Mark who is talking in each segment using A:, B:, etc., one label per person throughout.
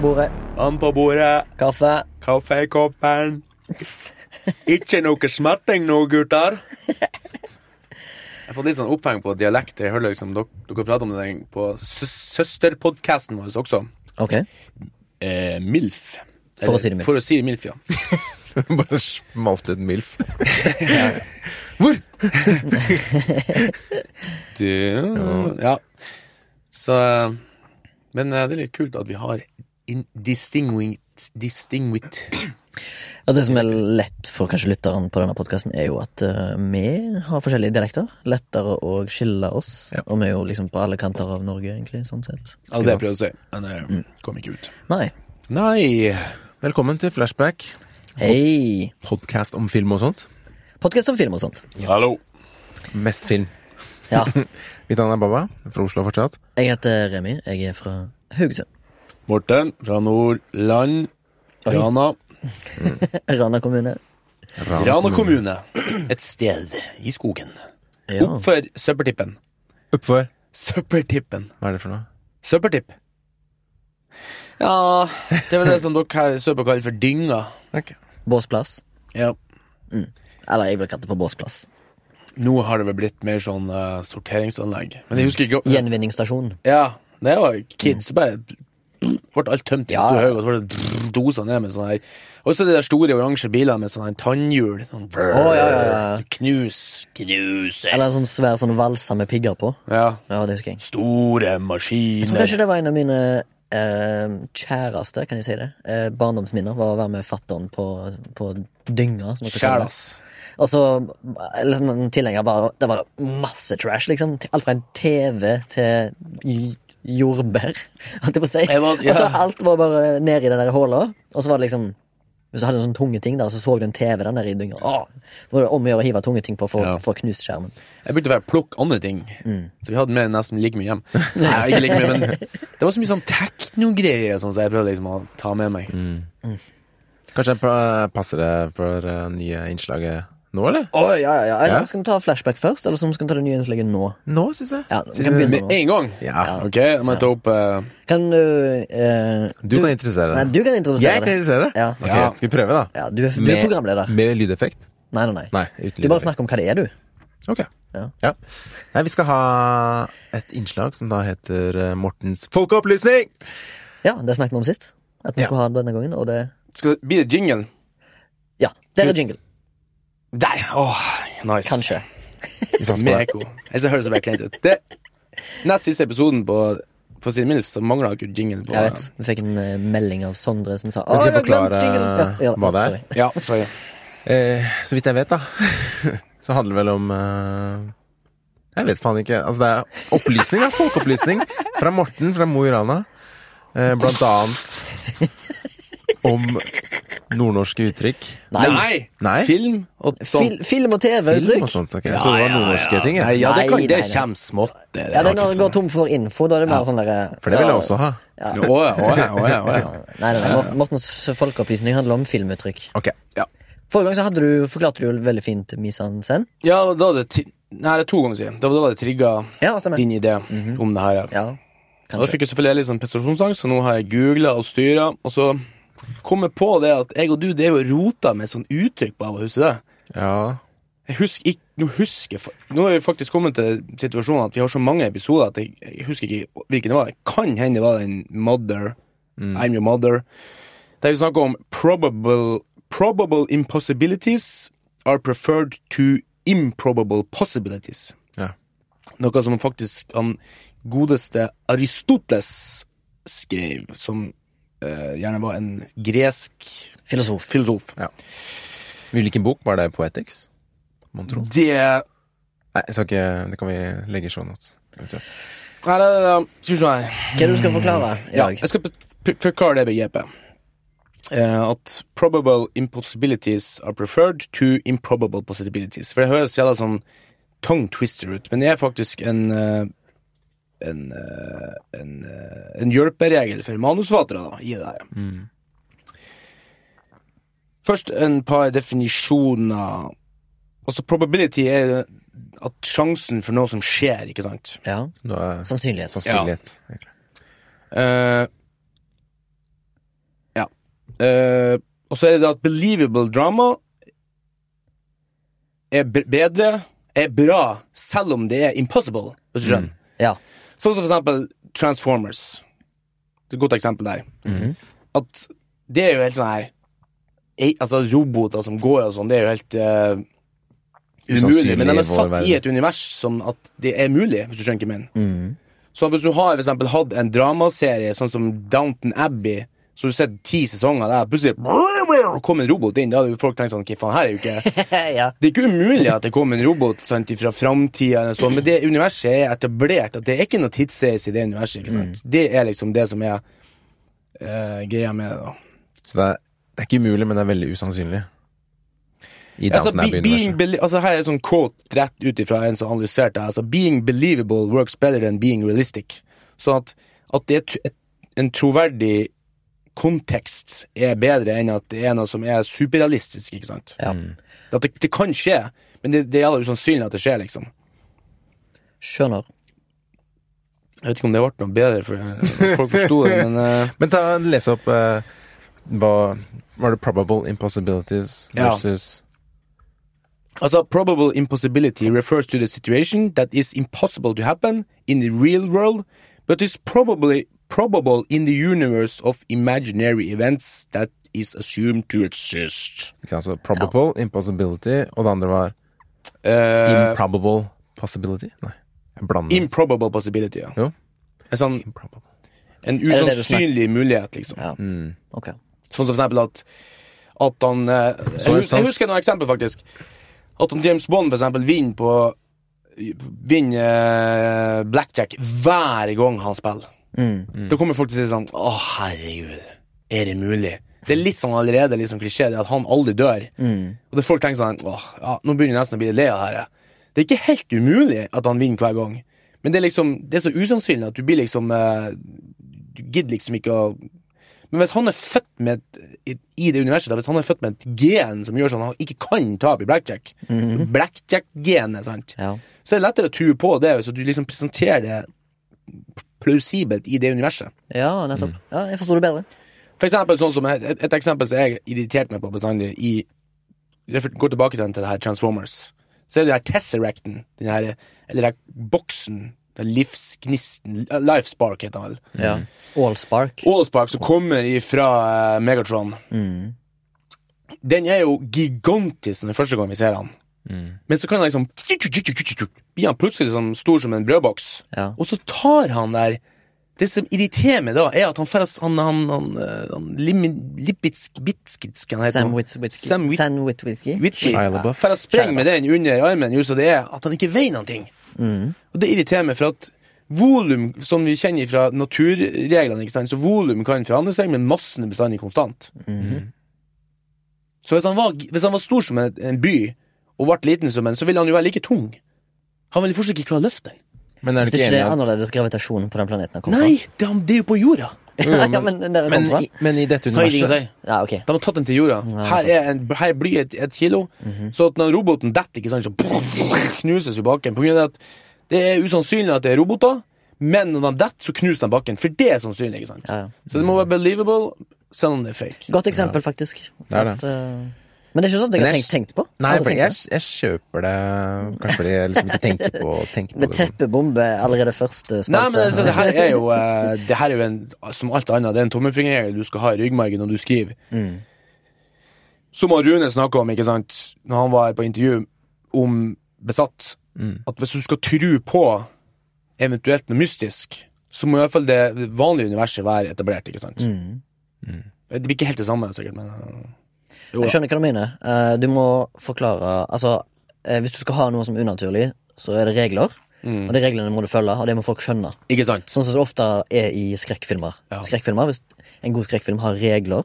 A: bordet.
B: Vann på bordet,
A: Kaffe.
B: kaffe i koppen. Ikke noe smerting nå, gutter. Jeg har fått litt sånn oppheng på dialekt. Jeg hører liksom dere, dere prater om det på sø- søsterpodcasten vår også.
A: Ok.
B: Eh, MILF.
A: For å si det mildt.
B: For å si det mildt, ja.
C: Bare smalt ut en milf.
B: Hvor? du Ja. Så eh, Men eh, det er litt kult at vi har in- distinguit Distinguit.
A: Og det som er lett for kanskje lytteren på denne podkasten, er jo at eh, vi har forskjellige dialekter. Lettere å skille oss. Og vi er jo liksom på alle kanter av Norge, egentlig, sånn sett.
B: Ja, det jeg prøvde å si, Mm. men det kom ikke ut.
A: Nei.
C: Nei. Velkommen til Flashback.
A: Hei!
C: Podcast om film og sånt.
A: Podkast om film og sånt.
B: Hallo.
C: Mest film.
A: Ja.
C: Mitt navn er Baba, fra Oslo fortsatt.
A: Jeg heter Remi. Jeg er fra Haugesund.
B: Morten fra Nordland. Rana.
A: Rana kommune.
B: Rana kommune. Et sted i skogen.
A: Ja.
B: Oppfor søppeltippen.
C: Oppfor.
B: Søppeltippen.
C: Hva er det for noe?
B: Søppeltipp. Ja, det var det som dere her i sørpå kaller for dynga.
C: Ok.
A: Båsplass.
B: Ja.
A: Eller jeg vil kalle det for båsplass.
B: Nå har det vel blitt mer sånn eh, sorteringsanlegg. Men jeg husker ikke
A: Gjenvinningsstasjon.
B: Ja, da jeg var kid, så bare ble alt tømt i en
A: Ja.
B: stor haug, og så ble det dosa ned med sånne her Også de der store oransje bilene med sånne her tannhjul. Sånn
A: Å, ja, ja, ja.
B: Knus, knuse
A: Eller en sånn svær sånn valsa med pigger på.
B: Ja.
A: Ja, det husker jeg.
B: Store
A: Jeg tror
B: maskiner.
A: kanskje det var en av mine eh, kjæreste, kan jeg si det, eh, barndomsminner, var å være med fatter'n på, på dynga. som dere kaller det.
B: Sjælas.
A: Og så eh, liksom, en tilhenger bare Det var masse trash, liksom. Alt fra en TV til j- jordbær, holdt jeg på å si.
B: Jeg var- ja.
A: Og så alt var bare ned i den der håla, og så var det liksom hvis du hadde en sånn tunge ting der, så så du en TV der nede i dynga. Åh, Var det om å gjøre å hive tunge ting på for,
B: Ja.
A: for å knuse skjermen.
B: Jeg begynte å være plukk andre ting. Så vi hadde med nesten like mye hjem. Nei, ikke like mye, men Det var så mye sånn teknogreier og sånn, så jeg prøvde liksom å ta med meg.
C: Kanskje jeg pa- passer det for det nye innslaget nå, eller?
A: Å, ja, ja, ja. Eller
C: Ja.
A: Skal vi ta flashback først, eller så skal vi ta det nye innslaget nå?
C: Nå, syns jeg.
A: Ja, vi
C: Siden-
A: kan begynne nå.
B: Med en gang?
C: Ja.
B: Ok, jeg må ta opp eh,
A: Kan du eh,
C: Du kan introdusere
A: Nei,
C: det.
A: du kan introdusere
C: Jeg kan introdusere det?
A: Ja.
C: Ok,
B: Ja.
C: Skal vi prøve, da?
A: Ja, du, er, du er programleder.
C: Med lydeffekt?
A: Nei, nei, nei.
C: Nei, uten
A: Du bare
C: lydeffekt.
A: snakker om hva det er, du.
C: Ok.
A: Ja.
C: Ja. Nei, vi skal ha et innslag som da heter eh, Mortens folkeopplysning!
A: Ja, Det snakket vi om sist. At vi
C: Ja.
A: skulle ha det denne gangen, og det
B: Skal det bli det jingle?
A: Ja, der er jingle.
B: Der! Åh, nice.
A: Kanskje.
C: Vi satser på
B: Med
C: det.
B: ekko. Ellers høres det bare kleint ut. Det, nest siste episoden på på Siden Milf så mangla ikke jingle på
A: Jeg vet. Vi fikk en eh, melding av Sondre som sa
C: Jeg skal
A: «Å, jeg har glemt
C: forklare
A: jingle!» ja, ja,
C: hva det er.
A: sorry.
B: Ja, sorry.
C: Eh, så vidt jeg vet, da, så handler det vel om eh, Jeg vet faen ikke. Altså, det er opplysning, da. Folkeopplysning fra Morten fra Mo i Rana. Eh, blant annet om nordnorske uttrykk.
A: Nei.
C: Nei?
B: Film og
A: Fil,
B: sånt.
A: film og
C: Film og
A: TV-uttrykk.
C: sånt. ok. Jeg trodde det var nordnorske ting.
B: Nei,
C: jeg.
B: ja, det, kan,
A: Nei,
B: det
A: nei, nei.
B: kommer smått. Det, det
A: Ja, det
B: er
A: er når
B: ikke
A: du går tom for info. Da er det mer sånn derre
C: For det vil jeg også ha.
A: Ja.
B: sånn. Åja, åja, åja, åja.
A: Nei, nei, nei. Mor- Mortens folkeopplysning handler om filmuttrykk.
C: Ok.
A: Forrige gang så hadde du, forklarte du jo veldig fint misansen.
B: Ja, og da det ti- Nei, det er to ganger siden. Det var da det trigga
A: Ja, stemmer.
B: din idé
A: Mhm.
B: om det her.
A: Ja,
B: Og da
A: kanskje.
B: fikk jeg selvfølgelig litt sånn prestasjonsangst, så nå har jeg googla og styra, og så kom jeg på det at jeg og du drev og rota med sånn uttrykk på av og husker du det.
C: Ja.
B: Jeg husker ikke, nå husker jeg fa- Nå er vi faktisk kommet til situasjonen at vi har så mange episoder at jeg, jeg husker ikke hvilken det var. Det Kan hende det var den Mother, I'm Your Mother. Der vi snakker om probable, probable impossibilities are preferred to improbable possibilities.
C: Ja.
B: Noe som faktisk han godeste Aristotes skrev, som eh, gjerne var en gresk
A: Filosof.
B: filosof.
C: Hvilken bok var det? Poetics? Mon tro.
B: Det
C: Nei, jeg skal ikke, det kan vi legge i show notes. eventuelt.
B: Nei, nei, nei, nei, skal vi se her.
A: Hva er det du skal forklare i
B: Ja,
A: dag?
B: jeg skal p- p- forklare det begrepet. Eh, at probable impossibilities are preferred to improbable possibilities. For det høres jævla sånn tongue twister ut, men det er faktisk en eh, en, eh, en, eh, en hjelperegel for manusfatere da, i det her.
A: Mm.
B: Først en par definisjoner. Altså Probability er at sjansen for noe som skjer, ikke sant?
A: Ja,
C: Nå er altså.
A: Sannsynlighet.
C: sannsynlighet. egentlig.
B: Eh, Eh, og så er det det at believable drama er b bedre, er bra, selv om det er impossible. Hvis du skjønner.
C: Mm.
A: Ja.
B: Sånn som for eksempel Transformers. Det er Et godt eksempel der.
C: Mm-hmm.
B: At det er jo helt sånn her ei- Altså Roboter som går og sånn, det er jo helt eh, umulig.
C: Usannsynlig
B: Men de
C: i
B: er
C: vår
B: satt
C: verden.
B: i et univers som at det er mulig, hvis du skjønner hva jeg mener.
A: Mhm.
B: Så hvis du har for eksempel hatt en dramaserie sånn som Downton Abbey, så du har sett ti sesonger der, plutselig brrr, kom en robot inn, da hadde jo folk tenkt sånn Hva faen, her er jo ikke
A: ja.
B: Det er ikke umulig at det kom en robot sant, fra framtida, eller sånn, men det universet er etablert. At det er ikke noe tidsreise i det universet. ikke sant? Det er liksom det som er eh, greia med det. da.
C: Så det er, det er ikke umulig, men det er veldig usannsynlig. I
B: Altså,
C: Downton
B: be, being
C: Abbey-universet.
B: belie- altså Her er en sånn quote rett ut ifra en som analyserte det. Altså, being believable works better than being realistic. Sånn at, at det er t- et, en troverdig kontekst er bedre enn at det er noe som er superrealistisk. ikke sant?
A: ja.
B: At det, det kan skje, men det, det er jævla usannsynlig at det skjer, liksom.
A: Skjønner.
B: Jeg vet ikke om det ble noe bedre, for folk forsto det, men eh,
C: Men ta, les opp eh, hva Var det probable impossibilities
B: Ja.
C: versus
B: Altså, probable impossibility refers to the situation that is impossible to happen in the real world, but is probably probable in the universe of imaginary events that is assumed to exist.
C: ikke sant, så Probable, impossibility, og det andre var
B: Eh,
C: improbable possibility? Nei. Jeg blander.
B: improbable possibility, ja.
C: Jo.
B: En, sånn,
C: improbable.
B: en
A: det det du
B: usannsynlig mulighet, liksom.
A: Ja. Ok.
B: Sånn som for eksempel at, at han eh, jeg, hus-
C: sånn-
B: jeg husker noen eksempel, faktisk. At han James Bond for eksempel vinner på Vinner eh, blackjack hver gang han spiller.
A: Mm.
B: Da kommer folk til å si sånn Å, herregud, er det mulig? Det er litt sånn allerede liksom klisjé det at han aldri dør.
A: Mm.
B: Og det folk tenker sånn Åh, ja, nå begynner jeg nesten å bli lei av det her. jeg». Det er ikke helt umulig at han vinner hver gang, men det er liksom Det er så usannsynlig at du blir liksom eh, Du gidder liksom ikke å Men hvis han er født med et, i det universet, da, hvis han er født med et gen som gjør sånn at han ikke kan tape i blackjack Blackjack-genet, sant?
A: Ja.
B: Så er det lettere å tro på det hvis du liksom presenterer det plausibelt i det universet.
A: ja, nettopp. Ja, jeg forsto det bedre.
B: For eksempel sånn som et, et eksempel som jeg irriterte meg på bestandig i Gå tilbake til den til det her Transformers. Så er det den her Tesseracten, den her, eller den her boksen, den livsgnisten Lifespark heter den vel.
A: Ja. All spark.
B: Allspark som kommer ifra eh, Megatron.
A: Mm.
B: Den er jo gigantisk den første gang vi ser han.
C: Mm.
B: Men så kan han liksom Blir han plutselig sånn stor som en brødboks.
A: Ja.
B: Og så tar han der Det som irriterer meg da, er at han ferdes Han, han, han, eh, han Lim- Lipitsk Bitskitsk, han heter
A: Sam
B: han.
A: Witwicky.
B: Sam Wit-
A: Sam Witwicky.
B: Whitby.
C: Shia LaBeouf.
B: For å sprenge med den under armen, gjorde så det er at han ikke veier noen ting.
A: Mm.
B: Og det irriterer meg, for at volum, som vi kjenner fra naturreglene, ikke sant? så volum kan forandre seg, men massen er bestandig konstant. Så hvis han, var, hvis han var stor som en, en by, og ble liten som en, så ville han jo være like tung. Han ville fortsatt ikke klare å løfte den.
C: Men er
A: Hvis
C: du ikke
A: ikke det er
C: enig i at
A: annerledes gravitasjon på den planeten han kom
B: Nei, det, han, det er jo på jorda.
C: Jo, jo,
A: ja, men der han kom
C: men,
A: fra?
C: i, men i dette universet
A: Ja, ok.
B: De har tatt den til jorda. Her er, en, her er blyet et, et kilo. Så at når roboten detter, ikke sant, så knuses jo bakken. På grunn av at det er usannsynlig at det er roboter, men når de detter, så knuser de bakken. For det er sannsynlig. ikke sant?
A: Ja, ja.
B: Så det må være believable, selv om det er fake.
A: Godt eksempel, faktisk.
C: Det er det.
A: At, eh, men det er ikke sånt jeg
C: Men
A: har
C: jeg-
A: tenkt, tenkt på.
C: Nei,
A: Aldri
C: for
A: tenkt
C: jeg,
A: på.
C: jeg kjøper det Kanskje fordi jeg liksom ikke tenker på, tenker på
A: Med
C: det.
A: teppebombe allerede første spalte.
B: Nei, men altså, det her er jo, eh, det her er jo en, som alt annet, det er en tommelfingerregel du skal ha i ryggmargen når du skriver.
A: Mm.
B: Som han Rune snakka om ikke sant, når han var her på intervju, om Besatt.
C: Mm.
B: At hvis du skal tro på eventuelt noe mystisk, så må i hvert fall det vanlige universet være etablert. ikke sant?
A: Mm.
B: Det blir ikke helt det samme, sikkert, men eh, Jo
A: Jeg
B: da.
A: skjønner hva du mener. Eh, Du må forklare Altså, eh, hvis du skal ha noe som er unaturlig, så er det regler. Og de reglene må du følge, og det må folk skjønne.
B: Ikke sant?
A: Sånn som det ofte er i skrekkfilmer.
B: Ja.
A: Skrekkfilmer, Hvis en god skrekkfilm har regler,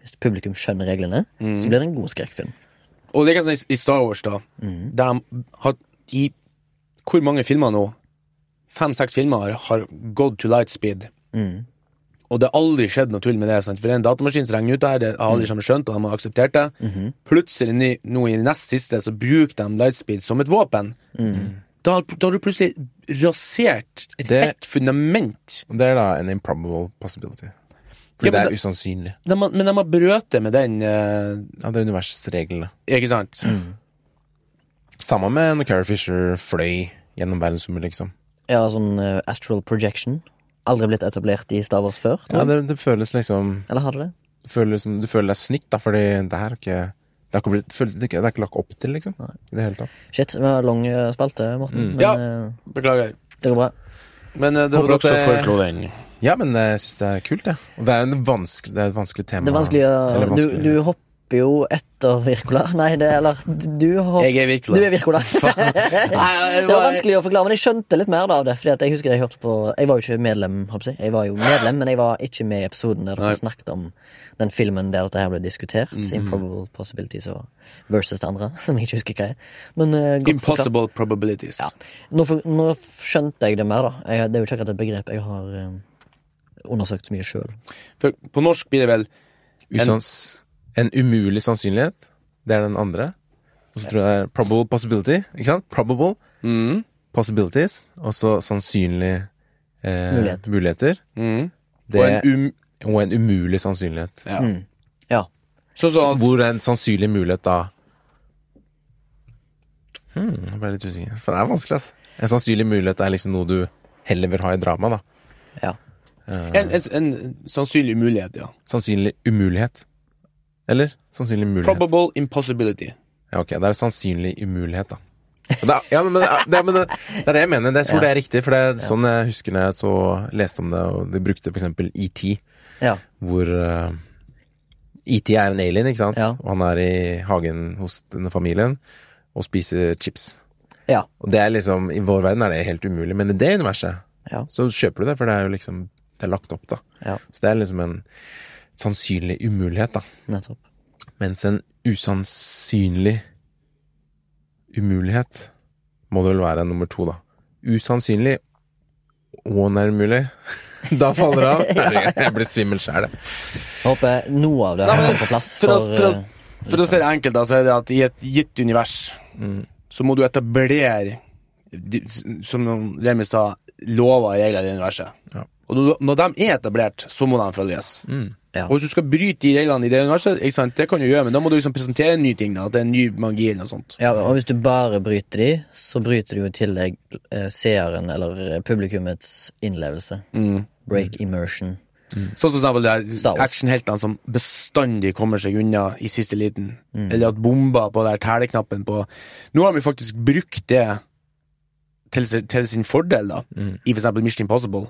A: hvis publikum skjønner reglene, så blir det en god skrekkfilm.
B: Og det er sånn i- i Star Wars, da, der de har i Hvor mange filmer nå? Fem-seks filmer har, har gått to light speed.
A: Mm.
B: Og det har aldri skjedd noe tull med det. Sant? For det er en datamaskin som regner ut det her, det har alle sammen skjønt, og de har akseptert det. Plutselig, ni- nå i nest siste, så bruker de lightspeed som et våpen. Da, da har du plutselig rasert et
C: Det-
B: helt fundament.
C: Det er da en improbable possibility. Fordi
B: Ja, men
C: det er usannsynlig.
B: De, har- men de har brøtet med den, eh,
C: Ja, det er universreglene.
B: ikke sant?
C: Samme med når Carrie Fisher fløy gjennom verdensrommet, liksom.
A: Ja, sånn eh, astral projection. Aldri blitt etablert i Star Wars før.
C: Ja, det, det føles liksom
A: Eller har det det?
C: du føler, liksom, du føler deg snytt, da, fordi det her er ikke Det har ikke, blitt, føles- det er ikke, det er ikke lagt opp til, liksom. I det hele tatt.
A: Shit, vi har lang eh, spalte, Morten. Men
B: Ja.
A: eh,
B: Beklager.
A: det går bra.
B: Men eh, det var dere
C: Håper at
B: som
C: det-
B: foreslo den.
C: Ja, men jeg syns det er kult, jeg. Ja. Og det er, en vanskelig, det er et vanskelig tema.
A: Det er vanskelig
C: Eller
A: å du,
C: vanskelig-
A: du hopper jo etter Virkola. Nei, det eller Du har
B: Jeg er Wirkola.
A: Du er Virkola.
B: Nei, jeg,
A: Det var
B: var-
A: vanskelig å forklare, men jeg skjønte litt mer av det. Fordi at Jeg husker jeg hørte på Jeg var jo ikke medlem, håper jeg. jeg var jo medlem, men jeg var ikke med i episoden der dere
B: Nei. Mhm.
A: snakket om den filmen der dette her ble diskutert. Improbable Possibilities og versus det andre, som jeg ikke husker hva er. Men eh, godt forklart.
B: Impossible probabilities.
A: Ja. Nå, for, nå skjønte jeg det mer, da. Jeg, det er jo ikke akkurat et begrep jeg har eh, undersøkt så mye sjøl.
B: For på norsk blir det vel
C: Usans, en umulig sannsynlighet. Det er den andre. Og så tror jeg det er probable possibility. Ikke sant? Probable
B: mm,
C: possibilities. Og så sannsynlige eh,
A: Mulighet.
C: muligheter.
B: mm,
C: Det,
B: Og en um...
C: og en umulig sannsynlighet.
B: Ja.
A: Mm. Ja.
B: Sånn som
C: Hvor er en sannsynlig mulighet da? Hmm, jeg ble litt usikker. For det er vanskelig, ass. En sannsynlig mulighet er liksom noe du heller vil ha i drama, da.
A: ja.
B: en, en, en sannsynlig mulighet, ja.
C: Sannsynlig umulighet. Eller? Sannsynlig mulighet.
B: Probable impossibility.
C: Ja, ok, det er sannsynlig umulighet, da. Men Det er, ja, men det, er, det, er, men det, det er det jeg mener. Det, jeg tror det er riktig, for det er sånn jeg husker når jeg så leste om det, og de brukte for eksempel E ET,
A: ja.
C: hvor eh, ET er en alien, ikke sant?
A: Ja.
C: Og han er i hagen hos denne familien og spiser chips.
A: Ja.
C: Og det er liksom, I vår verden er det helt umulig, men i det universet
A: Ja.
C: så kjøper du det, for det er jo liksom det er lagt opp, da.
A: Ja.
C: Så det er liksom en sannsynlig umulighet, da.
A: Nettopp.
C: Mens en usannsynlig umulighet må det vel være nummer to, da. Usannsynlig og nærmulig. Da faller det av. Herregud, Jeg blir svimmel sjæl, jeg.
A: Jeg håper noe av det
B: Nei, men
A: er på plass.
B: For, å, for,
A: eh,
B: å, for å se det enkelt, da, så er det at i et gitt univers
C: Mm.
B: så må du etablere, de- som Remi sa, lover og regler i det universet.
C: Ja.
B: Og når- når de er etablert, så må de følges.
C: Mm.
A: Ja.
B: Og hvis du skal bryte de reglene i det universet, ikke sant? det kan du gjøre, men da må du liksom presentere en ny ting. da, at det er en ny magi eller noe sånt.
A: ja, og hvis du bare bryter de, så bryter du jo i tillegg eh, seeren eller eh, publikummets innlevelse.
B: Mm.
A: Break
C: Mm.
A: immersion.
B: Sånn som for eksempel
A: Star
B: de her
A: Wars.
B: actionheltene som bestandig kommer seg unna i siste liten.
A: Mm.
B: Eller at bomba på der teleknappen på Nå har vi faktisk brukt det til, si- til sin fordel, da.
A: Mm.
B: I for eksempel Mission Impossible.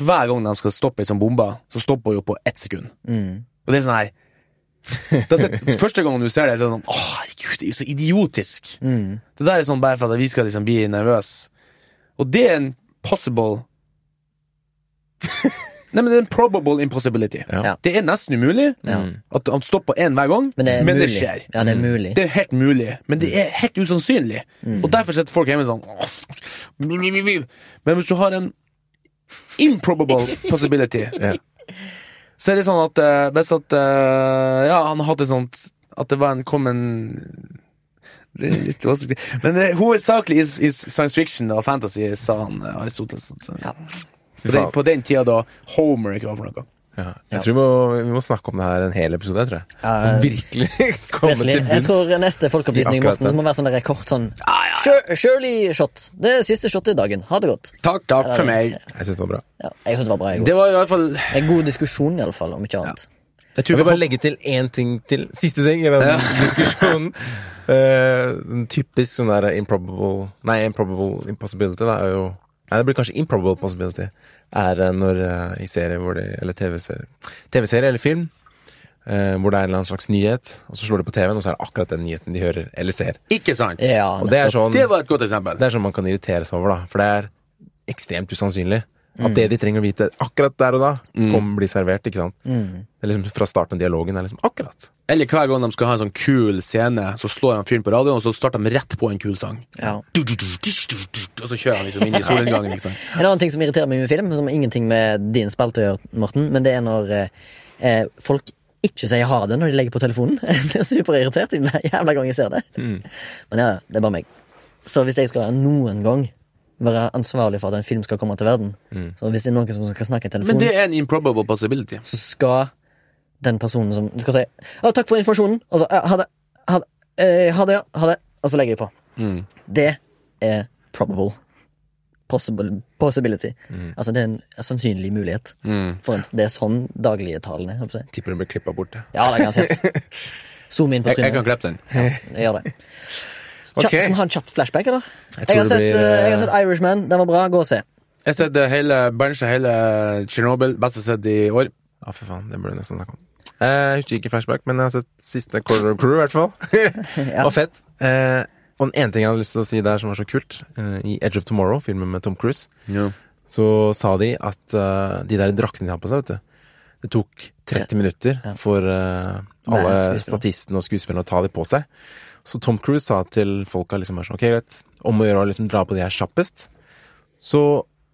B: Hver gang de skal stoppe ei sånn bombe, så stopper hun jo på ett sekund.
A: Mm.
B: Og det er sånn her da sitter- Første gangen du ser det, så er det sånn Å, herregud, det er jo så idiotisk.
A: Mm.
B: Det der er sånn bare for at vi skal liksom bli nervøse. Og det er en possible Nei, men det er en probable impossibility.
C: Ja.
A: Ja.
B: Det er nesten umulig
A: Ja.
B: at han stopper én hver gang,
A: Men det er mulig.
B: skjer.
A: Ja,
C: Mm.
A: det er mulig.
B: Det er helt mulig, men det er helt usannsynlig. Og derfor sitter folk hjemme sånn «Åh, blu, blu, blu, blu». Men hvis du har en improbable possibility,
C: Ja.
B: så er det sånn at eh, hvis at eh, Ja, han hadde sånt At det var en kommen det er litt vanskelig Men det, er hovedsakelig i, i science fiction og fantasy, sa han eh, Aristoteles. Så-
A: Ja.
B: På, den, på den tida da Homer ikke var for noe.
C: Ja. Jeg tror vi må, vi må snakke om det her en hel episode, jeg tror jeg.
A: Ja,
C: Og Virkelig komme
A: Virkelig. Jeg
C: til bunns.
A: tror neste folkeopplysning
C: I akkurat
A: Morten,
C: det.
A: må være sånn der kort sånn Shir- Shirley shot. Det er siste shotet i dagen. Ha det godt.
B: Takk, takk for meg.
C: Jeg syns det var bra.
A: Ja, jeg syns det var bra. Jeg,
B: Det var i hvert fall
A: en god diskusjon, iallfall, om ikke annet.
B: Jeg
C: Jeg
B: tror
C: vil
B: vi
C: bare legge til én ting til. Siste ting i den diskusjonen. Eh, en typisk sånn der improbable Nei, improbable impossibility det er jo Nei, det blir kanskje improbable possibility. Er eh, når eh, i serier hvor det Eller TV-serier TV-serie eller film eh, hvor det er en eller annen slags nyhet, og så slår de på TV-en, og så er det akkurat den nyheten de hører eller ser.
B: Ikke sant?
A: Ja,
C: Og det er
A: nettopp.
C: sånn
B: Det var et godt eksempel.
C: det er sånn man kan irritere seg over, da. For det er ekstremt usannsynlig. At det de trenger å vite akkurat der og da, kommer bli servert. ikke sant? Det er liksom Fra starten av dialogen er liksom akkurat.
B: Eller hver gang de skal ha en sånn kul scene, så slår han fyren på radioen, og så starter de rett på en kul sang.
A: Ja.
B: Og så kjører han liksom inn i solnedgangen. Liksom.
A: En annen ting som irriterer meg med film, som har ingenting med din spalte å gjøre, Morten, men det er når eh, eh, folk ikke sier ha det når de legger på telefonen. Jeg blir superirritert
B: Mm.
A: hver jævla gang jeg ser det. Men ja, det er bare meg. Så hvis jeg skal noen gang være ansvarlig for at en film skal komme til verden.
C: Mm.
A: Så hvis det er noen som skal snakke i
B: Men
A: telefonen,
B: det er en improbable possibility.
A: så skal den personen som du skal si «Å, 'takk for informasjonen', og så «Eh, 'ha det', ha det, eh, ha det, ja, ha det, og så legger de på.
B: Mm,
A: Det er probable. Possible, possibility. Altså det er en sannsynlig mulighet.
B: mm.
A: For at det er sånn daglige talen er. holdt jeg på å si.
C: Tipper den blir klippa bort. ja.
A: Ja, det er garantert. Zoom inn på
B: Jeg, jeg kan
A: trynet.
B: klippe den.
A: Jeg gjør det.
C: Ok.
A: Kjapp, Skal vi ha en kjapp flashback, eller? Jeg,
C: tror
A: har
C: det
A: sett,
C: blir,
A: eh, jeg har
C: eh,
A: sett Irishman. Den var bra. Gå og se.
B: Jeg har sett eh, hele Berntsen, hele Tsjernobyl. Beste sett i år.
C: Ja, for faen, det burde jeg nesten snakke om. Eh, Jeg husker ikke flashback, men jeg har sett siste Corridor Crew, i hvert fall.
A: Ja.
C: Og fett. Eh, og den ene ting jeg hadde lyst til å si der som var så kult, eh, i Edge of Tomorrow, filmen med Tom Cruise, så sa de at eh, de der draktene de har på seg, vet du Det tok 30 minutter for eh,
A: Nei,
C: alle
A: skuespillere.
C: statistene og skuespillerne å ta de på seg. Så Tom Cruise sa til folka liksom bare sånn, ok greit, om å gjøre å liksom dra på de her kjappest. Så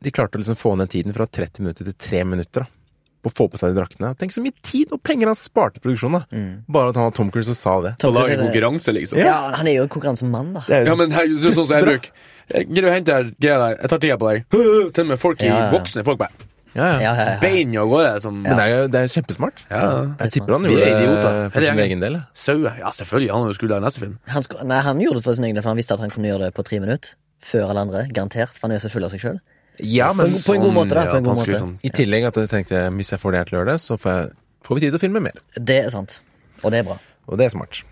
C: de klarte å liksom få ned tiden fra 30 minutter til 3 minutter. da på å få på seg de draktene. Tenk så mye tid og penger han sparte produksjonen! da Bare at han var Tom Cruise og sa det.
A: Tom Cruise er-
B: konkurranse, liksom.
A: ja, han er jo en konkurransemann, da.
C: Det er
B: Ja,
C: jo
B: men her, du, sånn som jeg
C: Dødsbra.
B: bruker Jeg gidder å hente her greia der. Jeg tar tida på deg. Til og med folk i
A: Ja, ja, ja.
B: voksne folk bare
C: Ja, ja.
A: Ja, ja, ja.
B: bein av gårde. Som
C: Men det er jo det er kjempesmart.
B: Ja, ja.
C: Jeg tipper han
B: Vi er
C: gjorde det
B: idioter.
C: for
B: Hele
C: sin
B: gjengen.
C: egen del. da.
B: sauer. Ja, selvfølgelig. Han har jo skulle lage neste film.
A: Han, sko- nei, han gjorde det for sin egen del, for han visste at han kunne gjøre det på tre minutter. Før alle andre, garantert. For han er jo så full av seg sjøl.
C: Ja,
A: På,
C: men
A: en- på en god måte, da.
B: ja,
A: På en
B: at han
A: god
B: skulle
A: måte.
B: sånn-
C: i tillegg at jeg tenkte hvis jeg får det her til å gjøre det, så får, jeg, får vi tid til å filme mer.
A: Det er sant. Og det er bra.
C: Og det er smart.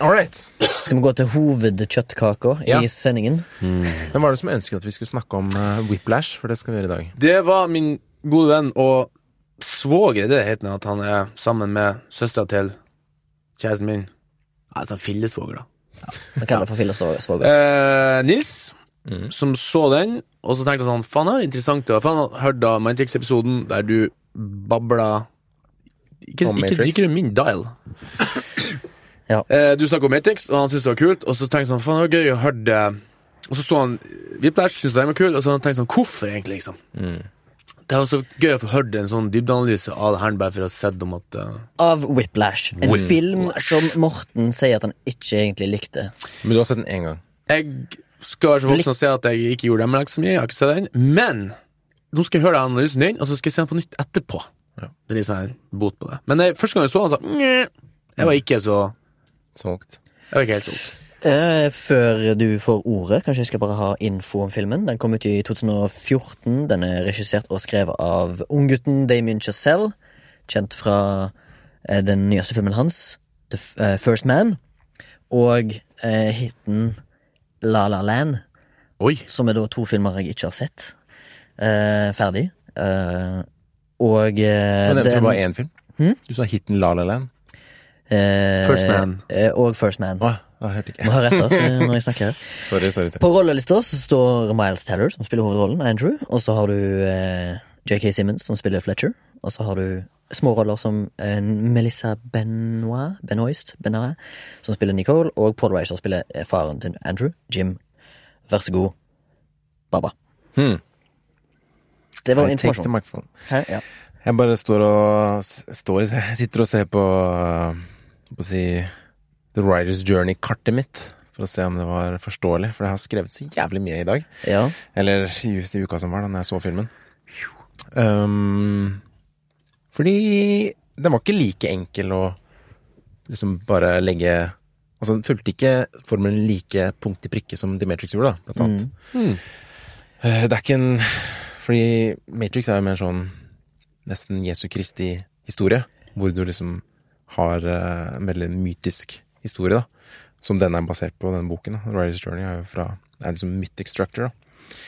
C: All right.
A: Skal vi gå til hovedkjøttkaka
C: Ja.
A: i sendingen?
C: Hvem var det som ønsket at vi skulle snakke om eh, Whiplash? For det skal vi gjøre i dag.
B: Det var min gode venn og svoger, det heter han, at han er sammen med søstera til kjæresten min. Nei, sånn fillesvoger, da.
A: Vi kaller det for fillesvoger.
B: Eh, Nils,
C: Mhm.
B: som så den, og så tenkte han sånn Faen, det er interessant. da». For han hørte da Matrix-episoden der du babla Ikke,
C: Om
B: ikke,
C: Matrix.
B: ikke min dial.
A: Ja.
B: Eh, du snakker om Matrix, og han syntes det var kult, og så tenkte han sånn Faen, det var gøy å høre det. Og så så han Whiplash, syntes den var kul, og så tenkte han sånn Hvorfor egentlig, liksom? Det er jo så gøy å få hørt en sånn dybdeanalyse av det her, bare for å ha sett om at eh,
A: Av Whiplash. En film som Morten sier at han ikke egentlig likte.
C: Men du har sett den én gang.
B: Jeg skal være så voksen og si at jeg ikke gjorde hjemmeleksa mi. Jeg har ikke sett den. Men nå skal jeg høre den analysen din, og så skal jeg se den på nytt etterpå.
C: Ja.
B: Det er litt sånn her bot på det. Men jeg, første gang jeg så den, så Nye. jeg var ikke så
C: Solgt.
B: Jeg var ikke helt solgt.
A: Eh, før du får ordet, kanskje jeg skal bare ha info om filmen. Den kom ut i 2014. Den er regissert og skrevet av unggutten Damien Chazelle. Kjent fra eh, den nyeste filmen hans, The F eh, First Man. Og eh, hiten La La Land,
B: Oi.
A: som er da to filmer jeg ikke har sett eh, ferdig. Eh, og eh,
C: Du nevnte
A: den- Hmm?
C: jo bare én film. Du sa hiten La La Land.
A: eh,
B: First Man.
A: Eh, og First Man.
C: Å, jeg hørte ikke.
A: Må høre etter eh, når jeg snakker. her.
C: Sorry, sorry. sorry.
A: På rollelista så står Miles Teller, som spiller hovedrollen, Andrew. Og så har du eh, JK Simmons, som spiller Fletcher. Og så har du små roller som eh, Melissa Benoit, Benoist, Benoit, som spiller Nicole. Og Paul Reiser spiller eh, faren til Andrew, Jim. Vær så god, baba.
C: Hmm.
A: Det var
C: I take the
A: informasjon.
C: microphone.
A: Hæ? Ja.
C: Jeg bare står og s- står, i- sitter og ser på øh, på å si The Riders Journey-kartet mitt. For å se om det var forståelig, for jeg har skrevet så jævlig mye i dag.
A: ja.
C: Eller i, u- i uka som var, da når jeg så filmen. Um, fordi den var ikke like enkel å liksom bare legge Altså, den fulgte ikke formelen like punkt i prikke som The Matrix gjorde, da, blant annet. Eh, Det er ikke en Fordi Matrix er jo mer sånn nesten Jesu Kristi historie, hvor du liksom har eh, en veldig mytisk historie, da. Som den er basert på, denne boken. da. Riders Journey er jo fra Det er liksom mythic structure, da.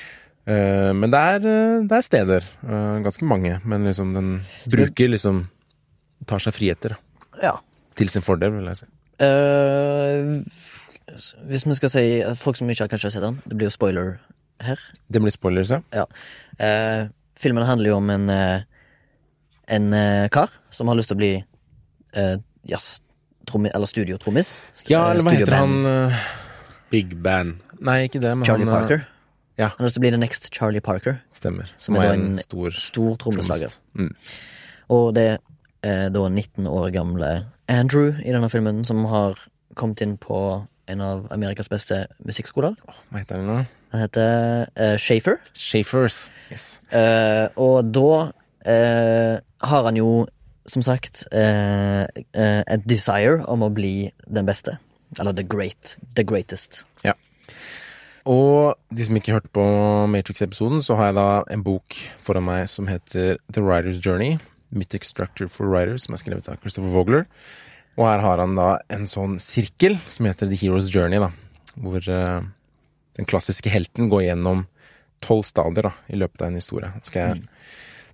C: Eh, men det er, eh, det er steder. eh, ganske mange. Men liksom den bruker liksom Tar seg friheter, da.
A: ja.
C: Til sin fordel, vil jeg si.
A: Eh, f- hvis vi skal si eh, folk som ikke har kanskje har sett den, det blir jo spoiler her.
C: Det blir spoilers, ja.
A: Ja. Eh, filmen handler jo om en, eh, en eh, kar som har lyst til å bli eh, jazz... Trommi, eller studiotrommis. St-
C: Ja,
A: eh,
C: eller hva heter han
A: studioband
C: eh,
B: Big band.
C: Nei, ikke det, men
A: Charlie
C: han eh,
A: Parker.
C: ja.
A: Han har lyst til å bli the next Charlie Parker.
C: Stemmer.
A: Som
C: Som
A: er
C: er
A: da
C: en
A: en
C: stor
A: Stor trommeslager.
C: trommist. Mm.
A: Og det eh, er da 19 år gamle Andrew i denne filmen som har kommet inn på en av Amerikas beste musikkskoler.
C: Hva heter den nå?
A: Den heter eh, Shafer.
C: Shafers. Yes.
A: Eh, og da eh, har han jo, som sagt, eh, eh, et desire om å bli den beste. Eller the great. The greatest.
C: Og de som ikke hørte på Matrix-episoden, så har jeg da en bok foran meg som heter The Writer's Journey. Mythic Structure for Writers, som er skrevet av Christopher Vogler. Og her har han da en sånn sirkel som heter The Hero's Journey, da. Hvor eh, den klassiske helten går gjennom tolv stadier da, i løpet av en historie. Skal jeg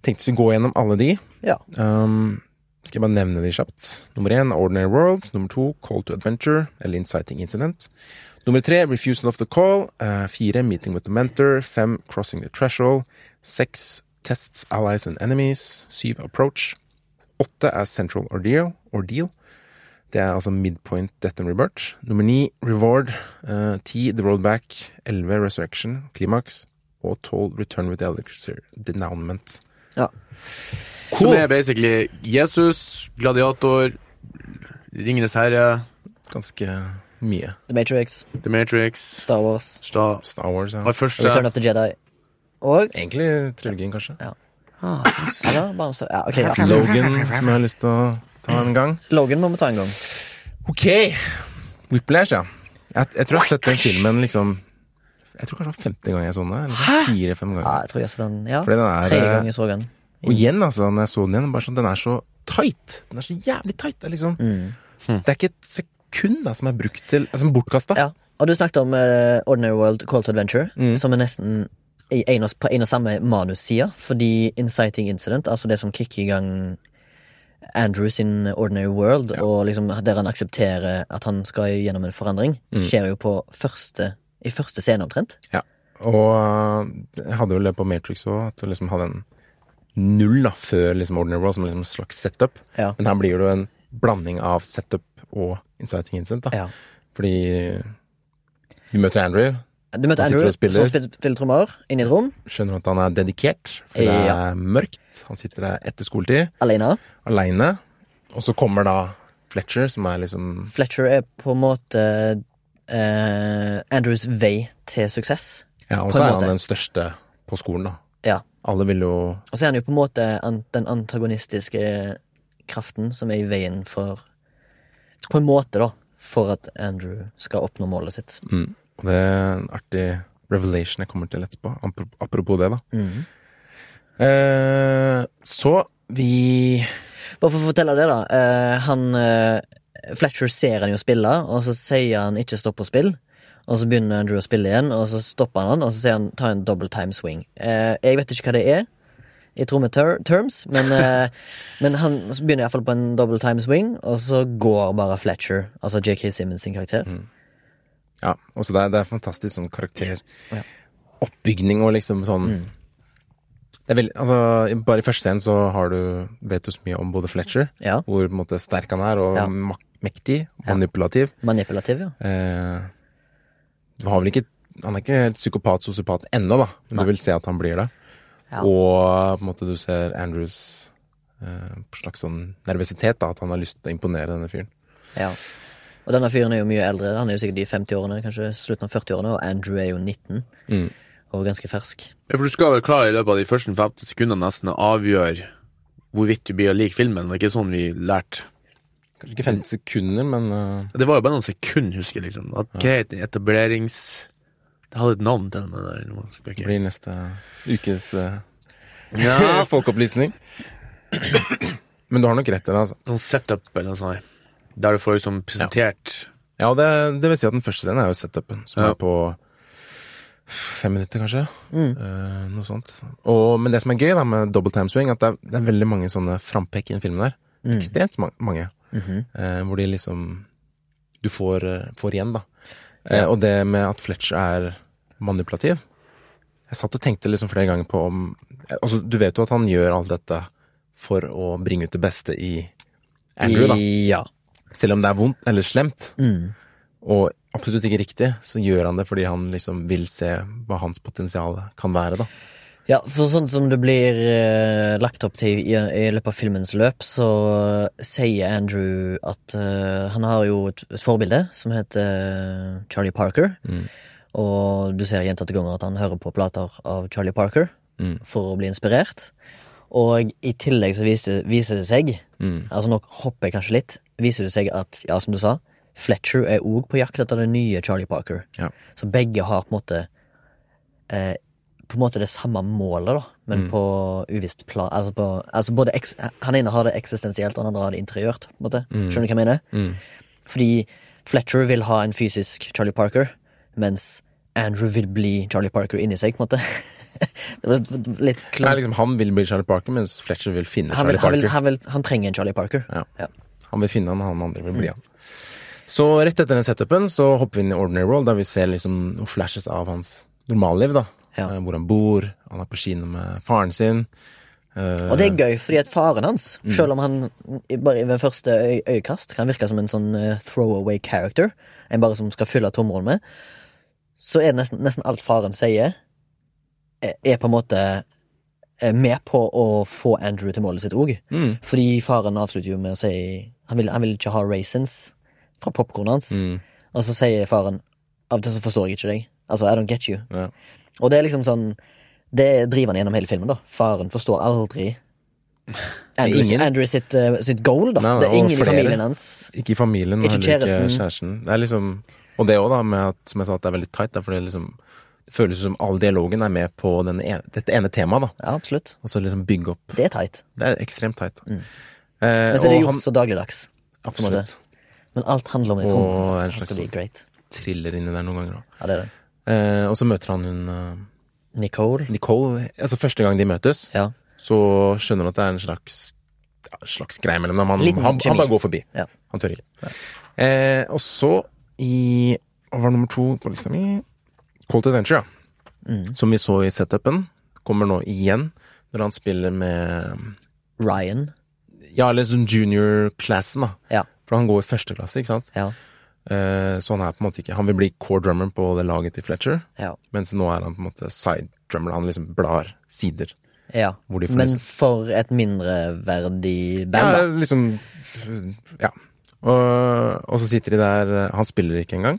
C: tenkte vi skulle gå gjennom alle de.
A: Ja.
C: Um, skal jeg bare nevne de kjapt. Nummer én, Ordinary World. Nummer to, Call to Adventure, eller Inciting Incident. Nummer tre, Refusal of the Call. Eh, fire, Meeting with the Mentor. Fem, Crossing the Threshold. Seks, Tests Allies and Enemies. Syv, Approach. Åtte er Central Ordeal. Ordeal. Det er altså Midpoint Death and Rebirth. Nummer ni, Reward. Eh, Ti, The Road Back. Elleve, Resurrection. Klimaks. Og tolv, Return with the Elixir. Denouement.
A: Ja.
B: Som er basically Jesus, gladiator, Ringenes herre,
C: Ganske mye.
A: The Matrix,
B: The Matrix,
A: Star Wars,
B: Sta
C: Star Wars, ja.
B: Og første
A: Return of the Jedi og
C: Egentlig trilogien, kanskje.
A: Eller bare så Ja, ok. Ja.
C: Logan, som jeg har lyst til å ta en gang.
A: Logan må vi ta en gang.
C: Ok! Whiplash, ja. Jeg, jeg tror jeg har sett den filmen liksom Jeg tror kanskje det var femte gang jeg så den. eller sånn Fire-fem
A: Ja,
C: ganger.
A: jeg tror jeg så den. Ja.
C: Fordi den er, eh,
A: Tredje gang jeg så den.
C: Og igjen, altså, når jeg så den igjen, bare sånn, den er så tight. Den er så jævlig tight. Det er liksom
A: Mm.
C: Det er ikke et sekund da, som er brukt til Som bortkasta.
A: Ja. Og du snakket om eh, Ordinary World Call to Adventure,
C: Mm.
A: som er nesten i en og, på en og samme manussida, fordi Inciting Incident, altså det som kicker i gang Andrew sin Ordinary World, og liksom der han aksepterer at han skal gjennom en forandring,
C: Mm.
A: skjer jo på første, i første scene omtrent.
C: Ja. Og øh, jeg hadde vel det på Matrix òg, at du liksom hadde en null da, før liksom Ordinary World, som liksom en slags setup.
A: Ja.
C: Men her blir det jo en blanding av setup og inciting incident, da.
A: Ja.
C: Fordi vi møter Andrew,
A: Du møter
C: Han sitter
A: Andrew,
C: og spiller.
A: som spiller, spiller trommer, inne i et rom,
C: skjønner at han er dedikert, for det
A: Ja.
C: er mørkt. Han sitter der etter skoletid,
A: alene.
C: aleine. Og så kommer da Fletcher, som er liksom
A: Fletcher er på en måte eh, Andrews vei til suksess.
C: Ja, og
A: På en
C: så er
A: måte.
C: han den største på skolen, da.
A: Ja.
C: Alle vil jo
A: Og så er han jo på en måte an den antagonistiske kraften som er i veien for På en måte, da. For at Andrew skal oppnå målet sitt.
C: mm. Og det er en artig revelation jeg kommer til etterpå. Apro- Apropos det, da.
A: Mhm.
C: Eh, så vi
A: Bare for å fortelle det, da. eh, han eh, Fletcher ser han jo spille, og så sier han 'ikke stopp å spille'. Og så begynner Andrew å spille igjen, og så stopper han, han, og så sier han 'ta en double time swing'. Eh, jeg vet ikke hva det er i trommeterms, men, eh, men han begynner iallfall på en double time swing, og så går bare Fletcher, altså JK Simmons sin karakter.
C: Ja, også det, er, det er fantastisk sånn karakteroppbygning og liksom sånn
A: Mm.
C: Det er veldig, altså, Bare i første scenen så har du, vet du så mye om både Fletcher,
A: Ja.
C: hvor på en måte sterk han er, og
A: Ja.
C: mak mektig, manipulativ.
A: Manipulativ, ja.
C: Eh, du har vel ikke Han er ikke helt psykopat-sosiopat ennå, da, men du vil se at han blir det.
A: Ja.
C: Og på en måte du ser Andrews eh, slags sånn nervøsitet, da, at han har lyst til å imponere denne fyren.
A: Ja. Og denne fyren er jo mye eldre. Han er jo sikkert i 50-årene, kanskje slutten av 40-årene, og Andrew er jo 19.
C: Mm.
A: Og ganske fersk.
B: For du skal vel klare i løpet av de første 50 sekundene nesten å avgjøre hvorvidt du blir å like filmen. Det er ikke sånn vi lærte.
A: Mm.
C: Kanskje ikke 50 sekunder, men eh,
B: Det var jo bare noen sekunder, husker jeg. liksom. At Greit, etablerings... Det hadde et navn til den der. nå husker jeg
C: Det
B: ikke.
C: blir neste ukes eh,
B: Ja,
C: folkeopplysning. Men du har nok rett i det. altså.
B: noen setup eller noe sånt. Der du får liksom presentert
C: Ja, det, det vil si at den første scenen er jo setupen, som
B: Ja.
C: er på fem minutter, kanskje. Eh, noe sånt. Og, men det som er gøy da med double time swing, at det er, det er veldig mange sånne frampekk i den filmen der. Ekstremt ma mange. Eh, hvor de liksom Du får, eh, får igjen, da. Eh, og det med at Fletcher er manipulativ Jeg satt og tenkte liksom flere ganger på om eh, Altså, du vet jo at han gjør alt dette for å bringe ut det beste i Andrew, da.
A: Ja.
C: Selv om det er vondt eller slemt
A: Mm.
C: og absolutt ikke riktig, så gjør han det fordi han liksom vil se hva hans potensial kan være, da.
A: Ja, for sånn som det blir eh, lagt opp til i, i løpet av filmens løp, så eh, sier Andrew at eh, han har jo et, et forbilde som heter eh, Charlie Parker.
C: Mm.
A: Og du ser gjentatte ganger at han hører på plater av Charlie Parker
C: Mm.
A: for å bli inspirert. Og i tillegg så viser, viser det seg,
C: Mm.
A: altså nå hopper jeg kanskje litt, viser det seg at, ja, som du sa, Fletcher er òg på jakt etter den nye Charlie Parker.
C: Ja.
A: Så begge har på en måte eh, På en måte det samme målet, da, men
C: Mm.
A: på uvisst plan. Altså, på, altså både eks, han ene har det eksistensielt, og han andre har det interiørt. på en måte. Skjønner du hva jeg mener?
C: Mm.
A: Fordi Fletcher vil ha en fysisk Charlie Parker, mens Andrew vil bli Charlie Parker inni seg, på en måte. det ble litt
C: Nei,
A: klart.
C: liksom, han vil bli Charlie Parker, mens Fletcher vil finne
A: Han, vil,
C: Charlie
A: han, vil,
C: Parker.
A: han, vil, han trenger en Charlie Parker.
C: Ja.
A: Ja.
C: Han vil finne han, han andre vil bli han. Så rett etter den setupen så hopper vi inn i Ordinary World, der vi ser liksom noen flashes av hans normalliv. da.
A: Ja.
C: Eh, Hvor han bor, han er på kino med faren sin. eh, Mm.
A: Og det er gøy, fordi at faren hans, selv om han i- bare ved første øy øyekast kan virke som en sånn eh, throwaway character, en bare som skal fylle tomrommet, så er det nesten, nesten alt faren sier, eh, er på en måte eh, med på å få Andrew til målet sitt òg.
C: Mm.
A: Fordi faren avslutter jo med å si Han vil, han vil ikke ha raisins fra popkornet hans.
C: Mm.
A: Og så sier faren Av og til så forstår jeg ikke deg. Altså, I don't get you.
C: Ja.
A: Og det er liksom sånn Det driver han gjennom hele filmen, da. Faren forstår aldri Andrew,
C: Ingen.
A: Andrew sitt, eh, sitt goal, da.
C: Nei, nei,
A: det er
C: og
A: ingen i
C: flere.
A: familien hans.
C: Ikke i familien, og
A: Ikke
C: heller ikke
A: kjæresten.
C: kjæresten. Det er liksom, og det òg, da, med at som jeg sa, at det er veldig tight. Da, for det, er liksom, det føles som all dialogen er med på den ene, dette ene temaet. da.
A: Ja, absolutt.
C: Og så liksom bygge opp.
A: Det er teit.
C: Det er ekstremt tight.
A: Mm.
C: Eh,
A: Men så er det
C: og
A: gjort
C: han,
A: så dagligdags. på en måte.
C: absolutt
A: Men alt handler om et
C: Og
A: rom.
C: det er
A: Han
C: en
A: skal
C: slags-
A: bli great.
C: triller inni der noen ganger òg.
A: Ja, det er det.
C: Eh, og så møter han hun eh,
A: Nicole.
C: Nicole. Altså første gang de møtes,
A: Ja.
C: så skjønner han at det er en slags ja, slags greie mellom dem. Han,
A: Liten
C: han,
A: kjemi.
C: han bare går forbi.
A: Ja.
C: Han tør ikke. Eh, og så i Hva var nummer to på lista mi? Call to Adventure, ja.
A: Mm.
C: Som vi så i setupen. Kommer nå igjen når han spiller med
A: Ryan.
C: Ja, eller sånn junior-klassen, da.
A: Ja.
C: For han går i første klasse, ikke sant.
A: Ja.
C: Eh, så han er på en måte ikke Han vil bli core drummer på det laget til Fletcher.
A: Ja.
C: Mens nå er han på en måte side drummer. Han liksom blar sider.
A: ja.
C: Hvor de får
A: Men
C: liksom-
A: for et mindreverdig band,
C: Ja,
A: da.
C: liksom Ja. Og, og så sitter de der Han spiller ikke engang.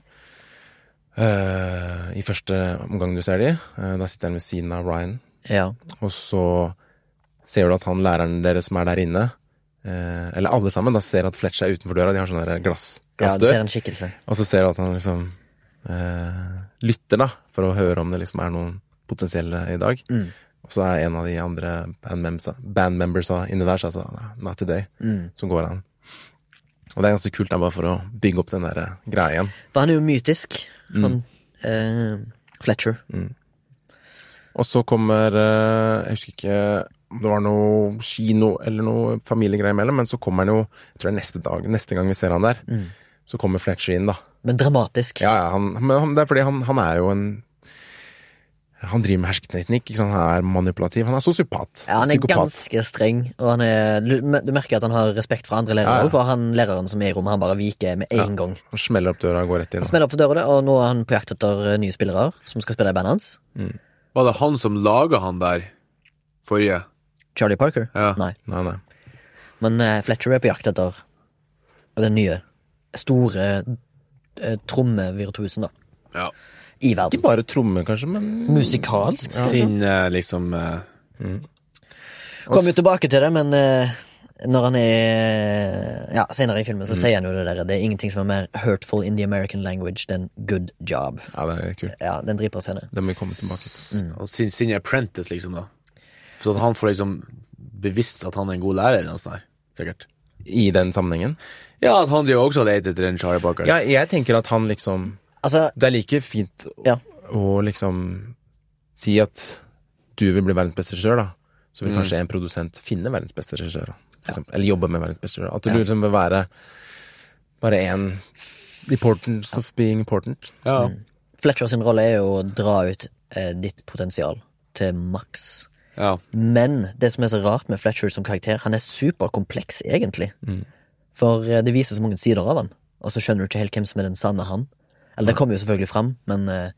C: Eh, I første omgang du ser de. eh, da sitter han ved siden av Ryan.
A: Ja.
C: Og så ser du at han læreren deres som er der inne, eh, eller alle sammen, da ser at Fletcher er utenfor døra. De har sånn der glass,
A: ja, du ser
C: glassdør.
A: en skikkelse.
C: og så ser du at han liksom eh, lytter, da, for å høre om det liksom er noen potensielle i dag.
A: Mm.
C: Og så er en av de andre bandmembersa band membersa inne der, så altså Not Today,
A: Mm.
C: så går han. Og det er ganske kult, da, bare for å bygge opp den der eh, greia igjen.
A: For han er jo mytisk.
C: Mm.
A: Han eh, Fletcher.
C: Og så kommer eh, Jeg husker ikke om det var noe kino eller noe familiegreier imellom, men så kommer han jo Jeg tror det er neste dag, neste gang vi ser han der, så kommer Fletcher inn, da.
A: Mm. Men dramatisk.
C: Ja, ja, han, men han, det er fordi han, han er jo en Han driver med hersketeknikk, ikke sant? han er manipulativ. Han er sosiopat.
A: Ja, han er
C: psykopat.
A: ganske streng, og han er, du du merker at han har respekt for andre lærere.
C: Ja, ja.
A: også, For han læreren som er i rommet, han bare viker med en gang.
C: Han smeller opp døra og går rett inn.
A: Han smeller opp for døra, og nå er han på jakt etter eh, nye spillere som skal spille i bandet hans.
D: Var det han som laga han der forrige?
A: Charlie Parker?
D: Ja.
A: Nei.
C: Nei, nei.
A: Men eh, Fletcher er på jakt etter den nye, store uh, trommevirtuosen, da.
D: Ja.
A: I
C: Ikke
A: verden.
C: bare tromme, kanskje, men Mm.
A: Musikalsk.
D: Sin eh, liksom eh,
A: Kom jo tilbake til det, men eh, når han er Ja, senere i filmen
C: Mm.
A: så sier han jo det der Det er ingenting som er mer hurtful in the American language than good job.
C: Ja, det er kult.
A: Ja, den driper oss henne.
C: Det må vi komme tilbake til.
D: og sin, sin apprentice, liksom, da. Så at han får liksom bevisst at han er en god lærer, eller noe sånt. der, Sikkert.
C: I den sammenhengen.
D: Ja, at han driver også og leter etter en Charlie Parker.
C: Ja, jeg tenker at han liksom
A: Altså,
C: Det er like fint å,
A: Ja.
C: å liksom si at du vil bli verdens beste regissør, da. Så vil kanskje en produsent finne verdens beste regissør. da. Liksom, Eller jobbe med verdens beste regissør. At du liksom bør være bare én importance of being important.
D: Ja.
A: Fletcher sin rolle er jo å dra ut eh, ditt potensial til maks.
D: ja.
A: Men det som er så rart med Fletcher som karakter, han er superkompleks, egentlig.
C: Mm.
A: For eh, det viser så mange sider av han, og så skjønner du ikke helt hvem som er den sanne han. Eller det kommer jo selvfølgelig fram, men eh,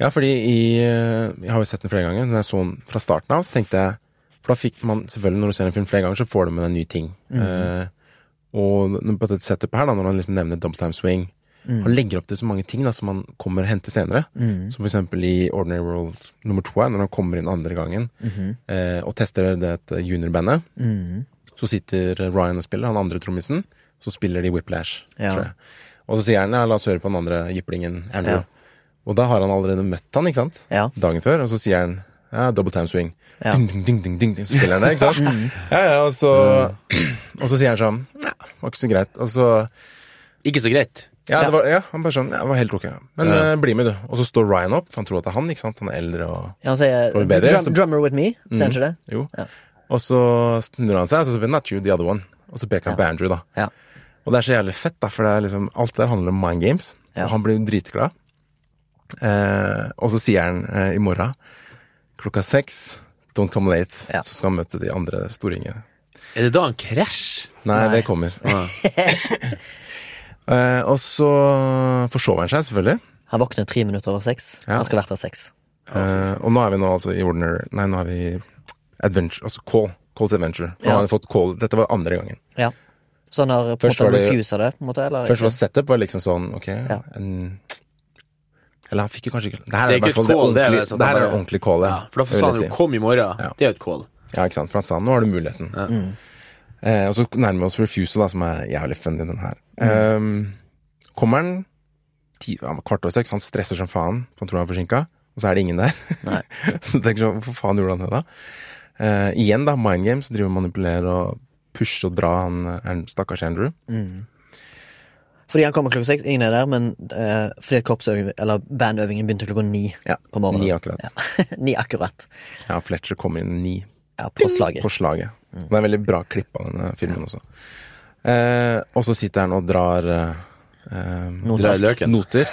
C: Ja, fordi i, eh, jeg har jo sett den flere ganger. Når jeg så den fra starten av, så tenkte jeg For da fikk man selvfølgelig, når du ser en film flere ganger, så får du med deg nye ting. Eh, og n- på dette setupet her, da, når han liksom nevner Double Time Swing Han legger opp til så mange ting da, som han kommer og henter senere. Som for eksempel i Ordinary World nummer to her, når han kommer inn andre gangen eh, og tester det juniorbandet. Så sitter Ryan og spiller, han andre trommisen. Så spiller de Whiplash,
A: Ja.
C: tror jeg. Og så sier han ja, la oss høre på den andre jiplingen, Andrew. Og da har han allerede møtt han, ikke sant?
A: Ja.
C: Dagen før, og så sier han ja, double time swing.
A: Ja.
C: Ding, ding, ding, ding, ding, ding, så spiller han det, ikke sant? Ja, ja, og så, og så sier han sånn ja, var ikke så greit. Og så
D: Ikke så greit.
C: ja, det var, ja, han bare sånn, ja, det var helt ok. Men eh, bli med, du. Og så står Ryan opp, for han tror at det er han, ikke sant? Han er eldre og
A: Ja, Han sier
C: Får vi bedre,
A: drum,
C: så- Mm.
A: 'drummer with me', sier han ikke det?
C: Jo.
A: Ja.
C: Og så snur han seg, og så sier not you, the other one. Og så peker han på Andrew, da.
A: Ja.
C: Og det er så jævlig fett, da, for det er liksom, alt der handler om mind games.
A: Ja.
C: Og han blir dritglad. Eh, og så sier han eh, i morgen klokka seks Don't come late.
A: Ja.
C: Så skal han møte de andre storingene.
D: Er det da han krasjer?
C: Nei, det kommer. eh, og så forsover han seg, selvfølgelig.
A: Han våkner tre minutter over seks.
C: Ja.
A: Han skulle vært der seks.
C: Eh, og nå er vi nå altså i Ordinary Nei, nå er vi i Adventure, altså Call. Call to Adventure. Nå
A: Ja.
C: har vi fått call. Dette var andre gangen.
A: Ja. Så han har på en
C: Først
A: måte
C: var det-
A: refusa det, på en måte? Eller?
C: Først var setup var liksom sånn Ok
A: Ja.
C: en, Eller han fikk jo kanskje ikke Det her
D: Det er
C: er i
D: ikke
C: hvert
D: et
C: fall det
D: call, det er
C: ordentlige
D: det, så
C: Det her
D: det
C: er
D: bare-
C: det ordentlige callet.
D: Ja, for da
C: vil
D: sa
C: jeg
D: han jo
C: si.
D: 'kom i morgen'.
C: Ja.
D: Det er jo et call.
C: Ja, ikke sant. For han sa nå har du muligheten.
A: Mm.
C: Eh, og så nærmer vi oss Refusal, da, som er jævlig funny, den her.
A: Mm.
C: Eh, kommer han ti, ja, kvart over seks, han stresser som faen, for han tror han er forsinka, og så er det ingen der.
A: Nei.
C: så du tenker sånn, hvorfor faen gjorde han det, da? Eh, igjen, da, Mind Games driver og manipulerer og pusher og drar han eh, stakkars Andrew.
A: Fordi han kommer klokka seks, ingen er der, men eh, fordi at korpsøving, eller bandøvingen begynte klokka ni
C: Ja,
A: på morgenen.
C: Ni akkurat.
A: Ja. ni akkurat.
C: Ja, Fletcher kommer inn ni.
A: Ja, på slaget.
C: på slaget. Det er en veldig bra klipp av denne filmen også. Eh, og så sitter han og drar eh, eh,
A: Noter.
D: Drar i løken.
C: noter.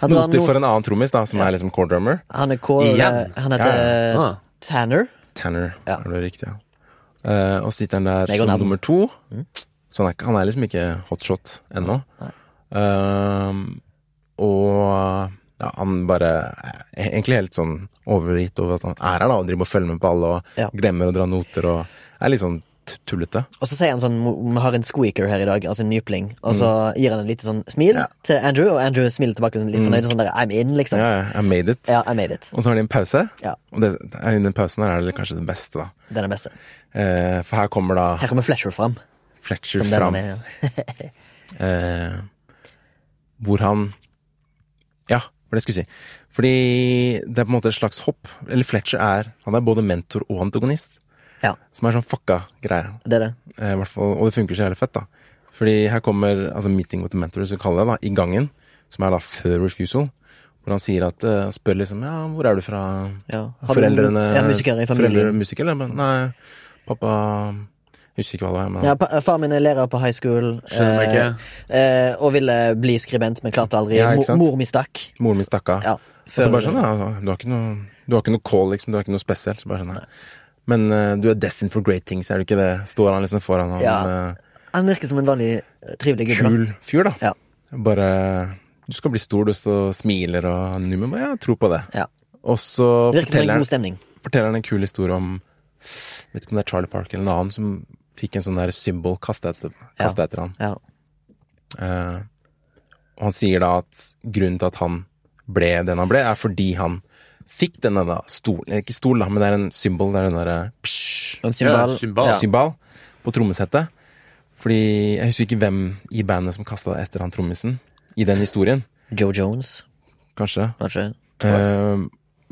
A: Han, drar
C: noter
A: no-
C: for en annen trommis, da, som er liksom core drummer.
A: han er Kåre
D: Igjen?
A: Han heter eh,
C: Ja,
D: ja. Ah.
A: Tanner.
C: Tanner,
A: Ja.
C: er det riktig, ja. Eh, og sitter han der
A: Meg og
C: som
A: navn. Mm.
C: nummer to. Så han er, ikke- han er liksom ikke hotshot ennå. Ehm, og ja, han bare er egentlig helt sånn overgitt over at han er her, da, og driver og følger med på alle, og
A: Ja.
C: glemmer å dra noter, og er litt sånn t- tullete.
A: Og så sier han sånn Vi har en squeaker her i dag, altså en nypling. Og så gir han et lite sånn smil
C: Mm. Ja. Mm.
A: til Andrew, og Andrew smiler tilbake litt fornøyd. og Sånn der, I'm in, liksom. Ja.
C: Ja, ja, I made it.
A: I made it.
C: Og så har de en pause,
A: Ja.
C: og det, i den pausen her er det kanskje den beste, da.
A: Det er den beste.
C: Eh, for her kommer da
A: Her kommer Fletcher fram.
C: Fletcher
A: Som den
C: fram.
A: han er.
C: eh, hvor han Ja, hva var det jeg skulle si. Fordi det er på en måte et slags hopp. Eller Fletcher er Han er både mentor og antagonist.
A: Ja.
C: Som er sånn fucka greier.
A: Det er det.
C: Eh, i hvert fall, og det funker så jævlig fett, da. Fordi her kommer altså, meeting with the mentor, som vi kaller det, da, i gangen. Som er da før refusal. Hvor han sier at eh, spør liksom Ja, hvor er du fra?
A: Ja. Har du-
C: Foreldrene
A: Ja, musikere i familien.
C: Foreldre musiker, eller? Men, nei, pappa jeg Husker ikke hva det var. Men,
A: Ja, pa far min er lærer på high school.
D: Skjønner meg ikke.
A: eh, og ville bli skribent, men klarte aldri.
C: Ja, ikke
A: mor,
C: sant?
A: mor mi stakk.
C: Moren min stakk av.
A: Ja,
C: Og så
A: før-
C: bare sånn, ja, du har ikke noe, du har ikke noe call, liksom, du har ikke noe spesielt. Så bare sånn, ja. Men eh, du er destined for great things, er du ikke det? Står han liksom foran han,
A: Ja.
C: eh,
A: Han virket som en vanlig eh, trivelig gubbe. da.
C: kul fyr, da.
A: Ja.
C: Bare Du skal bli stor, du så smiler og Numen bare ja, tro på det.
A: Ja.
C: Og så
A: Virket som en
C: forteller
A: god
C: han,
A: stemning.
C: forteller han en kul historie om Vet ikke om det er Charlie Parker eller en annen som fikk en sånn der symbol kasta etter,
A: Ja.
C: kastet etter han.
A: Ja.
C: Eh, og han sier da at grunnen til at han ble den han ble, er fordi han fikk denne da, stol, ikke stol da, men det er en symbol, det er den derre psh,
A: En symbol.
D: Ja, symbol.
A: Ja.
C: symbol på trommesettet. Fordi jeg husker ikke hvem i bandet som kasta det etter han trommisen i den historien,
A: Joe Jones,
C: kanskje.
A: kanskje.
C: Eh,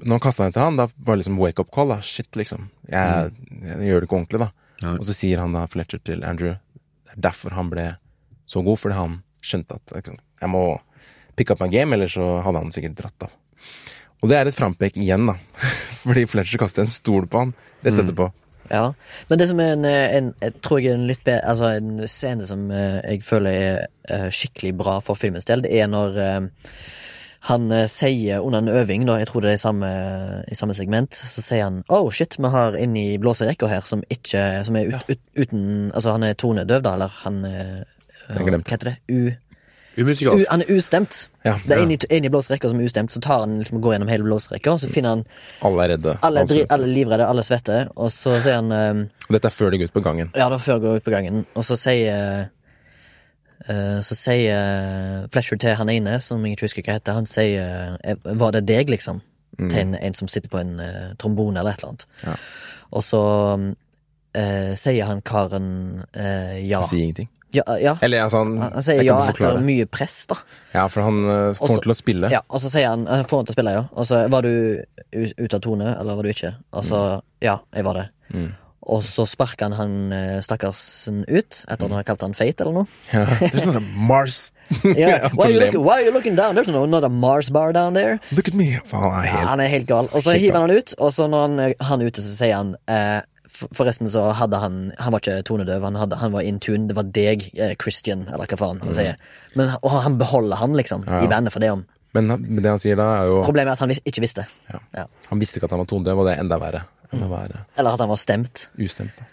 C: når han kasta den etter han, da var det liksom wake up call, da. Shit, liksom. Jeg, jeg gjør det ikke ordentlig, da.
D: Nei.
C: Og så sier han da Fletcher til Andrew Det er derfor han ble så god, fordi han skjønte at ikke sant, jeg må pick up my game, eller så hadde han sikkert dratt av. Og det er et frampek igjen, da. Fordi Fletcher kaster en stol på han rett etterpå.
A: Ja. Men det som er en, eh, en jeg tror jeg er en litt bedre Altså en scene som eh, jeg føler er eh, skikkelig bra for filmens del, det er når eh, han eh, sier under en øving, da, jeg tror det er i samme, i samme segment, så sier han Oh shit, vi har inni blåserekka her som ikke Som er ut, ut, uten Altså han er tonedøv, da, eller han eh,
C: Jeg glemte.
A: Hva heter det? U... U,
D: Umusikalsk.
A: han er ustemt.
C: Ja,
A: Det er en i, en i blåserekka som er ustemt, så tar han liksom og går gjennom hele blåserekka, og så finner han
C: Alle er redde.
A: alle, er dri,
C: Altså,
A: alle er livredde, alle svetter, og så sier han ehm,
C: Dette er før de går ut på gangen.
A: Ja, det var før jeg går ut på gangen. Og så sier eh, Så sier Fletcher til han ene, som jeg ikke husker hva heter, han sier eh, Var det deg, liksom?
C: Mm.
A: Til en, en som sitter på en eh, trombone eller et eller annet.
C: Ja.
A: Og så eh, sier han karen eh, ja.
C: Han sier ingenting.
A: ja. Ja.
C: Eller altså, han,
A: Han, han
C: jeg
A: sier
C: kan
A: ja
C: ikke
A: etter
C: forklare det.
A: mye press, da.
C: Ja, for han eh,
A: Også-
C: kommer til å spille.
A: Ja, og så sier han eh, Får han til å spille, ja. Og så var du u- ute av tone, eller var du ikke? Og så Ja, jeg var det.
C: Mm.
A: Og så sparka han han eh, stakkarsen ut, etter at
C: Mm.
A: han kalte han feit eller noe.
C: Ja. There's not a sånn Mars
A: Yeah. Why, are you
C: Problem.
A: looking, why are you looking down? There's no, not a sånn, Mars bar down there.
C: Look at me! Faen, han er
A: Ja,
C: helt
A: han er helt gal. Og så
C: Helt
A: hiver han han ut, og så når han, eh, han er ute, så sier han eh, for- Forresten så hadde han Han var ikke tonedøv, han, hadde, han var in tune. Det var deg, eh, Christian, eller hva faen han sier. Men, han- og han beholder han, liksom,
C: Mm. Ja.
A: i bandet for det om.
C: Men han- men det han sier da, er jo
A: Problemet er at han vis ikke visste.
C: Ja.
A: Ja.
C: Han visste ikke at han var tondøv, og det er enda verre.
A: Mm.
C: Enda verre.
A: Eller at han var stemt.
C: Ustemt. da.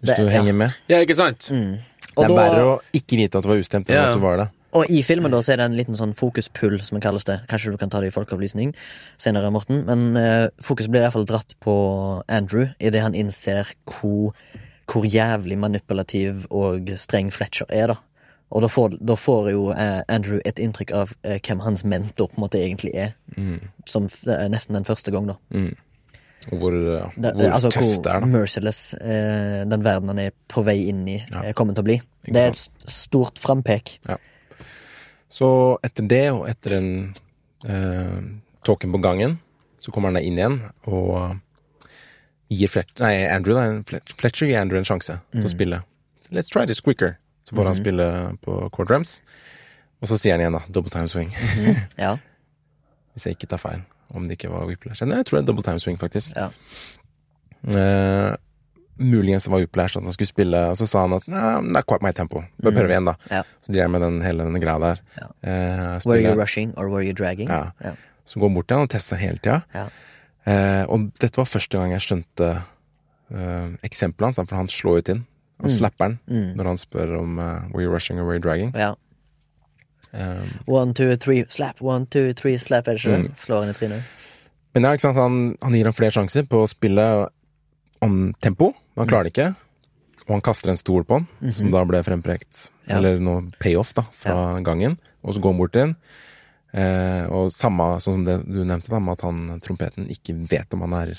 C: Hvis
A: Det-
C: du
A: ja.
C: henger med.
B: Ja, ikke sant?
C: Mm.
A: Og,
C: Det er verre
A: da,
C: å ikke vite at du var ustemt, enn
D: Ja.
C: at du var det.
A: og i filmen da så er det en liten sånn fokuspull, som det kalles det. Kanskje du kan ta det i folkeopplysning senere, Morten. Men eh, fokus blir i hvert fall dratt på Andrew idet han innser hvor, hvor jævlig manipulativ og streng Fletcher er, da. Og da får, da får jo eh, Andrew et inntrykk av eh, hvem hans mentor på en måte egentlig er.
C: Mm.
A: Som f eh, nesten den første gang, da.
C: Og Hvor, ja,
A: Det,
C: hvor
A: altså,
C: tøft
A: hvor
C: det er, da.
A: merciless eh, den verden han er på vei inn i, eh, kommer til å bli.
C: Ikke
A: Det er et st- stort frampek.
C: Så etter det, og etter den eh, tåken på gangen, så kommer han da inn igjen og gir Fletcher, nei, Andrew, da, en- Flet- Fletcher gir Andrew en sjanse til
A: Mm.
C: å spille. Let's try this quicker. Så får han spille på core drums. Og så sier han igjen, da, double time swing.
A: Ja.
C: Hvis jeg ikke tar feil. Om det ikke var whiplash. Nei, jeg tror det er double time swing, faktisk.
A: Ja.
C: Eh, muligens det var whiplash at han skulle spille, og så sa han at nah, not quite my tempo. Da prøver vi igjen, da.
A: Mm. Ja.
C: Så driver jeg med den hele denne greia der.
A: Ja.
C: Eh,
A: Were
C: spiller-
A: you rushing or were you dragging?
C: ja.
A: Ja.
C: Så går han bort til han og tester hele tida.
A: Ja.
C: Eh, og dette var første gang jeg skjønte eh, eksempelet hans, da, for han slår ut inn.
A: Mm.
C: Han slapper han når han spør om eh, were you rushing or were you dragging.
A: Ja.
C: Eh,
A: One, two, three, slap. One, two, three, slap. Er det ikke
C: Mm.
A: det? Slår han i trynet.
C: Men ja, ikke sant? Han, han gir ham flere sjanser på å spille om tempo. men
A: Mm.
C: Han klarer det ikke. Og han kaster en stol på han, som da ble
A: Mhm.
C: fremprekt.
A: Ja.
C: Eller noe payoff da, fra gangen. Og så går han bort inn. Eh, og samme sånn som det du nevnte, da, med at han trompeten ikke vet om han er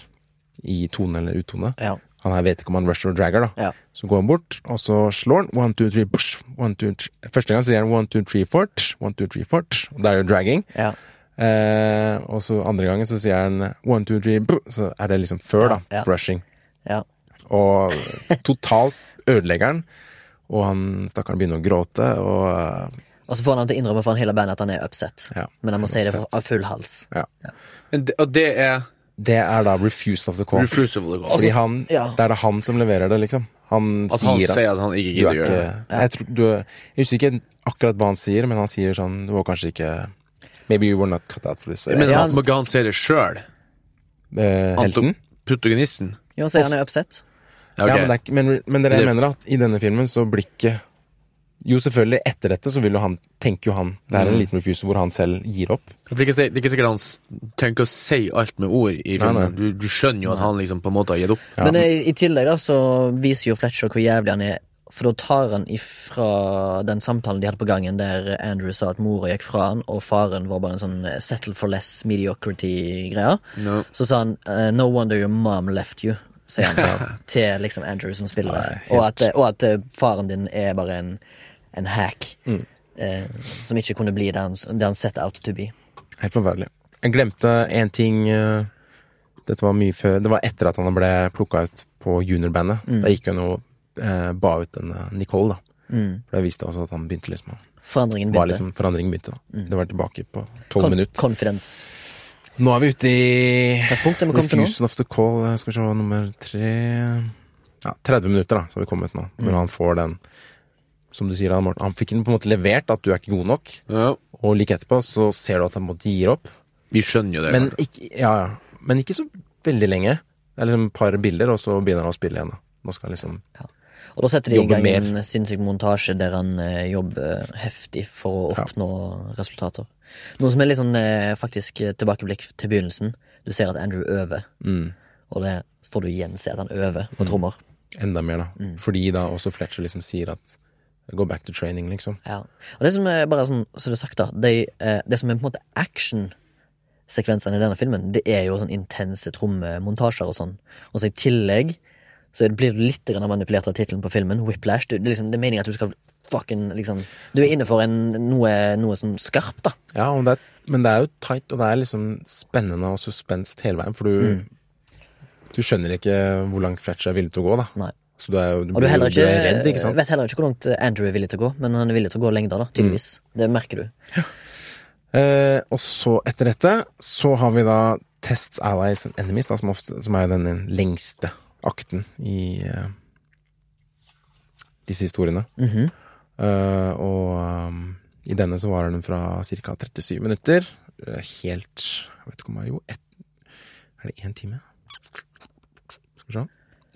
C: i tone eller utone.
A: Ja.
C: Han her vet ikke om han rusher og dragger, da.
A: Ja.
C: Så går han bort, og så slår han. One, two, three, bush, one, two, three. Første gang sier han one, two, three, fort. One, two, three, fort. Og det er jo dragging.
A: Ja.
C: Eh, og så andre gangen så sier han one, two, three, brr, så er det liksom før, da.
A: Ja, ja.
C: Brushing.
A: Ja.
C: Og totalt ødelegger han. Og han stakkaren begynner å gråte, og eh,
A: Og så får han til å innrømme foran hele bandet at han er upset.
C: Ja.
A: Men han må si det
C: Upset.
A: for- av full hals.
B: Men det- Og det er
C: det er da refuse of the call.
D: Refusable to go.
C: Fordi han,
A: ja.
C: det er da han som leverer det, liksom. Han
D: At han
C: sier at
D: sier at han ikke
C: du er
D: gidder å gjøre
C: ikke
D: det.
C: jeg, tror, du, jeg husker ikke akkurat hva han sier, men han sier sånn Du var kanskje ikke Maybe you were not cut out for this.
D: Men
A: Ja,
D: han
A: han-
D: må ikke han si det sjøl.
C: Eh, helten.
D: Protagonisten.
A: Jo, han sier han er upset.
D: Ja, ok.
C: Ja, men, det er, ikke- men, men dere
D: Det-
C: mener at i denne filmen så blir ikke Jo, selvfølgelig, etter dette så vil jo han tenker jo han Det er
D: Mm.
C: en liten refuse hvor han selv gir opp.
D: For Det er ikke si- det er ikke sikkert han s- trenger ikke å si alt med ord i
C: nei.
D: filmen. Du, du skjønner jo at han liksom på en måte har gitt opp.
A: Men eh, i, i tillegg da så viser jo Fletcher hvor jævlig han er. For da tar han ifra den samtalen de hadde på gangen der Andrew sa at mora gikk fra han, og faren var bare en sånn eh, settle for less mediocrity-greia.
D: No.
A: Så sa han eh, No wonder your mom left you Sier han da, til liksom Andrew som spiller der.
C: helt-
A: Og at, eh, og at eh, faren din er bare en, en hack
C: Mm.
A: eh, Som ikke kunne bli det han, det han set out to be
C: Helt forferdelig. Jeg glemte én ting eh, Dette var mye før Det var etter at han ble plukka ut på juniorbandet. Da gikk han og eh, ba ut denne Nicole, da. For det viste også at han begynte liksom å
A: Forandringen
C: var
A: begynte Mm.
C: liksom, Forandringen begynte. da Det var tilbake på tolv
A: Kon
C: minutter.
A: Confidence
C: Nå er vi ute i
A: Hvilket punkt er vi kommet til nå?
C: Refusion of the Call, eh, skal vi se, nummer tre Ja, 30 minutter, da, så har vi kommet nå.
A: Mm.
C: Når han får den Som du sier, han, Morten, han fikk den på en måte levert, at du er ikke god nok.
D: Ja.
C: Og like etterpå så ser du at han på en måte gir opp.
D: Vi skjønner jo det.
C: Men
D: kanskje.
C: ikke, ja, ja. Men ikke så veldig lenge. Det er liksom et par bilder, og så begynner han å spille igjen. da Nå skal han liksom
A: Og da setter de i
C: Jobber
A: gang
C: mer.
A: en sinnssyk montasje der han eh, jobber heftig for å oppnå resultater. Noe som er litt sånn eh, faktisk eh, tilbakeblikk til begynnelsen. Du ser at Andrew øver,
C: Mm.
A: og det får du igjen se at han øver på trommer.
C: Enda mer, da.
A: Mm.
C: Fordi da også Fletcher liksom sier at Go back to training, liksom.
A: Ja. Og det som er bare sånn, så det er sagt da, det, eh, det som er på en måte actionsekvensene i denne filmen, det er jo sånn intense trommemontasjer og sånn. Og så i tillegg så blir du litt grann manipulert av tittelen på filmen, Whiplash. Du, det, er liksom, det er meningen at du skal fucking liksom Du er inne for en, noe, noe sånn skarpt, da.
C: Ja, og det er, Men det er jo tight, og det er liksom spennende og suspenst hele veien, for du
A: Mm.
C: Du skjønner ikke hvor langt Fletcher er villig til å gå, da.
A: Nei.
C: Så du er jo
A: Og
C: du
A: du, er
C: blir-
A: heller ikke, eh,
C: du er redd, ikke sant?
A: vet heller ikke hvor langt Andrew er villig til å gå, men han er villig til å gå lengder, da, tydeligvis.
C: Mm.
A: Det merker du.
C: Eh, og så etter dette så har vi da Tests Allies and Enemies, da, som, ofte, som er den lengste akten i eh, disse historiene.
A: Mhm.
C: Eh, og um, i denne så var den fra ca. 37 minutter. eh, helt Jeg vet ikke om det er jo ett Er det én time? Skal vi se.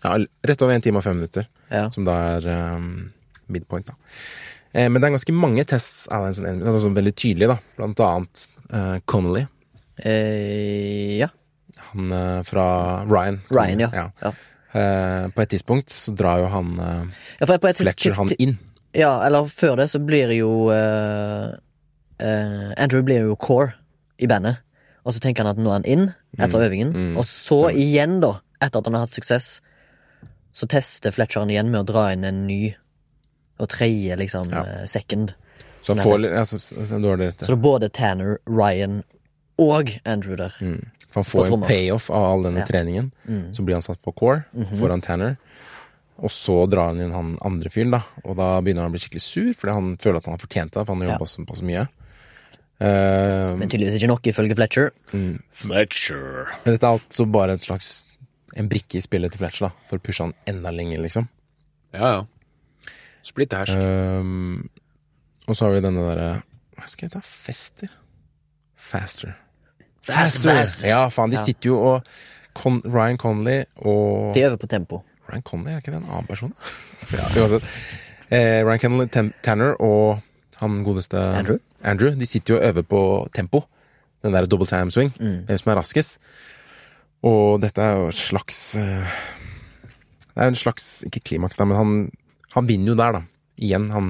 C: Ja, l- rett over én time og fem minutter.
A: Ja.
C: Som da er um, midpoint, da. Eh, men det er ganske mange tests Alliance and Enemies, altså veldig tydelige, da. Blant annet eh, Connolly.
A: Eh, ja.
C: Han eh, fra Ryan.
A: Ryan, ja.
C: Ja.
A: ja.
C: Eh, på et tidspunkt så drar jo han eh,
A: Ja, for på et
C: Fletcher han
A: tidspunkt-
C: inn.
A: Ja, eller før det så blir jo eh, eh, Andrew blir jo core i bandet. Og så tenker han at nå er han inn etter øvingen.
C: mm,
A: og så igjen, da, etter at han har hatt suksess, så tester Fletcher han igjen med å dra inn en ny og tredje, liksom,
C: Ja.
A: eh, second.
C: Så
A: Som
C: han får ja, så, så, så, Du har det rett.
A: Så det er både Tanner, Ryan og Andrew der.
C: For han får
A: På
C: en
A: tromma.
C: payoff av all denne
A: Ja. Mm. Mhm.
C: treningen. Så blir han satt på core foran Tanner. Og så drar han inn han andre fyren, da. Og da begynner han å bli skikkelig sur, fordi han føler at han har fortjent det. For han har jobba så, på så mye. Eh,
A: Men tydeligvis ikke nok, ifølge Fletcher.
D: Fletcher.
C: men dette er altså bare et slags en brikke i spillet til Fletcher, da. For å pushe han enda lenger, liksom.
D: Ja, ja. Splitt og hersk.
C: Ehm, og så har vi denne derre Hva skal jeg ta? Fester? Faster. Faster! Ja, faen, de
A: Ja.
C: sitter jo og Con Ryan Connolly og
A: De øver på tempo.
C: Ryan Conley, er ikke det en annen person? ja, uansett. Eh, Ryan Conley, Tem Tanner og han godeste
A: Andrew?
C: Andrew, de sitter jo og øver på tempo. Den der double time swing.
A: Mm.
C: Hvem som er raskest. Og dette er jo et slags eh, Det er en slags Ikke klimaks, da, men han, han vinner jo der, da. Igjen, han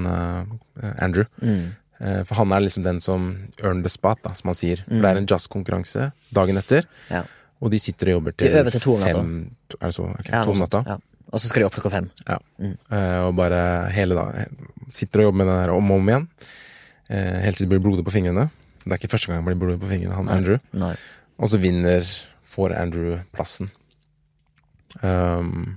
C: eh, Andrew.
A: Mm.
C: Eh, for han er liksom den som earn the spot, da, som han sier. For det er en jazzkonkurranse dagen etter,
A: Mm. Ja.
C: og de sitter og jobber
A: De
C: til,
A: øver til to om natta.
C: fem to- Er det så? ok,
A: Ja,
C: to om
A: noe sånt.
C: natta.
A: Ja. Og så skal de opp klokka fem.
C: Ja. Eh, og bare hele dag Sitter og jobber med den her om og om igjen. Eh, helt til det blir blodig på fingrene. Det er ikke første gang det blir blodig på fingrene, han Andrew.
A: Nei.
C: Og så vinner Får Andrew plassen. Um,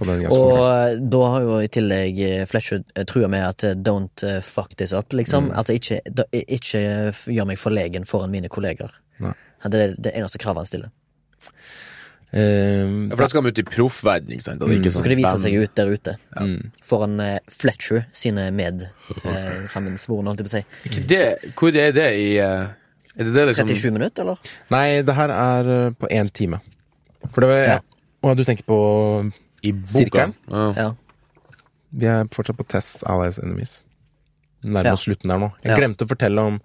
C: på den jazzkonkurransen.
A: Og eh, da har jo i tillegg eh, Fletcher eh, trua med at eh, don't eh, fuck this up, liksom.
C: Mm.
A: At det ikke, da, i- ikke f- gjør meg forlegen foran mine kolleger.
C: Nei.
A: Ja, Det er det eneste kravet han stiller.
C: Ehm,
D: Ja, for da skal de ut i proffverden, ikke sant? Og
C: Mm.
D: det er ikke
A: Så
D: sånn
A: skal de vise
D: band.
A: seg ut der ute. Foran eh, Fletcher sine medsammensvorne, holdt jeg på å si.
D: Ikke det, hvor er det i eh, Er det det liksom
A: 37 minutter, eller?
C: nei, det her er eh, på én time. For det var ja. Å, du tenker på
D: i boka?
C: sirkelen?
D: Ja.
A: Ja.
C: Vi er fortsatt på Tess Allies Enemies. Nærmer
A: Ja.
C: oss slutten der nå. Jeg
A: Ja.
C: glemte å fortelle om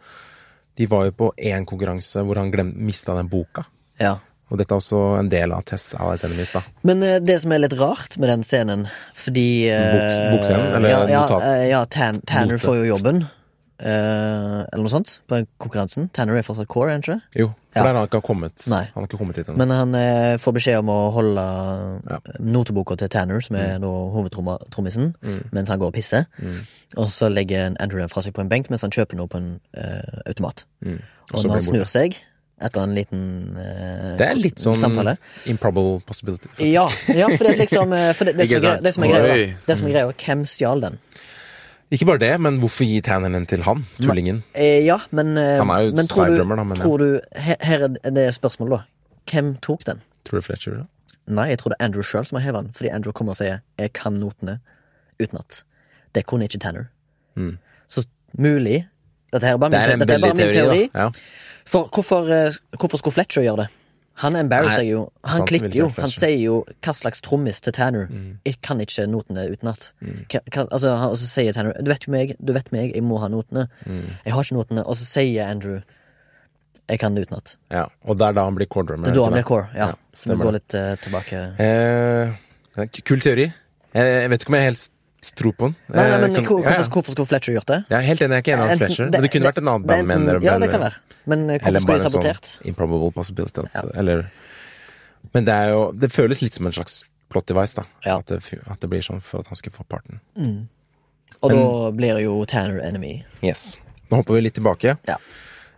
C: De var jo på én konkurranse hvor han glem, mista den boka.
A: ja.
C: Og dette er også en del av Tess Alice Enemies, da.
A: Men eh, det som er litt rart med den scenen, fordi eh,
C: Boks- bokscenen, eller
A: ja, ja,
C: notat-
A: eh, ja, Tan Tanner
C: Note.
A: får jo jobben. eh, eller noe sånt, på konkurransen. Tanner er fortsatt core, er han ikke? det?
C: Jo, for
A: Ja.
C: der har han ikke kommet.
A: Nei.
C: Han har ikke kommet hit ennå.
A: Men han eh, får beskjed om å holde
C: Mm. Ja. Mm.
A: noteboka til Tanner, som er da hovedtrommisen, mens han går og pisser. Og så legger Andrew den fra seg på en benk mens han kjøper noe på en eh, automat.
C: Mm.
A: Og
C: så blir
A: når
C: han
A: han snur seg etter en liten eh,
C: Det er litt sånn
A: samtale
C: improbable possibility. faktisk.
A: ja, ja, for det er liksom eh, for det, det,
D: Ikke
A: som er,
D: sant?
A: gre- det som er greia,
D: Oi.
A: da, det som er greia, hvem stjal
C: Mm.
A: den?
C: Ikke bare det, men hvorfor gi Tanner den til han, tullingen?
A: Eh, ja, men, eh,
C: Han er jo
A: men tror du,
C: sidedommer, da, men ja.
A: tror du her, her er det spørsmålet, da. Hvem tok den?
C: Tror du Fletcher da?
A: Nei, jeg tror det er Andrew sjøl som har hevet den, fordi Andrew kommer og sier 'jeg kan notene utenat'. Det kunne ikke Tanner.
C: Mm.
A: Så mulig Dette her er bare min,
C: Det er
A: teori,
C: en
A: dette er
C: veldig
A: bare min teori.
C: da. Ja.
A: For hvorfor, eh, hvorfor skulle Fletcher gjøre det? Han embarrasser jo. Han
C: sant,
A: klikker
C: vil
A: jo.
C: jeg
A: Han
C: flashe.
A: sier jo hva slags trommis til Tanner.
C: Mm.
A: Jeg kan ikke notene utenat. Hva- hva- Altså, han- og så sier Tanner Du vet meg, du vet meg, jeg må ha notene.
C: Mm.
A: Jeg har ikke notene. Og så sier Andrew Jeg kan det utenat.
C: Ja, og det er da han blir core
A: Det
C: drummer.
A: er da han
C: etter
A: blir core. Ja.
C: Ja,
A: så vi
C: stemmer
A: går litt eh, tilbake.
C: Eh, det er en k- kul teori. Eh, Jeg vet ikke om jeg helt s- tror på den.
A: Nei, nei,
C: Eh,
A: men
C: kan-
A: hvor-
C: ja, ja.
A: hvorfor, hvorfor skulle Fletcher gjort det?
C: Jeg er helt enig, jeg er ikke enig med
A: Enten-
C: Fletcher. Men det kunne vært en annen
A: det er
C: band med
A: enten-
C: en
A: Ja, det kan være. Men eh, hvorfor
C: Eller
A: skulle
C: bare
A: de
C: en
A: sabotert?
C: sånn improbable possibility. At,
A: Ja.
C: Eller Men det er jo Det føles litt som en slags plot device, da.
A: Ja.
C: At, det, fy- at det blir sånn for at han skal få parten.
A: Og da blir jo Tanner enemy.
C: Yes. Nå hopper vi litt tilbake.
A: Ja.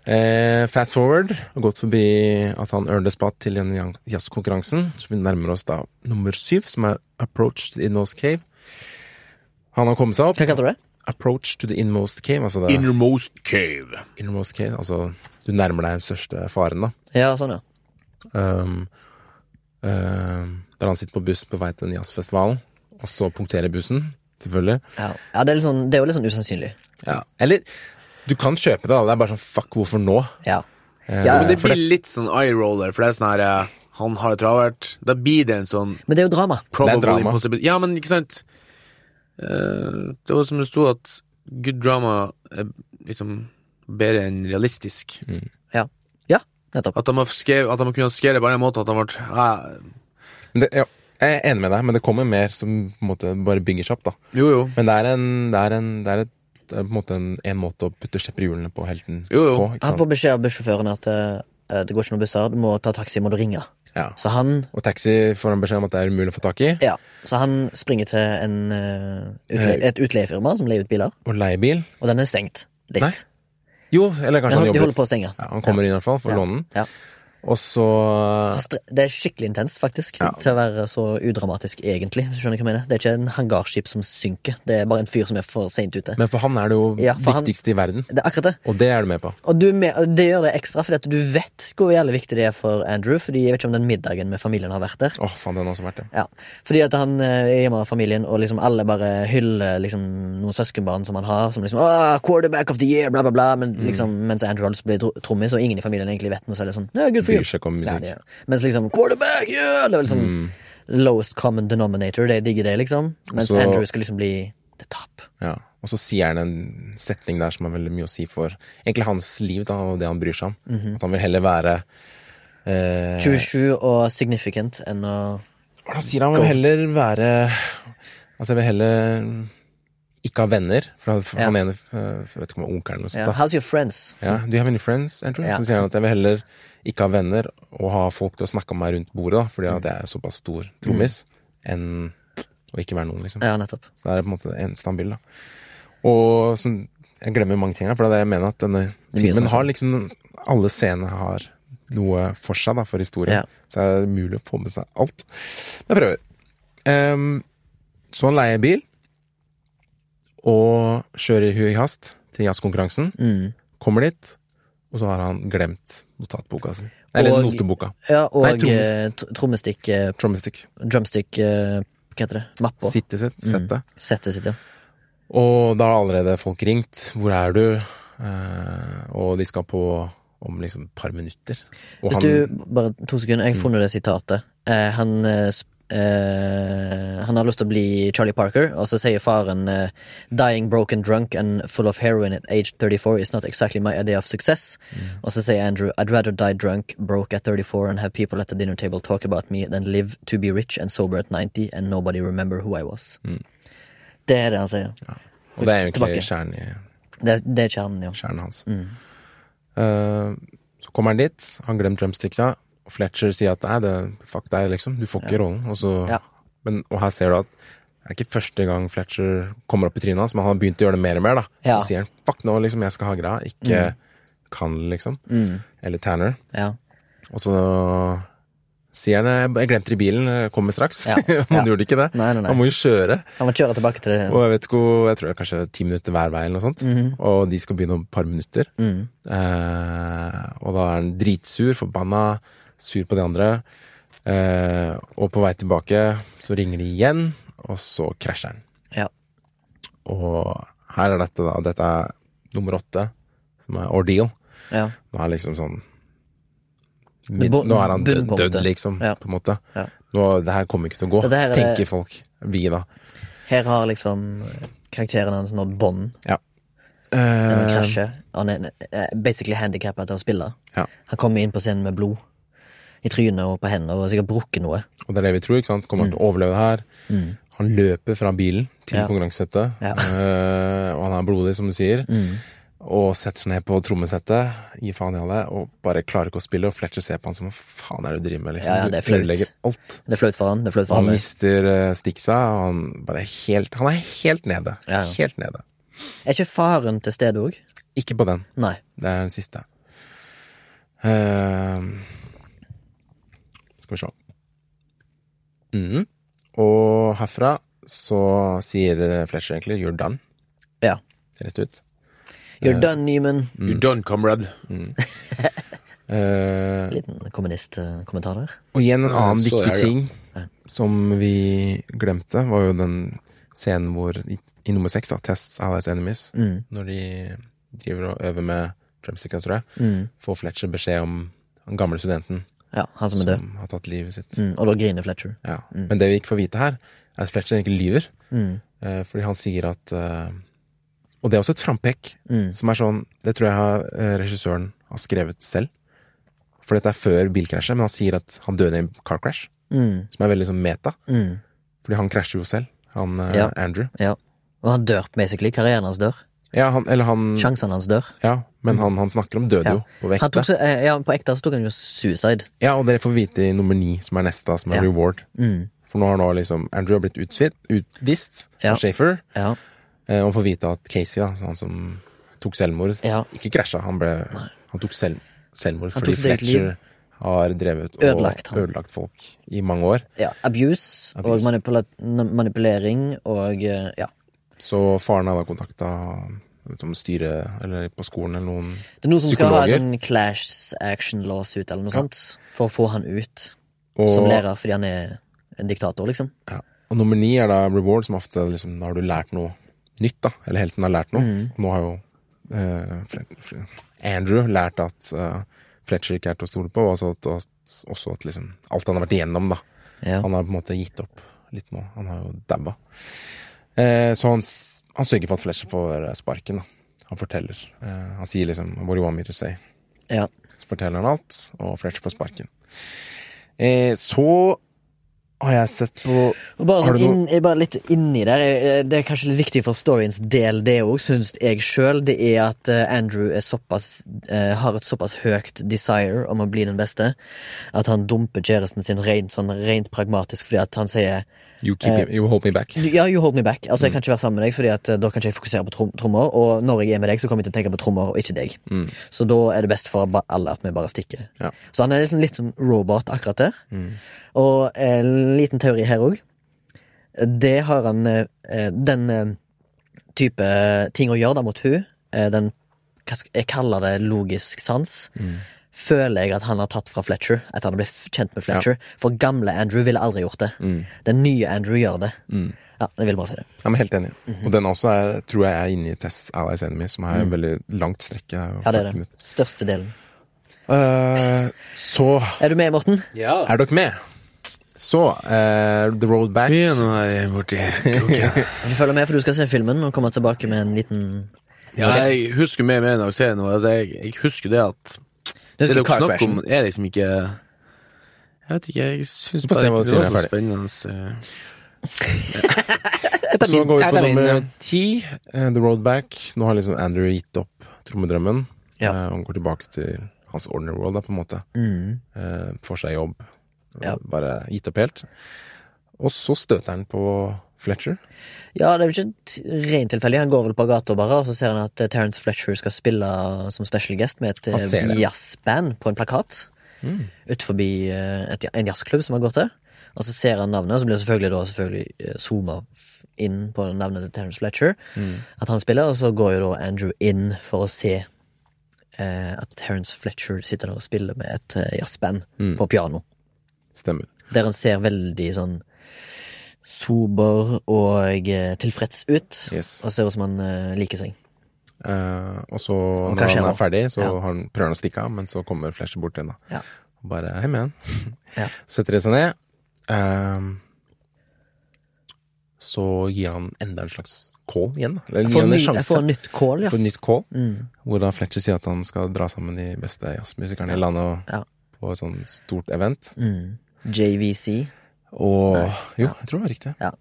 C: Eh, fast forward, og gått forbi at han earned a spot til den jang- jazzkonkurransen. Så vi nærmer oss da nummer syv, som er Approach to the Inmost Cave. Han har kommet seg opp.
A: Hva kalte du det?
C: Approach to the Inmost Cave, altså det
D: Innermost cave.
C: Innermost Cave, altså du nærmer deg den største faren, da.
A: Ja, sånn, ja.
C: Um, um, der han sitter på buss på vei til den jazzfestivalen, og så punkterer bussen, selvfølgelig.
A: Ja, ja det, er litt sånn, det er jo litt sånn usannsynlig.
C: Ja. Eller du kan kjøpe det, da. Det er bare sånn fuck, hvorfor nå?
A: Ja.
C: Eh,
A: Ja,
D: Men det
C: for
D: blir litt sånn eye-roller, for det er sånn her eh, Han har det travelt. Da blir det en sånn
A: Men det er jo drama.
D: probable
C: drama.
D: impossibility. Ja, men ikke sant? Eh, det var som det sto at good drama er liksom bedre enn realistisk.
A: Ja, ja nettopp.
D: At de har, skrevet, at de har kunnet skrive det på en måte at de ble eh,
C: Men det, ja, jeg er enig med deg, men det kommer mer som på en måte bare bygger seg opp. da
D: Jo, jo.
C: Men det er en Det er, en, det er, et, det er på en måte en, en måte å putte skjepp i hjulene på helten
D: Jo, jo.
C: på. Ikke
A: Han
C: sant?
A: får beskjed av bussjåføren at eh, det går ikke noen busser, du må ta taxi, må du ringe.
C: Ja.
A: Så han,
C: Og taxi får han beskjed om at det er umulig å få tak i.
A: ja, så han springer til en, eh, utle,
C: Eh,
A: et utleiefirma som leier ut biler,
C: Og leiebil.
A: og den er stengt. Litt.
C: Nei, Jo, eller
A: Men
C: kanskje
A: han, de
C: han
A: holder
C: jobber.
A: på å stenge.
C: Ja, han kommer inn i hvert fall, får
A: Ja.
C: låne den.
A: Ja.
C: Og så
A: Så stre- Altså, Det er skikkelig intenst, faktisk,
C: Ja.
A: til å være så udramatisk, egentlig. Hvis du skjønner hva jeg mener. Det er ikke en hangarskip som synker, det er bare en fyr som er for seint ute.
C: Men for han er det jo
A: Ja, for han-
C: viktigste i verden.
A: Det er akkurat det.
C: Og det er du med på.
A: Og du, me- og det gjør det ekstra, fordi at du vet hvor jævlig viktig det er for Andrew. Fordi jeg vet ikke om den middagen med familien har vært der.
C: Åh, faen, den har også vært det.
A: Ja, Fordi at han eh, er hjemme av familien, og liksom alle bare hyller liksom noen søskenbarn som han har. Som liksom Åh, 'Quarterback of the year', bla, bla, bla. Men,
C: Mm.
A: liksom, mens Andrew Holtz blir tro- trommis, og ingen i familien egentlig vet noe, så er det sånn ja, good for
C: Bryr
A: you.
C: seg ikke om
A: Ja,
C: musikk.
A: det er. Mens liksom 'Quarterback, yeah!' Det er liksom
C: Mm.
A: lowest common denominator. De digger det, liksom. Mens
C: Så-
A: Andrew skal liksom bli the top.
C: Ja. Og så sier han en setning der som har veldig mye å si for egentlig hans liv da, og det han bryr seg om.
A: Mhm.
C: At han vil heller være eh,
A: 27 og significant enn å
C: Hva da sier han? Han vil heller være Altså, jeg vil heller ikke ha venner. For han, han ene eh, Jeg vet ikke om det er onkelen eller noe sånt.
A: ja,
C: da.
A: How's your friends?
C: Ja, Do you have any friends, Andrew?
A: Ja.
C: Så sier han at jeg vil heller ikke ha venner og ha folk til å snakke om meg rundt bordet, da, fordi at jeg er såpass stor trommis, enn å ikke være noen, liksom.
A: Mm. Ja, nettopp.
C: Så det er på en måte det eneste han vil, da. Og sånn, jeg glemmer mange ting her, for det er det jeg mener at denne
A: er mye å
C: filmen
A: snakke
C: har liksom Alle scenene har noe for seg, da, for historien.
A: Ja.
C: Så det er mulig å få med seg alt. Men jeg prøver. Ehm, så han leier bil, og kjører i hui hast til jazzkonkurransen.
A: Mm.
C: Kommer dit, og så har han glemt notatboka si. Eller
A: Og-
C: noteboka.
A: Ja, og
C: Nei, trommes.
A: eh, tr- trommestikk eh,
C: Trommestick.
A: drumstick eh, Hva heter det? Mappa?
C: Sittet sitt.
A: Mm.
C: Settet.
A: Settet sitt, ja.
C: Og da har allerede folk ringt. Hvor er du? Eh, og de skal på om liksom et par minutter. Og
A: Hvis
C: han Mm.
A: du, bare to sekunder, jeg har funnet det sitatet. Eh, han eh, sp- eh, han har lyst til å bli Charlie Parker, og så sier faren eh, 'Dying broken drunk and full of heroin at age 34 is not exactly my idea of success'.
C: Mm.
A: Og så sier Andrew 'I'd rather die drunk, broke at 34 and have people at the dinner table talk about me than live to be rich and sober at 90 and nobody remember who I was'.
C: Mm.
A: Det er det han sier.
C: Og det er
A: tilbake. Mm.
C: egentlig kjernen, i-
A: Det, det er kjernen, ja.
C: kjernen hans. Eh, så kommer han dit, han glemmer drumsticksa. Og Fletcher sier at nei, det, fuck deg, liksom. Du får ikke rollen. Og, så,
A: Ja.
C: men, og her ser du at det er ikke første gang Fletcher kommer opp i trynet hans, men han har begynt å gjøre det mer og mer. da.
A: Ja. Mm.
C: Og sier han, fuck nå, liksom, jeg skal ha greia. Ikke kan, liksom. Eller Tanner.
A: ja.
C: Og så sier han jeg glemte det i bilen, jeg kommer straks.
A: Ja.
C: han
A: Ja.
C: gjorde ikke det.
A: Nei, nei, nei.
C: Han må jo kjøre.
A: Han må kjøre tilbake til det.
C: Og jeg vet ikke, hvor- jeg tror det er kanskje ti minutter hver vei, eller noe sånt.
A: Mhm.
C: Og de skal begynne om et par minutter.
A: Mm.
C: Eh, og da er han dritsur, forbanna, sur på de andre. Eh, og på vei tilbake så ringer de igjen, og så krasjer han.
A: Ja.
C: Og her er dette, da. Dette er nummer åtte, som er ordeal.
A: Ja.
C: Nå er det liksom sånn
A: Bu-
C: Nå er han død,
A: bunnpunktet.
C: død liksom,
A: Ja.
C: på en måte.
A: Ja.
C: Nå, det her kommer ikke til å gå,
A: Dette her er-
C: tenker folk. Vi, da.
A: Her har liksom karakteren hans nådd bånd. Han
C: Eh,
A: krasjer. Han er eh, basically handikappa til å spille.
C: Ja.
A: Han kommer inn på scenen med blod i trynet og på hendene og har sikkert brukket noe.
C: og det er det vi tror. ikke sant? Kommer han til å overleve det her?
A: Mm.
C: Han løper fra bilen til
A: Ja.
C: konkurransesettet,
A: Ja. Mm.
C: eh, og han er blodig, som du sier. Og setter seg ned på trommesettet, gir faen i alle, og bare klarer ikke å spille. Og Fletcher ser på han som hva faen er det du driver med? liksom?
A: Ja, ja, det er
C: du
A: flaut.
C: ødelegger alt.
A: Det er flaut for han, det er flaut for
C: Han
A: alle.
C: mister eh, sticksa, og han bare er helt Han er helt nede.
A: Ja, ja.
C: Helt nede.
A: Er ikke faren til stede òg?
C: Ikke på den.
A: Nei.
C: Det er den siste. Ehm, skal vi se. Mhm. Og herfra så sier Fletcher egentlig 'you're done'.
A: Ja.
C: Rett ut.
A: You're done, Newman.
D: You're done, comrade.
C: Eh,
A: Liten kommunistkommentar der.
C: og igjen en
D: Ja,
C: annen
D: så
C: viktig
D: jeg, ja.
C: ting som vi glemte, var jo den scenen hvor i, i nummer seks, da, Tests Allies Enemies,
A: Mm.
C: når de driver og øver med drumsticka, tror jeg,
A: Mm.
C: får Fletcher beskjed om den gamle studenten
A: Ja, han som er død.
C: som har tatt livet sitt.
A: Mm. Og da griner Fletcher.
C: Ja. Men det vi ikke får vite her, er at Fletcher egentlig lyver.
A: Mm.
C: eh, Fordi han sier at eh, Og det er også et frampek
A: Mm.
C: som er sånn Det tror jeg har, eh, regissøren har skrevet selv. For dette er før bilkrasjet, men han sier at han døde i en car crash.
A: Mm.
C: Som er veldig sånn meta,
A: Mm.
C: fordi han krasjer jo selv. Han eh,
A: Ja.
C: Andrew.
A: Ja. Og han dør, basically. Karrieren hans dør.
C: Ja, han, eller han
A: Sjansene hans dør.
C: Ja, men han, han snakker om Mm. døde
A: Ja.
C: jo, på
A: Han
C: vekta.
A: tok, så- eh, ja, på ekte så tok han jo suicide.
C: Ja, og dere får vite i nummer ni, som er neste, da, som er
A: Ja.
C: reward.
A: Mm.
C: For nå har nå liksom Andrew har blitt utsvitt, utvist
A: Ja.
C: av Shafer.
A: Ja.
C: Eh, og får vite at Casey, da, så han som tok selvmord
A: Ja.
C: Ikke krasja, han, ble, han tok selv, selvmord
A: Han
C: fordi
A: tok sitt eget
C: Fletcher har drevet og
A: Ødelagt han.
C: ødelagt folk i mange år.
A: ja. Abuse, og
C: Abuse.
A: manipula manipulering og eh, ja.
C: Så faren har da kontakta som styre, eller på skolen eller noen
A: Det er noen som skal ha en
C: Psykologer.
A: sånn clash action lawsuit eller noe sånt, for å få han ut som
C: og,
A: lærer fordi han er en diktator, liksom.
C: ja. og nummer ni er da reward, som ofte liksom Da har du lært noe nytt, da. Eller helten har lært noe.
A: Mm.
C: Og nå har jo eh, Fle- Fle- Andrew lært at eh, Fletcher ikke er til å stole på, og altså at, at, også at liksom Alt han har vært igjennom, da.
A: Ja.
C: Han har på en måte gitt opp litt nå. Han har jo dabba. Eh, så han, s- han sørger for at Fletcher får eh, sparken, da. Han forteller. Eh, han sier liksom What do you want me to say?
A: ja.
C: Så forteller han alt, og Fletcher får sparken. Eh, så har jeg sett på
A: Og bare,
C: Har
A: sånn
C: du noe-
A: inn, eh, bare litt inni der, eh, det er kanskje litt viktig for storyens del, det òg, syns jeg sjøl, det er at eh, Andrew er såpass, eh, har et såpass høyt desire om å bli den beste, at han dumper kjæresten sin rent, sånn, rent pragmatisk fordi at han sier
C: You, keep me, you hold me back. Mm.
A: Ja, you hold me back. Altså, jeg kan ikke være sammen med deg, Fordi at eh, da kan ikke jeg fokusere på trom trommer. Og når jeg er med deg, så kommer jeg til å tenke på trommer, og ikke deg. Så da er det best for ba- alle at vi bare stikker.
C: Mm. Ja. Mm.
A: Så han er liksom litt sånn robot akkurat der. Og en liten teori her òg. Det har han eh, eh, Den eh, type ting å gjøre da mot hun eh, Den hva skal- Jeg kaller det logisk sans.
C: Mm.
A: Føler jeg at han har tatt fra Fletcher, etter han ble f- kjent med Fletcher. For gamle Andrew ville aldri gjort det.
C: Mm.
A: Den nye Andrew gjør det. Ja, jeg vil bare si det.
C: Jeg er helt enig. Og den også er, tror jeg er inne i Tess Allies Enemy, som er en veldig langt strekke. jo
A: Ja, det er
C: 40
A: det.
C: minutter.
A: Største delen.
C: Eh, så
A: Er du med, Morten?
D: Ja.
C: er dere med. Så eh, The Road Back.
D: Vi er nå her borti kroken.
A: Du følger med, for du skal se filmen og komme tilbake med en liten
D: Ja, jeg husker mer med enn å se noe. at Jeg, jeg husker det at
A: Du
D: Det
A: husker
D: dere
A: car
D: snakker
A: crashen?
D: om, er liksom ikke Jeg vet ikke, jeg syns
C: Få se
D: bare
C: hva
D: ikke
C: du
D: det
C: sier
D: var så
C: når jeg
D: spennende. så-
C: Så går vi
D: er
C: på
D: det min, ja.
C: nummer ti, eh, The Road Back. Nå har liksom Andrew gitt opp trommedrømmen.
A: Ja.
C: Eh, han går tilbake til hans ordinary world, da, på en måte.
A: Mm.
C: Eh, får seg jobb.
A: Ja.
C: Bare gitt opp helt. Og så støter han på Fletcher.
A: Ja, det er jo ikke rent tilfeldig. Han går vel på gata bare, og så ser han at eh, Terence Fletcher skal spille eh, som special guest med et
C: Han ser
A: eh,
C: det.
A: jazzband på en plakat
C: Mm.
A: utenfor eh, et, en jazzklubb som han går til. Og så ser han navnet, og så blir det selvfølgelig da selvfølgelig eh, zooma f- inn på navnet til Terence Fletcher.
C: Mm.
A: At han spiller, og så går jo da Andrew inn for å se eh, at Terence Fletcher sitter der og spiller med et eh, jazzband
C: Mm.
A: på piano.
C: Stemmer.
A: Der han ser veldig sånn sober og eh, tilfreds ut.
C: Yes.
A: Og ser ut som han eh, liker seg.
C: Eh, og så, når
A: hva skjer
C: han er
A: nå?
C: ferdig, så
A: Ja.
C: har han, prøver han å stikke av, men så kommer Fletcher bort igjen, da.
A: Ja.
C: Bare hei med den.
A: Ja.
C: Setter de seg ned. ehm, så gir han enda en slags kål igjen. da. Eller
A: Jeg
C: gir
A: får,
C: han
A: ny,
C: en
A: jeg
C: sjanse
A: får nytt kål, ja.
C: for nytt kål.
A: Mm.
C: Hvor da Fletcher sier at han skal dra sammen de beste jazzmusikerne i landet og,
A: Ja.
C: på et sånt stort event.
A: Mm. JVC.
C: Og
A: Nei,
C: jo,
A: ja.
C: jeg tror det var riktig.
A: Ja.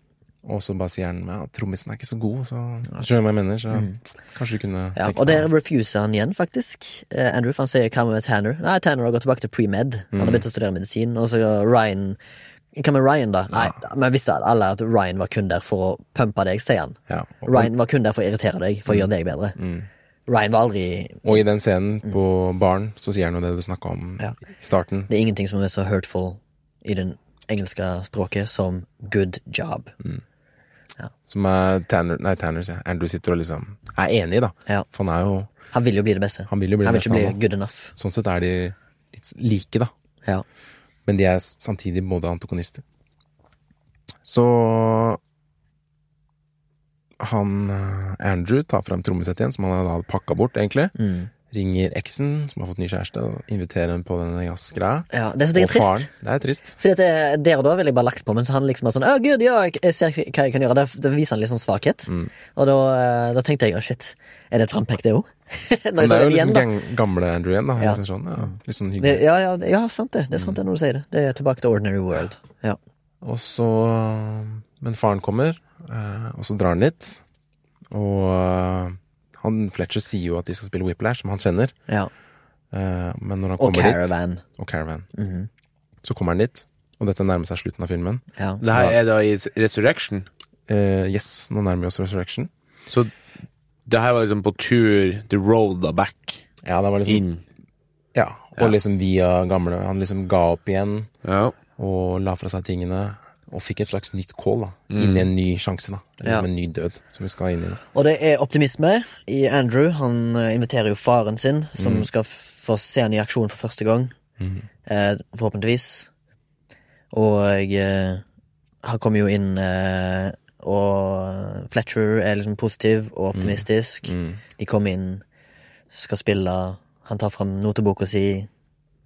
C: Og så bare sier han ja, trommisen er ikke så god, så skjønner du hva jeg mener. Så kanskje du kunne
A: Mm. Ja,
C: tenke
A: og der
C: deg
A: refuser han igjen, faktisk. Eh, Andrew for han sier 'hva med Tanner'? Nei, Tanner har gått tilbake til pre-med. Han
C: Mm.
A: har begynt å studere medisin. Og så Ryan Hva med Ryan, da? Nei, men visste alle at Ryan var kun der for å pumpe deg, sier han.
C: ja. og, Mm.
A: Ryan var kun der for å irritere deg, for å gjøre deg bedre. Ryan var aldri
C: og i den scenen på baren så sier han jo det du snakka om
A: Mm. Ja.
C: i starten.
A: Det er ingenting som er så hurtful i det engelske språket som 'good job'.
C: Som er Tanner, nei, Tanner, sier jeg. Andrew sitter og liksom er enig, da.
A: Ja.
C: For han er jo
A: Han vil jo bli det beste.
C: Han vil jo bli
A: han
C: den
A: vil
C: beste,
A: ikke
C: han
A: bli good enough.
C: Sånn sett er de litt like, da.
A: Ja.
C: Men de er s- samtidig både antagonister. Så han eh, Andrew tar frem trommesettet igjen, som han da hadde pakka bort, egentlig.
A: Mm.
C: Ringer eksen, som har fått ny kjæreste, og inviterer henne på denne jazzgreia.
A: ja. Det syns jeg er
C: Og faren.
A: trist.
C: Det er trist.
A: Fordi at det, Der og da ville jeg bare lagt på, mens han liksom er sånn Å, gud, ja, jeg jeg ser hva jeg kan gjøre. Da da viser han litt sånn svakhet.
C: Mm.
A: Og da, eh, da tenkte jeg «Å, shit, er det et frampek, det òg? Når jeg
C: Men det
A: så
C: er
A: det
C: jo liksom
A: igjen, da.
C: gang- gamle Andrew igjen, da. Han
A: Ja.
C: er Liksom sånn, ja, litt sånn
A: Det,
C: hyggelig.
A: ja, ja, ja, sant det. Det er sant
C: Mm.
A: det når du sier det. Det er tilbake til ordinary world. Ja.
C: Og så Men faren kommer, eh, og så drar han dit. Og eh, han Fletcher sier jo at de skal spille Whiplash, som han kjenner.
A: ja.
C: Eh, Men når han
A: Og
C: kommer dit
A: caravan.
C: og Caravan.
A: Mhm.
C: Så kommer han dit, og dette nærmer seg slutten av filmen.
A: Ja.
D: Det her er da i Resurrection.
C: Eh, yes, nå nærmer vi oss Resurrection.
D: Så det her var liksom på tur the road da back
C: Ja, det var liksom,
D: inn.
C: ja, og
D: Ja.
C: liksom via gamle Han liksom ga opp igjen
D: Ja.
C: og la fra seg tingene. Og fikk et slags nytt call, da. Inn i en ny sjanse, da. Eller
A: Ja.
C: Liksom en ny død som vi skal inn i. da.
A: Og det er optimisme i Andrew. Han eh, inviterer jo faren sin, som skal f- få se han i aksjon for første gang. Eh, forhåpentligvis. Og eh, han kommer jo inn eh, Og Fletcher er liksom positiv og optimistisk. De kommer inn, skal spille, han tar fram noteboka si.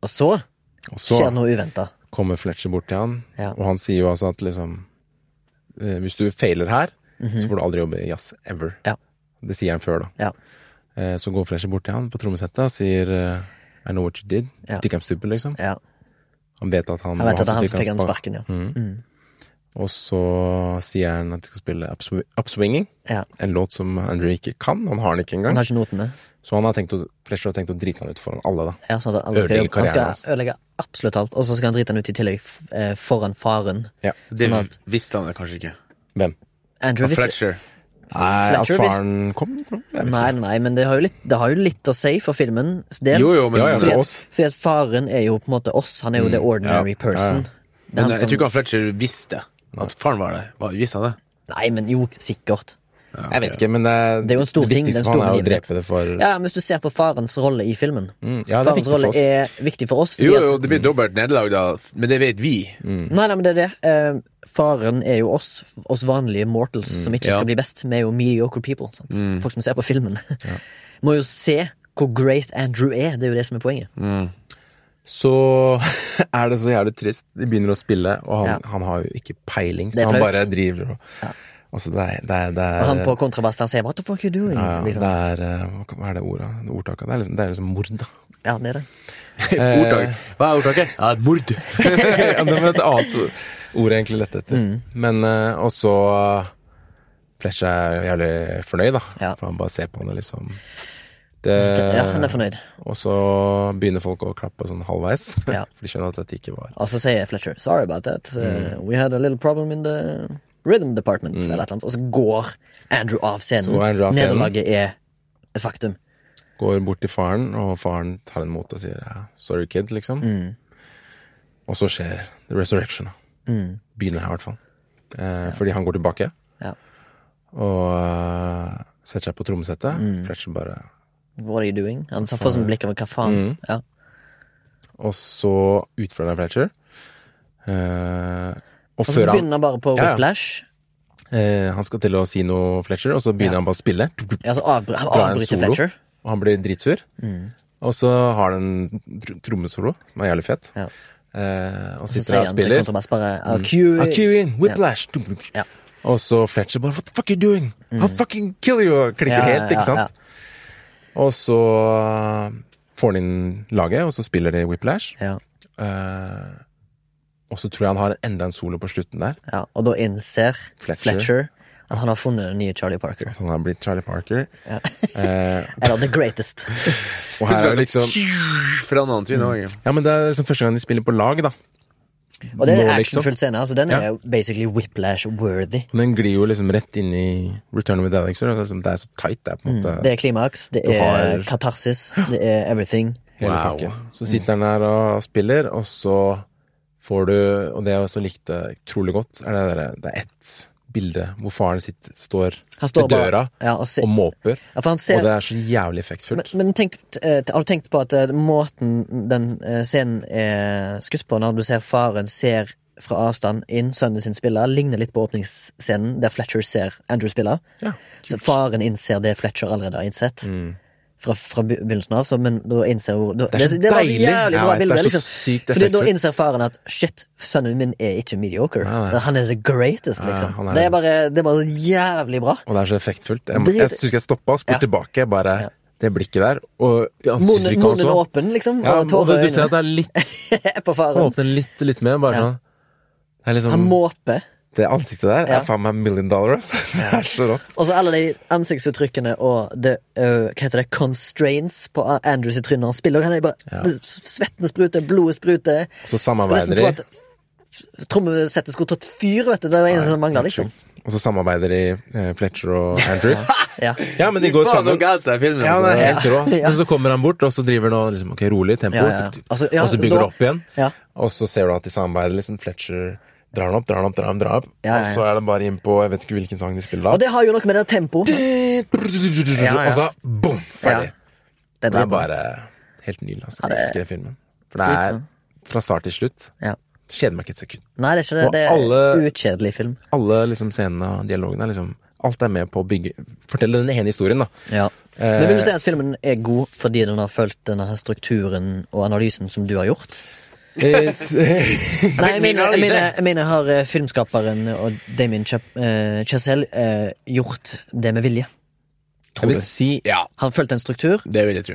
A: Og så
C: Og så
A: skjer det noe uventa.
C: kommer Fletcher bort til han,
A: Ja.
C: og han sier jo altså at liksom eh, Hvis du failer her, så får du aldri jobbe i jazz ever.
A: Mhm. Ja.
C: Det sier han før, da.
A: Ja.
C: Eh, så går Fletcher bort til han på trommesettet og sier eh, I know what you did.
A: Ja.
C: Think I'm stupid, liksom.
A: Ja.
C: Han vet at han
A: Han vet
C: var
A: at det er han
C: fikk
A: som fikk han
C: spark.
A: sparken, ja. Mm.
C: Og så sier han at de skal spille Upsw- Upswinging,
A: ja.
C: en låt som Andrew ikke kan. Han har den ikke
A: Han
C: engang.
A: har ikke notene.
C: Så han har tenkt å, Fletcher har tenkt å drite han ut foran alle, da.
A: Ja, sånn at han skal,
C: Ødelegge
A: han
C: karrieren hans.
A: skal ødelegge absolutt alt, og så skal han drite han ut i tillegg f- eh, foran faren.
D: Det
A: Sånn at-
D: visste han kanskje ikke.
C: Hvem?
A: Andrew visste
D: Fletcher.
C: Nei, at
A: Fletcher, hvis-
C: faren kom? Jeg vet
A: Nei, nei, nei, men det har, jo litt, det har jo litt å si for filmens del.
D: Jo, jo, men,
C: Ja, ja,
A: fordi,
C: for
A: at,
C: oss. Mm,
A: fordi at faren er jo på en måte oss. Han er jo the ordinary person. Det er
D: men eh,
A: han
D: jeg
A: som-
D: tror ikke han Fletcher visste at faren var der. Hva- Visste han det?
A: Nei, men jo, sikkert.
C: Jeg vet ikke, men det,
A: Det er jo en stor ting, det er
C: viktigste
A: en
C: for han
A: stor
C: er å
A: begivenhet.
C: drepe det for
A: Ja, men Hvis du ser på farens rolle i filmen
C: Mm, ja, det er
A: Farens
C: viktig for
A: rolle
C: oss.
A: er viktig for oss. Fordi
D: Jo, jo, det blir dobbelt nederlag, da, men det vet vi.
A: At, nei, nei, men det er det. Eh, faren er jo oss, oss vanlige mortals,
C: Mm,
A: som ikke
D: Ja.
A: skal bli best. Vi er jo mediocre people. Sant? Folk som ser på filmen. Må jo se hvor great Andrew er. Det er jo det som er poenget.
C: Så er det så jævlig trist. De begynner å spille, og han, han har jo ikke peiling,
A: Det
C: så
A: er
C: han
A: flaut.
C: bare driver og Altså, det er, det er, det er
A: Han på kontrabass han sier 'what the fuck are you doing'?
C: ja, ja,
A: liksom.
C: det er, eh, hva kan- Hva er det ordet? Det ordtaket? Det er liksom, det er liksom mord, da.
A: Ja, det er det.
D: Ordtak. Hva er ordtaket? Eh, Ja, mord.
C: ja, det var et annet ord- ord jeg egentlig lette etter.
A: Mm.
C: Men eh, Og så eh, Fletcher er jo jævlig fornøyd, da.
A: Ja.
C: For han bare ser på han og liksom
A: Ja, han
C: Eh.
A: er fornøyd.
C: Og så begynner folk å klappe sånn halvveis,
A: Ja.
C: for de skjønner at dette ikke var
A: Og så sier Fletcher 'sorry about that, Uh,
C: Mm.
A: we had a little problem in the rhythm department', eller et eller annet. Og så går Andrew av scenen.
C: Så går Andrew av scenen.
A: Nederlaget er et faktum.
C: Går bort til faren, og faren tar henne imot og sier ja, 'sorry, kid', liksom.
A: Mm.
C: Og så skjer the resurrection. da.
A: Mm.
C: Begynner her, i hvert fall. Eh, Fordi han går tilbake
A: Ja.
C: og eh, setter seg på trommesettet.
A: Mm.
C: Fletcher bare
A: What are you doing? Han får sånn blikk over hva faen.
C: Mm.
A: Ja.
C: Og så utfører han Fletcher. Eh, og
A: Og så
C: før han,
A: begynner han bare på
C: Ja, ja.
A: whiplash.
C: eh, han skal til å si noe, Fletcher, og så begynner han bare å spille.
A: Ja, så avbry han
C: Drar en
A: avbryter
C: solo.
A: Fletcher. Mm.
C: Og han blir dritsur. Og så har den en tr- trommesolo som er jævlig fett.
A: Ja.
C: Eh, og
A: Og så
C: sitter
A: sier
C: og
A: han til
C: spiller.
A: kontrabass bare ah,
C: Ah,
A: Q
C: Kiwi, whiplash dunk, dunk.
A: Ja.
C: Og så Fletcher bare What the fuck are you doing? I'll fucking kill you! Og klikker
A: Mm. Ja, ja,
C: helt, ikke
A: ja,
C: sant? Og så uh, får han inn laget, og så spiller de whiplash.
A: Ja,
C: Eh, og så tror jeg han har enda en solo på slutten der.
A: ja. Og da innser
C: Fletcher.
A: Fletcher. at han har funnet den nye Charlie Parker.
C: At han har blitt Charlie Parker.
A: Ja.
C: Eh,
A: Eller The Greatest.
C: og her er jo liksom
D: Forandrer han trynet òg.
C: Ja, men det er liksom første gang de spiller på lag, da.
A: Og det er en
C: Nå, liksom.
A: actionfull scene. altså Den
C: Ja.
A: er jo basically whiplash-worthy.
C: Den glir jo liksom rett inn i Return with Alexer. Det er liksom- det er så tight, det er på en måte.
A: Det er klimaks, det
C: Du
A: er
C: har-
A: katarsis, det er everything.
C: Hele
D: Wow.
C: pakken. Så sitter han der og spiller, og så får du Og det jeg også likte eh, utrolig godt, er det derre Det er ett bilde hvor faren sitt står,
A: Han står
C: ved døra
A: bare- ja, og, se,
C: og måper,
A: ja, for han ser,
C: og det er så jævlig effektfullt.
A: Men, men tenk, eh, har du tenkt på at eh, måten den eh, scenen er skutt på, når du ser faren ser fra avstand inn sønnen sin spille, ligner litt på åpningsscenen der Fletcher ser Andrew spille.
C: Ja,
A: så faren innser det Fletcher allerede har innsett. Fra, fra be- begynnelsen av, så, men da innser hun da,
C: Mm. Det er så
A: var så
C: deilig.
A: jævlig
C: Jeg
A: bra
C: vet,
A: bilde!
C: det er så
A: Liksom.
C: sykt
A: Fordi da
C: effektfullt.
A: innser faren at shit, sønnen min er ikke mediocre.
C: Nei, nei.
A: Han er the greatest, liksom.
C: han
A: det,
C: er det.
A: er bare, det er bare så jævlig bra.
C: Og det er så effektfullt. Jeg,
A: Drit-
C: jeg syns jeg stoppa og spurte
A: Ja.
C: tilbake. Bare
A: Ja.
C: det blikket der, og i
A: Munnen,
C: ansiktsuttrykket
A: munnen
C: også.
A: åpen, liksom.
C: Ja,
A: og
C: og du,
A: tårer
C: du
A: i
C: ser at det er litt,
A: øynene på
C: han
A: faren.
C: åpner litt, litt mer, bare
A: Ja.
C: sånn det, er liksom,
A: Han måper.
C: det ansiktet der
A: Ja.
C: er faen meg million dollar, ass. Det er så rått.
A: Og så alle de ansiktsuttrykkene og det, øh, hva heter det, constraints på A- Andrews tryne når han spiller. og Han er bare,
C: Ja.
A: det- Svetten spruter, blodet spruter. Skulle nesten
C: Så samarbeider
A: tro
C: de.
A: at f- trommesettet skulle tatt fyr, vet du. Det var det eneste som mangla, liksom.
C: Og så samarbeider de, eh, Fletcher og Andrew.
A: Ja.
C: Ja, men de går sammen.
D: filmen,
C: Ja,
D: altså.
C: det er helt rå.
A: Ja.
C: Men så kommer han bort, og så driver han og liksom, ok, rolig tempo,
A: Ja, ja. Altså, ja,
C: og så bygger
A: da-
C: det opp igjen.
A: ja.
C: Og så ser du at de samarbeider. liksom Fletcher drar han opp, drar han opp, drar han drar opp.
A: Ja, ja, ja.
C: Og så er det bare inn på Jeg vet ikke hvilken sang de spiller
A: Og
C: da.
A: det har jo noe med det tempoet. Det Ja, ja.
C: Og så boom! Ferdig.
A: er
C: Det er
A: dritbra.
C: bare helt nydelig. Altså.
A: Ja, det
C: Jeg
A: er-
C: elsker den filmen. For det er fra start til slutt.
A: Ja.
C: Kjeder meg ikke et sekund.
A: Nei, det er ikke det.
C: Og
A: Det er
C: alle-
A: ukjedelig film.
C: Alle liksom scenene og dialogen er liksom Alt er med på å bygge Fortelle den ene historien, da.
A: Ja.
C: Eh,
A: Men vil du si at filmen er god fordi den har fulgt denne her strukturen og analysen som du har gjort?
C: eh,
A: Nei, jeg mener, jeg
D: analyse.
A: mener, jeg mener har eh, filmskaperen og Damien Chap- eh, Chazelle eh, gjort det med vilje?
C: Jeg vil si
B: Ja,
A: Han fulgte en struktur.
B: det vil jeg tro.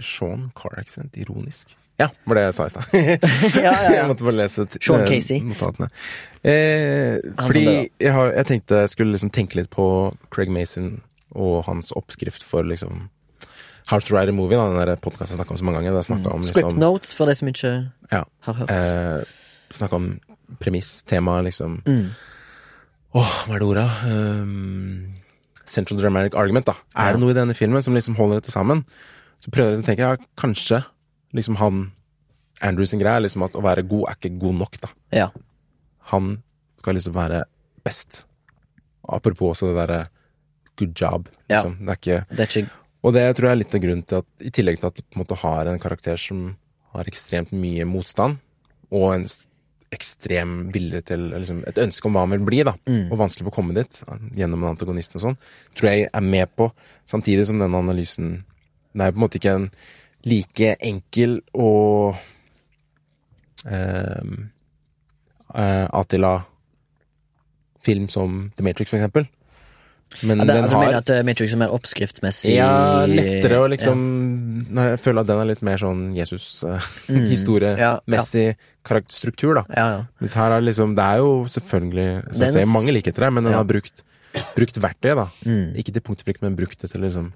C: Sean Car Accident, ironisk. Ja, var det jeg sa i stad.
A: Ja, ja,
C: Jeg
A: ja.
C: måtte bare lese t-
A: Sean
C: eh,
A: Casey.
C: notatene. Eh,
A: som
C: fordi
A: døde.
C: jeg, har, jeg tenkte jeg skulle liksom tenke litt på Craig Mason og hans oppskrift for liksom How to Ride a Movie, da, den der podkasten jeg snakka om så mange ganger. Der jeg snakket om,
A: Script
C: liksom,
A: notes, for de som ikke
C: ja,
A: har hørt.
C: eh, snakket om premiss, tema, liksom
A: Mm.
C: Åh, hva er det ordet? Um, Central Dramatic Argument, da. Er det noe i denne filmen som liksom holder dette sammen? Så prøver jeg liksom å tenke, ja, kanskje liksom han Andrew sin greie er liksom at å være god er ikke god nok, da.
A: Ja.
C: Han skal liksom være best. Apropos også det derre good job,
A: Ja.
C: liksom. Det er ikke
A: Det er ikke
C: og det tror jeg er litt av grunnen til at, i tillegg til at du på en måte har en karakter som har ekstremt mye motstand, og en s- ekstrem vilje til eller liksom, Et ønske om hva han vil bli, da,
A: Mm.
C: og vanskelig for å komme dit gjennom en antagonist og sånn, tror jeg er med på, samtidig som denne analysen Det er på en måte ikke en like enkel og eh, eh, Attila-film som The Matrix, for eksempel. Men
A: ja, det,
C: den
A: Du
C: har
A: mener at eh, Matrix er mer oppskriftsmessig?
C: ja, lettere å liksom Nei, Jeg føler at den er litt mer sånn
A: Mm. Ja,
C: Jesus-historiemessig struktur, da.
A: Ja, ja. ja.
C: Hvis her er liksom Det er jo selvfølgelig som
A: Det er
C: jeg ser,
A: en s-
C: mange likheter der, men den
A: Ja.
C: har brukt, brukt verktøyet, da.
A: Mm.
C: Ikke til punkt og prikk, men brukt det til liksom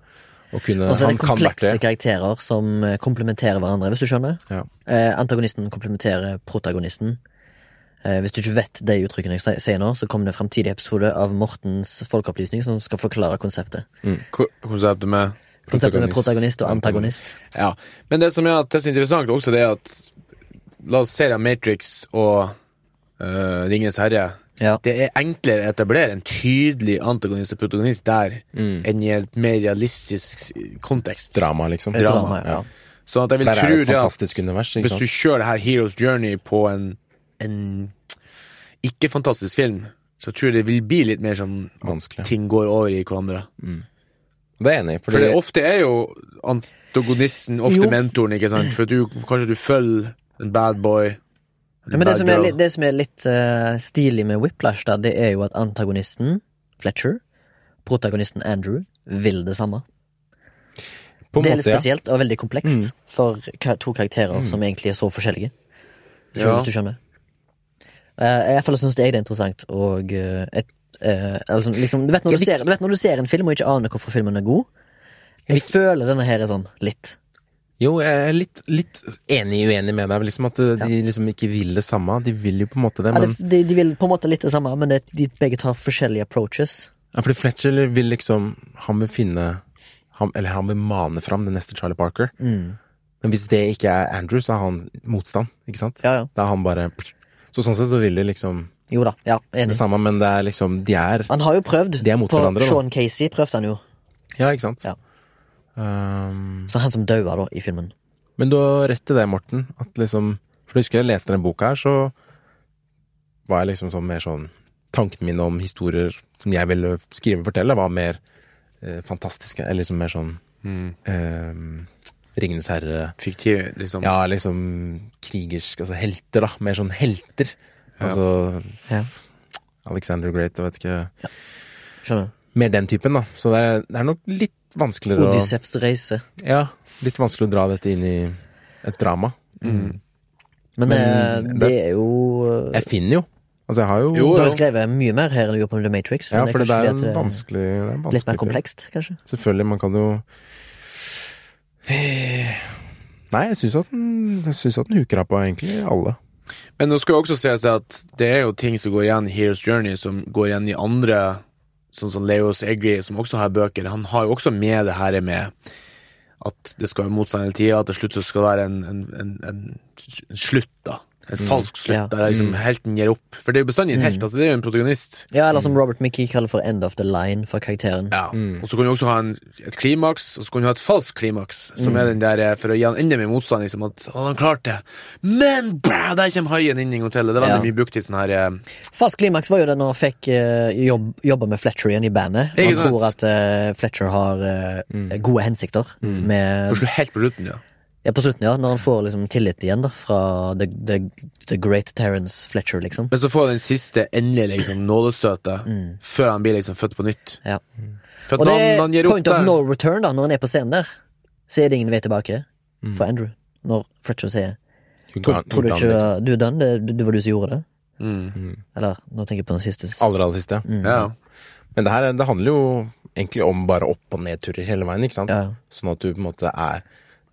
C: å kunne
A: Og så er
C: Han
A: det
C: kan
A: komplekse
C: verktøyet.
A: karakterer som eh, komplementerer hverandre, hvis du skjønner.
C: Ja.
A: Eh, antagonisten komplementerer protagonisten. Eh, hvis du ikke vet de uttrykkene jeg si- sier nå, så kommer det en framtidig episode av Mortens folkeopplysning som skal forklare konseptet.
D: Ko- Konseptet med
A: Konseptet med
C: Protagonist,
A: protagonist og antagonist.
D: Ja. Men det som er, at det som er interessant, også det er at La oss se da Matrix og uh, Ringenes herre.
A: Ja.
D: Det er enklere å etablere en tydelig antagonist og protagonist der
C: Mm.
D: enn i et mer realistisk kontekst.
C: Drama, liksom.
A: Et
D: Drama,
A: drama, ja.
D: Sånn at jeg vil
C: Der er
D: tro
C: det et
D: det
C: fantastisk
D: at
C: univers. Ikke
D: hvis du
C: sant?
D: kjører det her Hero's Journey på en, en ikke-fantastisk film, så tror jeg det vil bli litt mer sånn at
C: Vanskelig.
D: ting går over i hverandre.
C: Det er jeg enig i.
D: For
C: Fordi
D: det ofte er jo an
B: protagonisten, ofte
A: Jo.
B: mentoren, ikke sant? For du, kanskje du følger en bad boy.
A: Ja, men det som er, litt- det som er litt eh, stilig med Whiplash, da, det er jo at antagonisten, Fletcher, protagonisten Andrew, vil det samme.
C: På en
A: det er litt
C: måte, ja.
A: spesielt og veldig komplekst for ka- to karakterer som egentlig er så forskjellige. Ikke
B: Ja.
A: Hvis du skjønner. Eh, I hvert fall syns jeg det er interessant. Og eh, et, eh, altså, liksom, du, vet når du, ser, du vet når du ser en film og ikke aner hvorfor filmen er god. Jeg føler denne her er sånn litt.
C: Jo, jeg er litt, litt enig uenig med deg. Liksom At eh, de liksom ikke vil det samme. De vil jo på en måte det,
A: Ja,
C: men
A: det- de, de vil på en måte litt det samme, men det, de begge tar forskjellige approaches.
C: ja, Fordi Fletcher vil liksom Han vil finne han, Eller han vil mane fram den neste Charlie Parker.
A: Mm.
C: Men hvis det ikke er Andrew, så er han motstand, ikke sant?
A: Ja, ja.
C: Da er han bare Så sånn sett så vil de liksom
A: Jo da. Ja,
C: det
A: enig.
C: samme, men det er liksom De er
A: Han har jo prøvd.
C: De er mot
A: på
C: hverandre, da.
A: Sean Casey prøvde han jo.
C: Ja, ikke sant?
A: Ja.
C: Um,
A: Så han som daua, da, i filmen.
C: men du har rett i det, Morten. At liksom For jeg husker jeg leste den boka her, så var jeg liksom sånn mer sånn Tankene mine om historier som jeg ville skrive og fortelle, var mer eh, fantastiske. Eller liksom mer sånn eh, Ringenes herre
B: Fiktiv, liksom.
C: Ja, liksom krigersk Altså helter, da. Mer sånn helter. Altså
A: Ja.
C: Alexander the Great, jeg vet ikke.
A: Skjønner du?
C: Mer den typen, da. Så det er, det er nok litt vanskeligere å
A: Odysseus reise.
C: Ja, litt vanskelig å dra dette inn i et drama.
A: Men, eh, det, er jo eh,
C: Jeg finner jo. Altså, jeg har jo,
A: Du
B: Jo,
A: har
B: jo.
A: jo skrevet mye mer her enn du gjorde på The Matrix.
C: Ja,
A: men
C: for det
A: kanskje
C: er en
A: fordi at det er
C: vanskelig, det er en vanskelig
A: Litt mer
C: film.
A: komplekst, kanskje.
C: Selvfølgelig, man kan jo Nei, jeg syns at den, jeg synes at den huker av på egentlig alle.
B: Men nå skal jo også sies at det er jo ting som går igjen i Hero's Journey, som går igjen i andre, sånn som Leos Egri, som også har bøker. Han har jo også med det her med at det skal være motstand hele tida, at til slutt så skal det være en, en, en, en slutt, da. En falsk slutt,
A: Ja. Mm.
B: der liksom helten gir opp. For det er jo bestandig en helt, altså det er jo en protagonist.
A: Ja, eller som
C: Mm.
A: Robert McKee kaller for end of the line for karakteren.
B: Ja. Og så kan du også ha en, et klimaks, og så kan du ha et falskt klimaks, som
A: Mm.
B: er den der eh, for å gi han enda mer motstand, liksom at å, han klarte det, men bæ, der kommer haien inn i hotellet. Det er veldig
A: Ja.
B: mye brukt i sånn her eh,
A: Fast klimaks var jo det når han fikk eh, jobb, jobba med Fletcher igjen i bandet.
B: Ikke
A: Han
B: sant?
A: tror at eh, Fletcher har eh,
C: Mm.
A: gode hensikter
B: på
A: med
B: slu- Helt på slutten, ja.
A: Ja, på slutten, ja. Når han får liksom tillit igjen, da, fra the, the, the great Terence Fletcher, liksom.
B: Men så får han den siste endelige liksom,
A: Mm.
B: nådestøtet før han blir liksom født på nytt.
A: Ja.
B: For
A: Og det
B: at når han,
A: er
B: han gir opp
A: point of
B: der
A: no return, da, når han er på scenen der. Så er det ingen vei tilbake
C: Mm.
A: for Andrew. Når Fletcher sier
C: You
A: Tror,
C: gone-
A: tror du
C: you
A: ikke
C: gone, liksom.
A: du er done? Det, det var du som gjorde det?
B: mm.
A: Eller, nå tenker jeg på den siste.
C: Aller, aller siste.
A: Mm.
C: ja.
B: Ja.
C: Men det her det handler jo egentlig om bare opp- og nedturer hele veien, ikke sant?
A: Ja.
C: Sånn at du på en måte er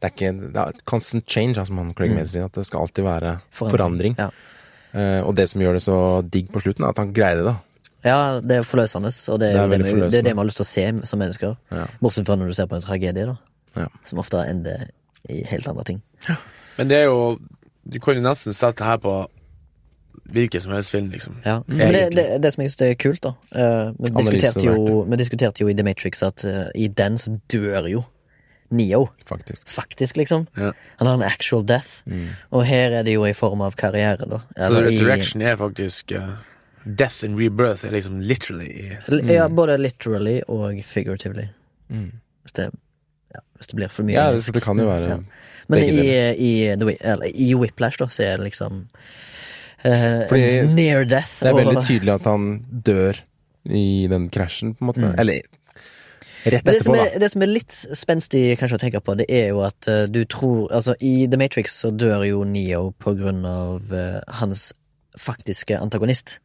C: Det er ikke det er constant change, altså, som han Craig Mason sier, at det skal alltid være forandring.
A: Mm. Ja.
C: Eh, og det som gjør det så digg på slutten, er at han greide det. da.
A: Ja, det er forløsende, og det er,
C: Det er
A: jo det,
C: veldig
A: vi- det, er
C: forløsende.
A: det vi har lyst til å se som mennesker.
C: Ja.
A: Bortsett fra når du ser på en tragedie, da.
C: Ja.
A: Som ofte ender i helt andre ting.
B: Men det er jo Du kan jo nesten sette det her på hvilken som helst film, liksom.
A: Ja. Mm. Men det,
B: Egentlig.
A: det, det som jeg synes er kult, da eh, Vi
C: Analyse
A: diskuterte, jo, vi diskuterte jo i The Matrix at eh, i den så dør jo Neo,
C: Faktisk.
A: faktisk, liksom.
B: Ja.
A: Han har en actual death.
C: Mm.
A: Og her er det jo i form av karriere, da.
B: Så
A: Eller i-
B: Resurrection er faktisk eh, Death and rebirth er liksom literally i
A: Ja,
C: Mm.
A: både literally og figuratively. Hvis det ja, hvis det blir for mye
C: Ja, det,
A: engelsk.
C: det kan jo være
A: Ja. Men
C: begge
A: i, i, The Whi- eller, i Whiplash, da, så er det liksom eh,
C: Fordi
A: en Near death.
C: Det er veldig
A: og,
C: tydelig at han dør i den krasjen, på en måte. Eller
A: Mm.
C: rett
A: Men det, som
C: etterpå,
A: er, det som er litt spenstig kanskje å tenke på, det er jo at eh, du tror Altså, i The Matrix så dør jo Neo på grunn av eh, hans faktiske antagonist.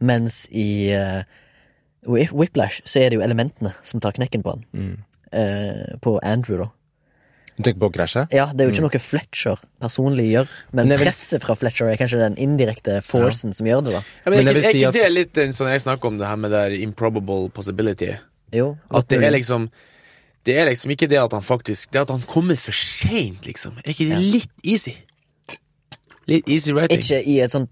A: Mens i eh, Whi- Whiplash så er det jo elementene som tar knekken på han.
B: Mm.
A: Eh, på Andrew, da.
C: da. Du tenker på krasjet?
A: Ja, Det er jo
B: Mm.
A: ikke noe Fletcher personlig gjør, men,
C: Men jeg vil-
A: presset fra Fletcher er kanskje den indirekte forcen som gjør det, da.
B: ja, men
C: Men
B: Er
C: jeg vil
B: ikke, er
C: si
B: ikke
C: at-
B: det litt en sånn Jeg snakker om det her med det her improbable possibility.
A: Jo,
B: At det
A: mulig.
B: er liksom Det er liksom ikke det at han faktisk Det er at han kommer for seint, liksom. Er ikke det litt easy? Litt easy writing.
A: Ikke i et sånn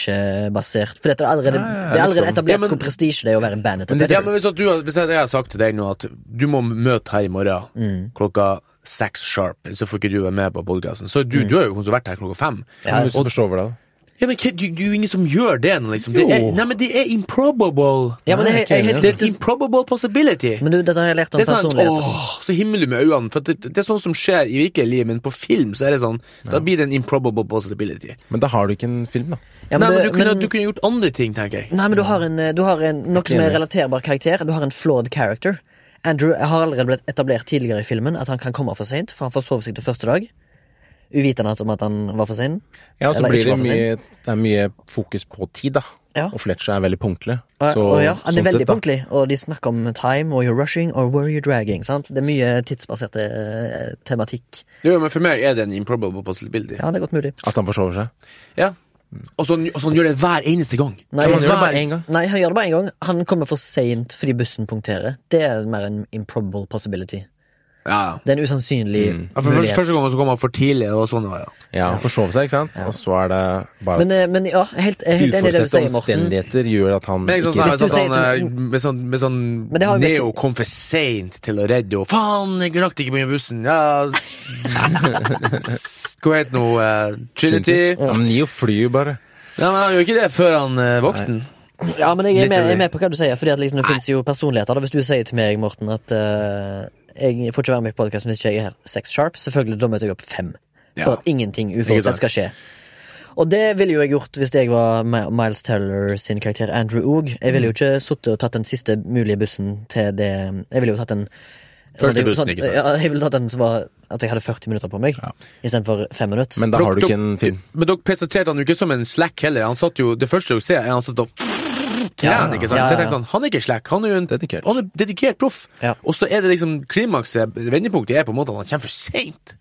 A: prestisjebasert For dette er allerede,
C: ja,
A: det er allerede
C: liksom.
A: etablert
B: Ja, men-
A: hvor prestisje det er å være i bandet til
B: Ja,
A: Fletcher.
B: men hvis, at du, har- hvis at jeg har sagt til deg nå at du må møte her i morgen klokka seks sharp, så får ikke du være med på podkasten, så du, du har jo hun som har vært her klokka fem.
A: Ja,
C: Hvis du forsover deg, da.
B: Ja, men hva- du, du er jo ingen som gjør det nå, liksom. Det er,
E: Jo.
B: nei, men det er improbable.
A: Ja, men det, er- jeg, er helt
B: Det er
A: likt-
B: improbable possibility.
A: men du, dette har jeg lært om
B: Det er sånn,
A: personlighet.
B: åh, så himmelig med øynene. For det, det er sånn som skjer i virkelig liv, men på film så er det sånn, da blir det en improbable possibility.
C: Men da har du ikke en film, da.
A: Ja,
B: nei, men du
A: det-
B: kunne, du kunne gjort andre ting, tenker jeg.
A: Nei, men du har en, du har en noe som er
C: Enig.
A: relaterbar karakter. Du har en flawed character. Andrew har allerede blitt etablert tidligere i filmen at han kan komme for seint, for han forsov seg til første dag. Uvitende om at han var for sein.
C: Ja, og så
A: Eller
C: blir det
A: ikke
C: mye, det er mye fokus på tid, da.
A: Ja.
C: Og Fletcher er veldig punktlig.
A: Og,
C: Så,
A: og ja, han er
C: sånn
A: veldig
C: sett, da.
A: punktlig, og de snakker om time og you're rushing or were you dragging. sant? Det er mye tidsbasert eh, tematikk.
B: Jo, men for meg er det en improbable possibility.
A: Ja, det er godt mulig.
C: At han forsover seg.
B: Ja. Og sånn, og sånn gjør det hver eneste gang.
A: Nei,
C: Kan man
A: jeg-
C: gjøre det bare én gang?
A: Nei, han gjør det bare én gang. Han kommer for seint fordi bussen punkterer. Det er mer en improbable possibility.
B: Ja.
A: Det er en usannsynlig
C: Mm.
B: ja for første,
A: mulighet.
B: første gangen så kom han for tidlig, og sånn var det. ja.
C: Ja, han forsover seg, ikke sant? Og så er det bare
A: Men, eh, men ja, helt, jeg er helt enig i det du
C: uforutsette
A: sier, Morten.
C: omstendigheter gjør at han
B: Men ikke
C: ikke
B: sånn,
A: Hvis du
B: sånn, sånn,
A: sier
B: eh, med sånn, med sånn
A: Men det har jo vært-
B: Neo kom for seint til å redde henne. Faen, jeg rakk ikke begynne bussen. Ja s- Hva heter nå? eh, Trinity?
C: Ja, men Neo flyr jo bare.
B: Ja, men han gjør ikke det før han uh, våkner.
A: Ja, men jeg er, med,
B: Literally.
A: jeg er med på hva du sier, Fordi at liksom, det finnes jo personligheter. Da. Hvis du sier til meg, Morten, at eh, jeg får ikke være med i podkasten hvis ikke jeg er her seks sharp, selvfølgelig da møter jeg opp fem. For
B: Ja.
A: at ingenting
B: Ikke sant.
A: uforutsett skal skje. Og det ville jo jeg gjort hvis jeg var Mi- Miles Teller sin karakter Andrew Oog. Jeg
B: Mm.
A: ville jo ikke sittet og tatt den siste mulige bussen til det Jeg ville jo tatt den
B: Første bussen,
A: sånn,
B: ikke sant?
A: Ja, jeg ville tatt den som var At jeg hadde 40 minutter på meg, istedenfor fem minutter.
C: Men da har du ikke en film.
B: Men dere presenterte han jo ikke som en slack heller. Han satt jo, Det første dere ser, er han satt og trener. ikke sant?
A: Ja, ja,
B: Så jeg
A: ja.
B: tenkte sånn, Han er ikke slack, han er jo en
C: Dedikert.
B: Han er dedikert proff.
A: Ja.
B: Og så er det liksom klimakset, vendepunktet, er på en måte at han kommer for seint.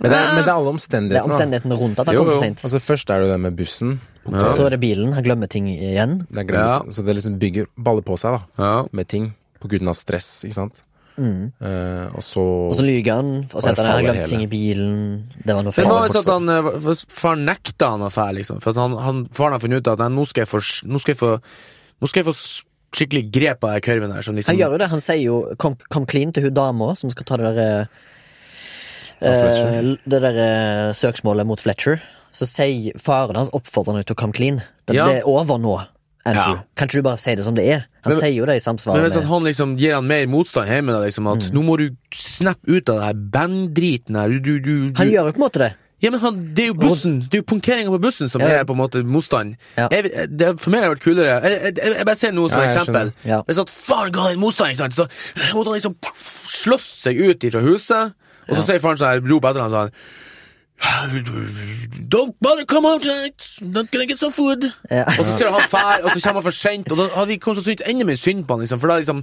C: Men det er, men det er alle
A: Ah. det er
C: omstendighetene. da.
A: omstendigheten rundt at han
C: Jo,
A: kom for
C: jo.
A: seint.
C: Altså, først er det jo det med bussen.
A: Så er det bilen. Han glemmer ting igjen.
C: Det er glemt.
B: Ja.
C: Så det liksom bygger baller på seg, da.
B: Ja.
C: Med ting. På grunn av stress, ikke sant. Eh, og så
A: Mm. Og så lyver han og sier at han har
C: faller
A: glemt ting i
C: hele.
A: bilen. Det var noe
B: Det
A: feil.
B: var visst at han, eh, f- Faren nekta han å fære, liksom. For at han, han, faren har funnet ut at nei, nå skal jeg få, nå skal jeg få, nå skal jeg få s- skikkelig grep av den kurven her. Som liksom,
A: Han gjør jo det. Han sier jo 'kom, kom clean' til hun dama som skal ta det derre eh, Det derre søksmålet mot Fletcher. Så sier faren hans oppfordrer han jo til å come clean. Det,
B: Ja.
A: det er over nå, Andrew.
B: Ja.
A: Kan ikke du bare si det som det er? Han
B: Men-
A: sier jo det i
B: Men
A: samsvar
B: hvis at
A: med
B: han liksom gir han mer motstand hjemme, da, liksom,
A: Mm.
B: at nå må du snappe ut av det her banddriten her du, du, du, du.
A: Han gjør jo på en måte det.
B: Ja, men han, Det er jo bussen, det er jo punkteringa på bussen som
A: Ja.
B: er på en måte motstand.
A: Ja.
B: Jeg, vet- det, for meg har det vært kulere. Jeg, jeg, jeg, jeg bare ser noe som
C: Ja, jeg
B: eksempel.
A: skjønner. Ja.
B: Hvis at faren ga en motstand, ikke sant? så måtte han liksom slåss seg ut ifra huset. Og så sier faren sånn, her, roper etter ham sånn Don't bother come out tonight, not gonna get some food.
A: Ja.
B: Og så ser han fær, og så kommer han for sent, og da har vi kommet til å synes enda mer synd på han, liksom, for da liksom,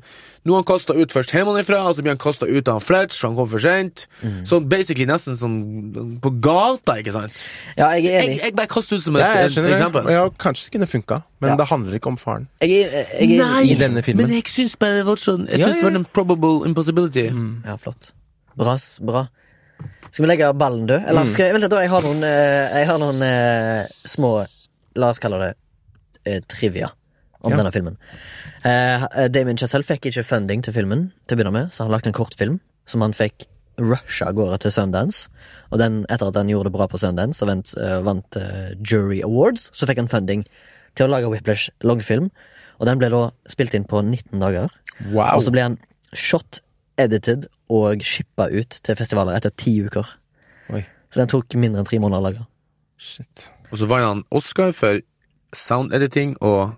B: nå er han kastet ut først hjemmefra, og så blir han kastet ut av Fletch, for han kom for sent,
A: Mm.
B: så basically nesten som på gata, ikke sant?
A: Ja, jeg er
B: Jeg,
A: enig.
B: jeg bare kastet ut som et,
C: Ja, jeg
B: et
C: skjønner. det.
B: eksempel.
C: Ja, kanskje det kunne funka, men
A: Ja.
C: det handler ikke om faren.
A: Jeg er, jeg er
B: Nei,
C: i denne filmen.
B: men jeg synes bare det var sånn, jeg
C: Ja,
B: synes det
C: ja. Mm.
B: var en probable impossibility.
A: Ja, flott. Bra. s- bra. Skal vi legge ballen død? Eller skal jeg, vent litt, da, jeg har noen, eh, jeg har noen eh, små La oss kalle det eh, trivia om
C: Ja.
A: denne filmen. Eh, eh, Damien Chazelle fikk ikke funding til filmen, til å begynne med, så han lagde en kortfilm som han fikk rusha av gårde til Sundance. Og den, etter at han gjorde det bra på Sundance og vant, eh, vant eh, Jury Awards, så fikk han funding til å lage Whiplash langfilm. Og den ble da spilt inn på 19 dager.
C: Wow.
A: Og så ble han shot, edited og shippa ut til festivaler etter ti uker.
C: Oi,
A: Så den tok mindre enn tre måneder å lage.
C: shit.
B: Og så var han Oscar for sound editing og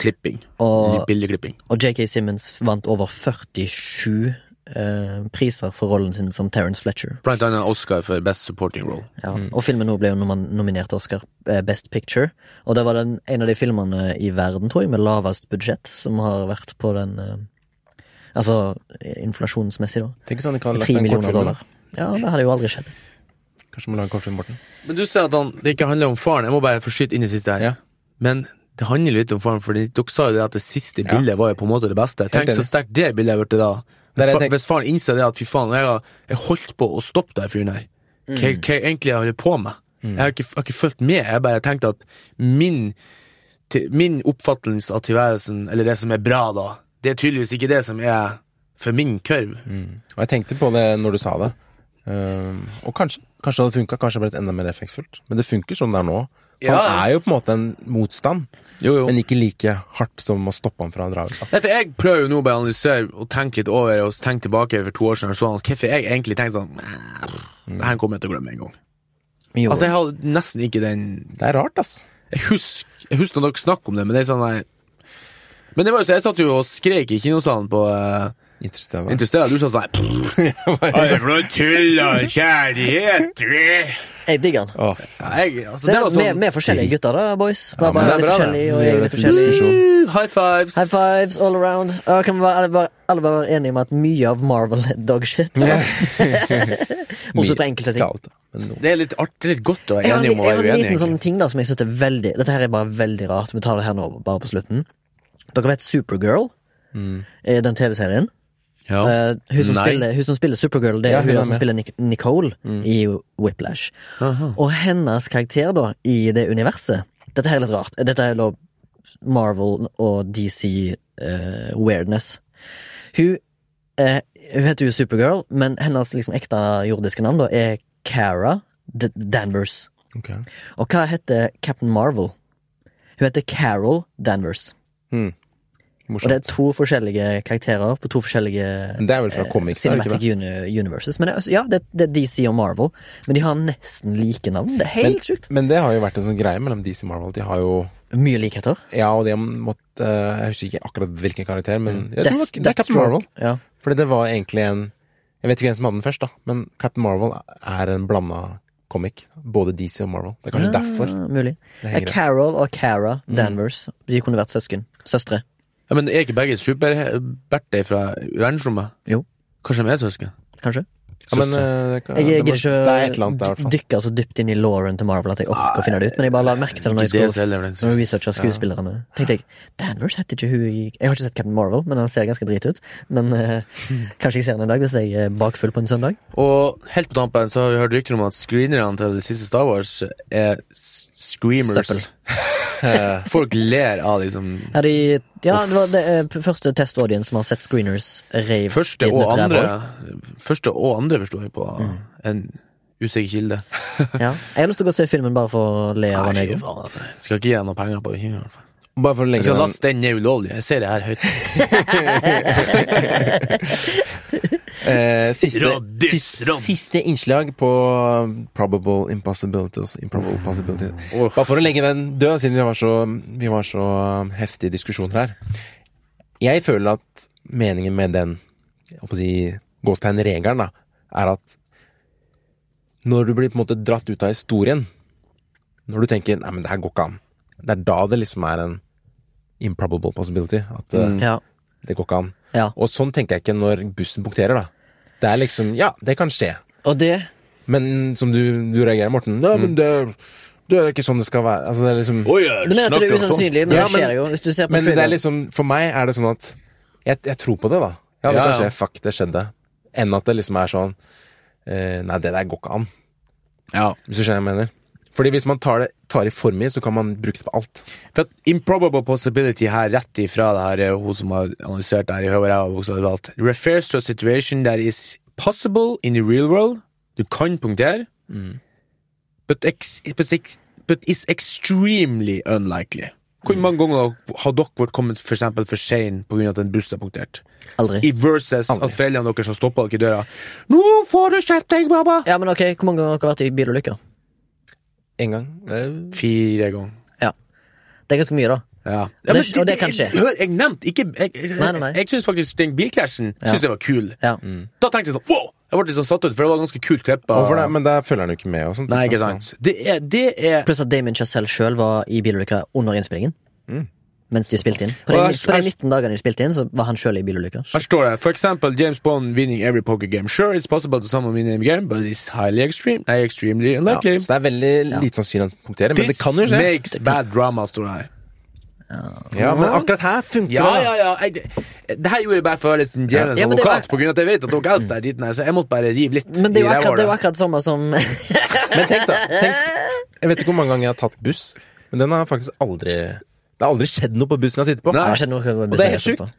B: klipping,
A: Og,
B: bildeklipping.
A: og JK Simmons vant over 47 eh, priser for rollen sin som Terence Fletcher.
B: Blant annet Oscar for best supporting role.
A: Ja. Og filmen nå ble jo nomin- nominert til Oscar eh, Best Picture. Og det var den, en av de filmene i verden, tror jeg, med lavest budsjett som har vært på den eh, Altså inflasjonsmessig, da.
C: Tenk hvis han ikke hadde lagt
A: Tre
C: den
A: millioner
C: kortfilmen.
A: dollar. Ja, det hadde jo aldri skjedd.
C: Kanskje må lage en kortfilm, Morten.
B: Men du sier at han, det ikke handler om faren. Jeg må bare få skyte inn i siste her.
C: Ja.
B: Men det handler litt om faren, for dere sa jo det at det siste bildet var jo på en måte det beste. Tenk
C: enig.
B: så sterkt det bildet ble da.
C: Det
B: Hvis,
C: er det jeg
B: fa
C: tenker.
B: hvis faren innser det at fy faen, jeg har jeg holdt på å stoppe den fyren her. Hva hva jeg egentlig holder på med? Jeg har ikke, jeg har ikke fulgt med. Jeg har bare tenkt at min, til, min oppfattelse av tilværelsen, eller det som er bra da, det er tydeligvis ikke det som er for min kurv.
C: Og jeg tenkte på det når du sa det. Ehm, og kanskje, kanskje det hadde funka, kanskje det hadde blitt enda mer effektfullt. Men det funker som det er nå. For han
F: Ja.
C: er jo på en måte en motstand,
B: Jo, jo.
C: men ikke like hardt som å stoppe ham fra å dra ut. da.
B: Nei, for jeg prøver jo nå å bare analysere og tenke litt over og tenke tilbake for to år siden. og Sånn, hvorfor jeg egentlig tenkte sånn "Nei, pff, Det her kommer jeg til å glemme en gang.
A: Mm. Jo.
B: Altså, jeg har nesten ikke den
C: Det er rart, ass.
B: Jeg husker, jeg husker når dere snakker om det, men det er sånn nei. Men det var jo så, jeg satt jo og skrek i kinosalen på uh,
C: Interstellar.
B: Interstellar. Du sa sånn "Pff, Hva er det for noe tull og kjærlighet?
A: Jeg digger den.
C: Åh, f-
B: Ja, jeg, altså,
A: Så
B: det
A: det
B: var
A: med,
B: sånn
A: med forskjellige gutter, da, boys.
C: Ja,
A: Bare,
C: men
A: bare
C: det er
A: litt
C: bra, det.
A: forskjellig, og
C: Det
A: jeg er
C: gjør det
A: litt
C: til en
A: forskjellig.
C: diskusjon.
B: High fives.
A: High fives all around. Ja, kan vi bare, alle, bare, alle bare være enige om at mye av Marvel er dogshit? Bortsett fra enkelte ting.
C: Ikke alt, da, men noe.
B: Det er litt artig, litt godt å
A: Jeg
B: være
A: har, en-
B: enig om å
A: jeg har en
B: være uenig.
A: liten
B: egentlig.
A: sånn ting da som jeg synes er veldig Dette her er bare veldig rart. Vi tar det her nå bare på slutten. Dere vet Supergirl?
C: Mm.
A: Eh, Den TV-serien.
B: Ja.
A: Eh, hun, som
B: Nei.
A: spiller, hun som spiller Supergirl, det er
C: Ja,
A: hun,
C: hun er
A: som
C: med. Mm.
A: spiller Nic- Nicole i Whiplash. Og hennes karakter da i det universet Dette her er litt rart. Dette er da Marvel og DC eh, weirdness. Hun, eh, hun heter jo Supergirl, men hennes liksom, ekte jordiske navn da er Cara D Danvers.
C: Ok.
A: Og hva heter Captain Marvel? Hun heter Carol Danvers. Og det er
C: Morsomt.
A: to forskjellige karakterer på to forskjellige
C: Men det er vel fra comics? er det ikke
A: Cinematic
C: det?
A: Uni Universes. Men det, er altså- ja, det, det er DC og Marvel, men de har nesten like navn. Det er helt sjukt.
C: Men det har jo vært en sånn greie mellom DC og Marvel. De har jo
A: Mye likheter.
C: Ja, og de måtte eh, Jeg husker ikke akkurat hvilken karakter, men jeg tror
A: Mm.
C: det
A: Death-
C: var- det er Captain
A: Deathstroke.
C: Marvel.
A: Ja.
C: Fordi det var egentlig en Jeg vet ikke hvem som hadde den først, da, men Captain Marvel er en blanda comic. Både DC og Marvel. Det er kanskje
A: Ja,
C: derfor.
A: Ah, mulig.
C: Det Mm.
A: Ja,
C: henger der.
A: Carol og Cara Danvers. De kunne vært søsken. Søstre.
B: Ja, men er ikke begge superberter fra verdensrommet?
A: Jo.
B: Kanskje de er søsken?
A: Kanskje.
C: Ja, men, eh, det kan-
A: Jeg
C: det
A: gidder
C: må- Det er et
A: ikke
C: eller
A: å
C: annet der, i hvert
A: d-
C: fall.
A: dykke så dypt inn i lauren til Marvel at jeg orker å finne det ut, men jeg bare la merke til det når
B: Ikke
A: jeg
B: det selv,
A: skulle
B: er det en
A: Når jeg researcha skuespillerne. Tenkte jeg Danvers heter ikke hun i Jeg har ikke sett Captain Marvel, men han ser ganske drit ut. Men eh, kanskje jeg ser henne en dag hvis jeg er bakfull på en søndag.
B: Og helt på tampen så har vi hørt rykter om at screenerne til det siste Star Wars er s-
A: Søppel.
B: screamers. Folk ler av liksom
A: Ja, de, ja det var det eh, p- første testaudience som har sett Screeners rave.
B: Første
A: i
B: og
A: den
B: andre
A: ræva.
B: Første og andre forsto jeg på en usikker kilde.
A: Mm. Ja. Jeg har lyst til å gå og se filmen bare for å le av han
B: Nei,
A: jeg
B: fy faen, altså. Jeg Skal ikke gi noe penger på det. i hvert fall.
C: Bare for å
A: Altså,
B: Jeg
C: legge
B: skal
C: den
B: laste den ned ulovlig. Jeg ser det her høyt.
C: eh, siste,
B: Radis,
C: siste,
B: rad.
C: siste innslag på um, Probable Impossibilities. Improbable Possibilities.
B: Åh.
C: Bare for å legge den død, siden vi var så, vi var så um, heftige diskusjoner her. Jeg føler at meningen med den jeg håper å si, gåstegn-regelen da, er at når du blir på en måte dratt ut av historien, når du tenker 'nei, men det her går ikke an', det er da det liksom er en improbable possibility. At eh,
A: Ja.
C: det går ikke an.
A: ja.
C: Og sånn tenker jeg ikke når bussen punkterer, da. Det er liksom Ja, det kan skje.
A: Og det
C: Men som du, du reagerer, Morten Ja,
B: Mm.
C: men det, det er ikke sånn det skal være. Altså, det er liksom
B: Oi, jeg
A: Du mener at det er
B: snakker om-
A: usannsynlig, men
C: Ja,
A: det skjer
C: men-
A: jo. Hvis du ser på
C: Men det er
A: trailer.
C: liksom For meg er det sånn at jeg, jeg tror på det, da. Ja, det
B: Ja,
C: kan
B: ja.
C: skje. Fuck, det skjedde. Enn at det liksom er sånn eh, Nei, det der går ikke an.
B: Ja.
C: Hvis du skjønner hva jeg mener. Fordi hvis man tar det tar i for mye, så kan man bruke det på alt.
B: For at improbable possibility her, rett ifra det her, eh, hun som har analysert det her i Høver, jeg også hadde valgt, refers to a situation that is possible in the real world, du kan punktere, but, ex, but, ex, but is extremely unlikely. Hvor mange ganger har dere vært kommet for eksempel for sent på grunn av at en buss er punktert?
A: Aldri.
B: I versus
C: Aldri.
B: at foreldrene deres har stoppa dere i døra. 'Nå får du skjerpe deg, baba!'
A: Ja, men ok, Hvor mange ganger har dere vært i bilulykker?
C: En gang. Eh,
B: Fire ganger.
A: Det er ganske mye, da.
B: Ja.
A: det- og det kan skje.
B: Hør, jeg nevnte ikke Jeg, jeg,
A: Nei, nei, nei.
B: jeg syns faktisk den bilkrasjen
A: Ja. Mm.
B: synes jeg var kul.
A: Ja.
C: Mm.
B: Da tenkte jeg sånn wow! Jeg ble litt sånn satt ut, for det var ganske kult klippa.
C: Hvorfor det? Men der følger han jo ikke med og sånt. liksom,
B: Nei, ikke sant. Det er, det er
A: Pluss at Damien Chazelle sjøl var i bilulykka under innspillingen.
C: Mm.
A: Mens de spilte inn. På de,
B: Og jeg-
A: på de
B: jeg-
A: 19 dagene de spilte inn, så var han sjøl i bilulykka.
B: Her står det for eksempel James Bond winning every poker game. Sure, it's possible to someone win any game, but it's highly extreme. Nei, extremely
C: Ja, så
B: unlikely.
C: det er veldig lite sannsynlig at han punkterer, men det
B: This
C: kan jo skje.
B: makes bad drama, står det her.
C: Ja, men akkurat her funker
B: Ja,
C: det. da.
B: ja, ja. Jeg, det her gjorde jeg bare for å være litt sånn djevelens
A: Ja, men det
B: advokat,
A: var- Mm.
B: på grunn av at jeg vet at dere elsker den driten her, så jeg måtte bare rive litt
A: Men det er jo
B: i
A: akkurat, det er jo
B: rævhålet.
A: akkurat samme som
C: Men tenk da, tenk, s- jeg vet ikke hvor mange ganger jeg har tatt buss, men den har faktisk aldri Det har aldri skjedd noe på bussen jeg har sittet på.
B: Nei.
A: Jeg har sett noe
C: Og det er helt
A: jeg har sett på.
C: sjukt.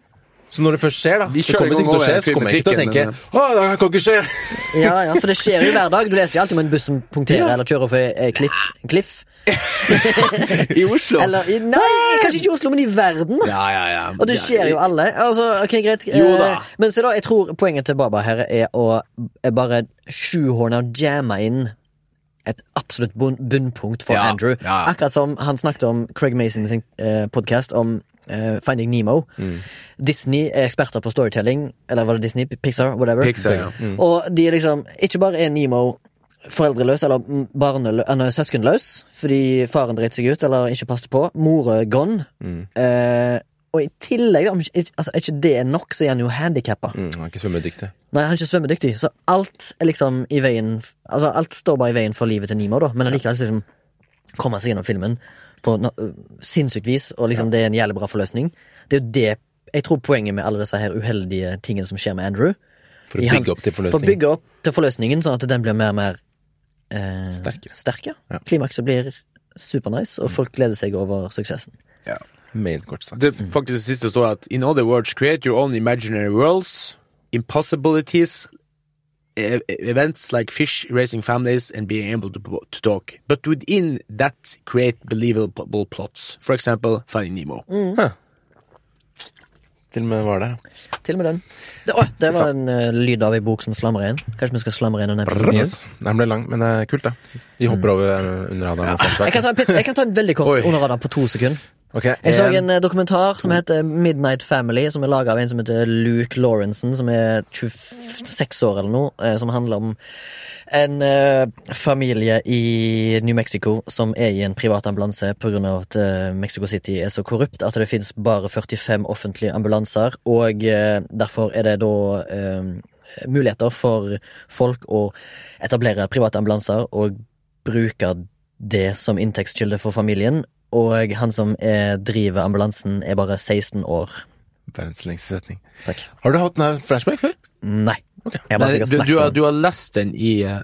C: Så når det først skjer, da
D: Vi
C: Det
D: kjører
C: kommer
D: i gang
C: sikkert til
D: over
C: å skje,
D: en
C: så
D: fyr
C: kommer
D: med
C: jeg ikke til å tenke
D: trikken,
C: Å, det her kan ikke skje!
A: Ja, ja, for det skjer jo hver dag. Du leser jo alltid om en buss som punkterer eller kjører over en kliff. kliff.
B: I Oslo?
A: Eller i, Nei, kanskje ikke i Oslo, men i verden. da.
D: Ja, ja, ja.
A: Og det skjer jo alle. Altså, ok, greit
B: Jo da.
A: Eh, Men se da, jeg tror poenget til Baba her er å eh, bare sjuhorne og jamme inn et absolutt bun bunnpunkt for
D: Ja,
A: Andrew.
D: ja.
A: Akkurat som han snakket om Craig Mason sin eh, podkast om eh, Finding Nemo.
D: Mm.
A: Disney er eksperter på storytelling. Eller var det Disney? Pixar? Whatever.
D: Pixar, ja. Mm.
A: Og de er liksom Ikke bare er Nemo foreldreløs eller mm, barnelø- eller søskenløs fordi faren dreit seg ut eller ikke passet på. Mora er gone. Eh, og i tillegg, da, om ikke, ikke- altså, er ikke det nok, så er han jo handikappa.
C: Mm, han er ikke svømmedyktig.
A: Nei, han er ikke svømmedyktig, så alt er liksom i veien f- Altså, alt står bare i veien for livet til Nemo, da, men allikevel så liksom komme seg gjennom filmen på no øh, sinnssykt vis, og liksom det er en jævlig bra forløsning. Det er jo det jeg tror poenget med alle disse her uheldige tingene som skjer med Andrew,
C: For å
A: I
C: bygge
A: hans-
C: opp til
A: for å
C: forløsningen.
A: bygge opp til forløsningen, sånn at den blir mer og mer eh,
C: Sterk.
A: sterk, ja.
C: Ja.
A: Klimakset blir supernice, og folk gleder seg over suksessen.
C: Main, kort sagt.
D: Det er faktisk det siste står at In other words, create your own imaginary worlds, impossibilities, e- events like fish, raising families, and being able to, to talk. But within that, create believable plots. For example, Finding Nemo.
A: Mm.
C: Til og med var det.
A: Til og med den. Det, å, det var en eh, lyd av ei bok som slamrer inn. Kanskje vi skal slamre inn en episode? igjen?
C: Yes. Den ble lang, men det er kult, da. Vi hopper over eh, under radaren.
A: Jeg kan, ta en, pit- jeg kan ta en veldig kort
D: Oi.
A: under radaren på to sekunder.
C: Ok,
A: Jeg så
C: en-
A: en eh, dokumentar som heter Midnight Family, som er laga av en som heter Luke Lawrenson, som er 26 år eller noe, eh, som handler om en eh, familie i New Mexico som er i en privat ambulanse pga. at eh, Mexico City er så korrupt at det finnes bare 45 offentlige ambulanser, og eh, derfor er det da eh, muligheter for folk å etablere private ambulanser og bruke det som inntektskilde for familien. Og han som er, driver ambulansen, er bare 16 år.
C: Verdens lengste setning.
A: Takk.
C: Har du hatt den her flashback før?
A: Nei. Jeg har bare
D: Nei,
A: sikkert
D: du, du,
A: snakket
D: har,
A: om
D: du har lest den i eh,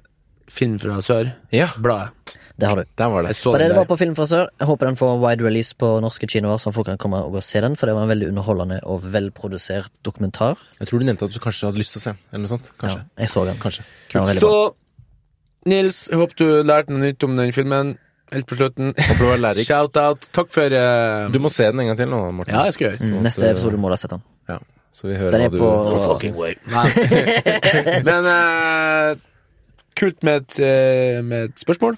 D: Finn fra sør?
C: Ja,
D: Bladet.
A: det. har du.
C: der var
D: Jeg
C: det.
D: så
A: Og det
D: den
A: var
D: der.
A: på Film fra Sør. Jeg håper den får wide release på norske kinoer, så folk kan komme og se den. For det var en veldig underholdende og velprodusert dokumentar.
C: Jeg tror du nevnte at du kanskje hadde lyst til å se den, eller noe sånt.
A: Ja,
C: Kanskje.
A: jeg så den.
C: Kanskje.
A: Den var veldig bra.
D: Så Nils, jeg håper du lærte noe nytt om den filmen. Helt på slutten.
C: Håper det var lærerikt.
D: Shout-out. Takk for eh,
C: Du må se den en gang til nå, Morten.
D: Ja, jeg skal gjøre det.
C: så at,
A: Mm, Neste
C: eh,
A: episode må du ha sett den.
C: Ja. Så vi hører
A: Den er
C: hva du
A: på-
C: Fuck.
D: Nei. Men eh, kult med et, eh, med et spørsmål.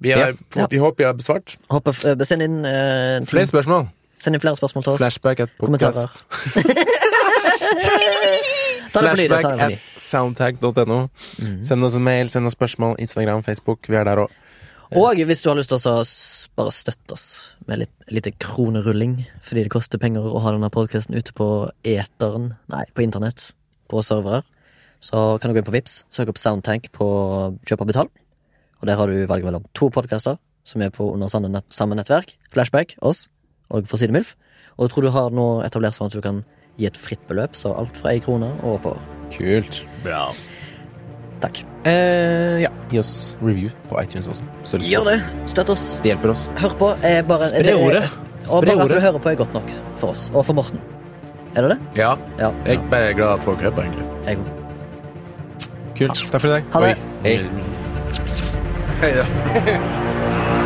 D: Vi, har,
C: Ja.
A: Ja.
D: vi håper vi har besvart.
A: Håper, f- eh, send, inn, eh,
C: Flere spørsmål.
A: send inn flere spørsmål til oss.
C: Flashback at
A: Kommentarer.
C: podcast.
A: Ta det på ny. da, Ta
C: Flashback
A: det på Mhm.
C: at
A: ny.
C: soundtag.no. Send oss en mail, send oss spørsmål. Instagram, Facebook. Vi er der òg.
A: Og hvis du har lyst til å s- bare støtte oss med litt lite kronerulling, fordi det koster penger å ha denne podkasten ute på eteren, nei, på internett, på servere, så kan du gå inn på Vips, søke opp Soundtank på kjøp og betal, og der har du valget mellom to podkaster som er på under samme nett- samme nettverk, Flashback, oss, og For Sidemilf, og jeg tror du har nå etablert sånn at du kan gi et fritt beløp, så alt fra ei krone og oppover.
C: Kult.
A: Takk.
C: Eh, ja. Gi oss review på iTunes også. Så lyst til.
A: Gjør det! Støtt oss.
C: Det hjelper oss.
A: Hør på er bare
C: Spre
A: det er-
C: ordet.
A: Og
C: Spre
A: bare at du
C: ordet.
A: hører på er godt nok for oss. Og for Morten. Er det det?
D: Ja.
A: Ja.
D: Jeg er bare glad for klippa, egentlig.
A: Jeg òg.
C: Kult. Takk for i dag.
A: Ha det.
C: Hei.
D: Hei, ja.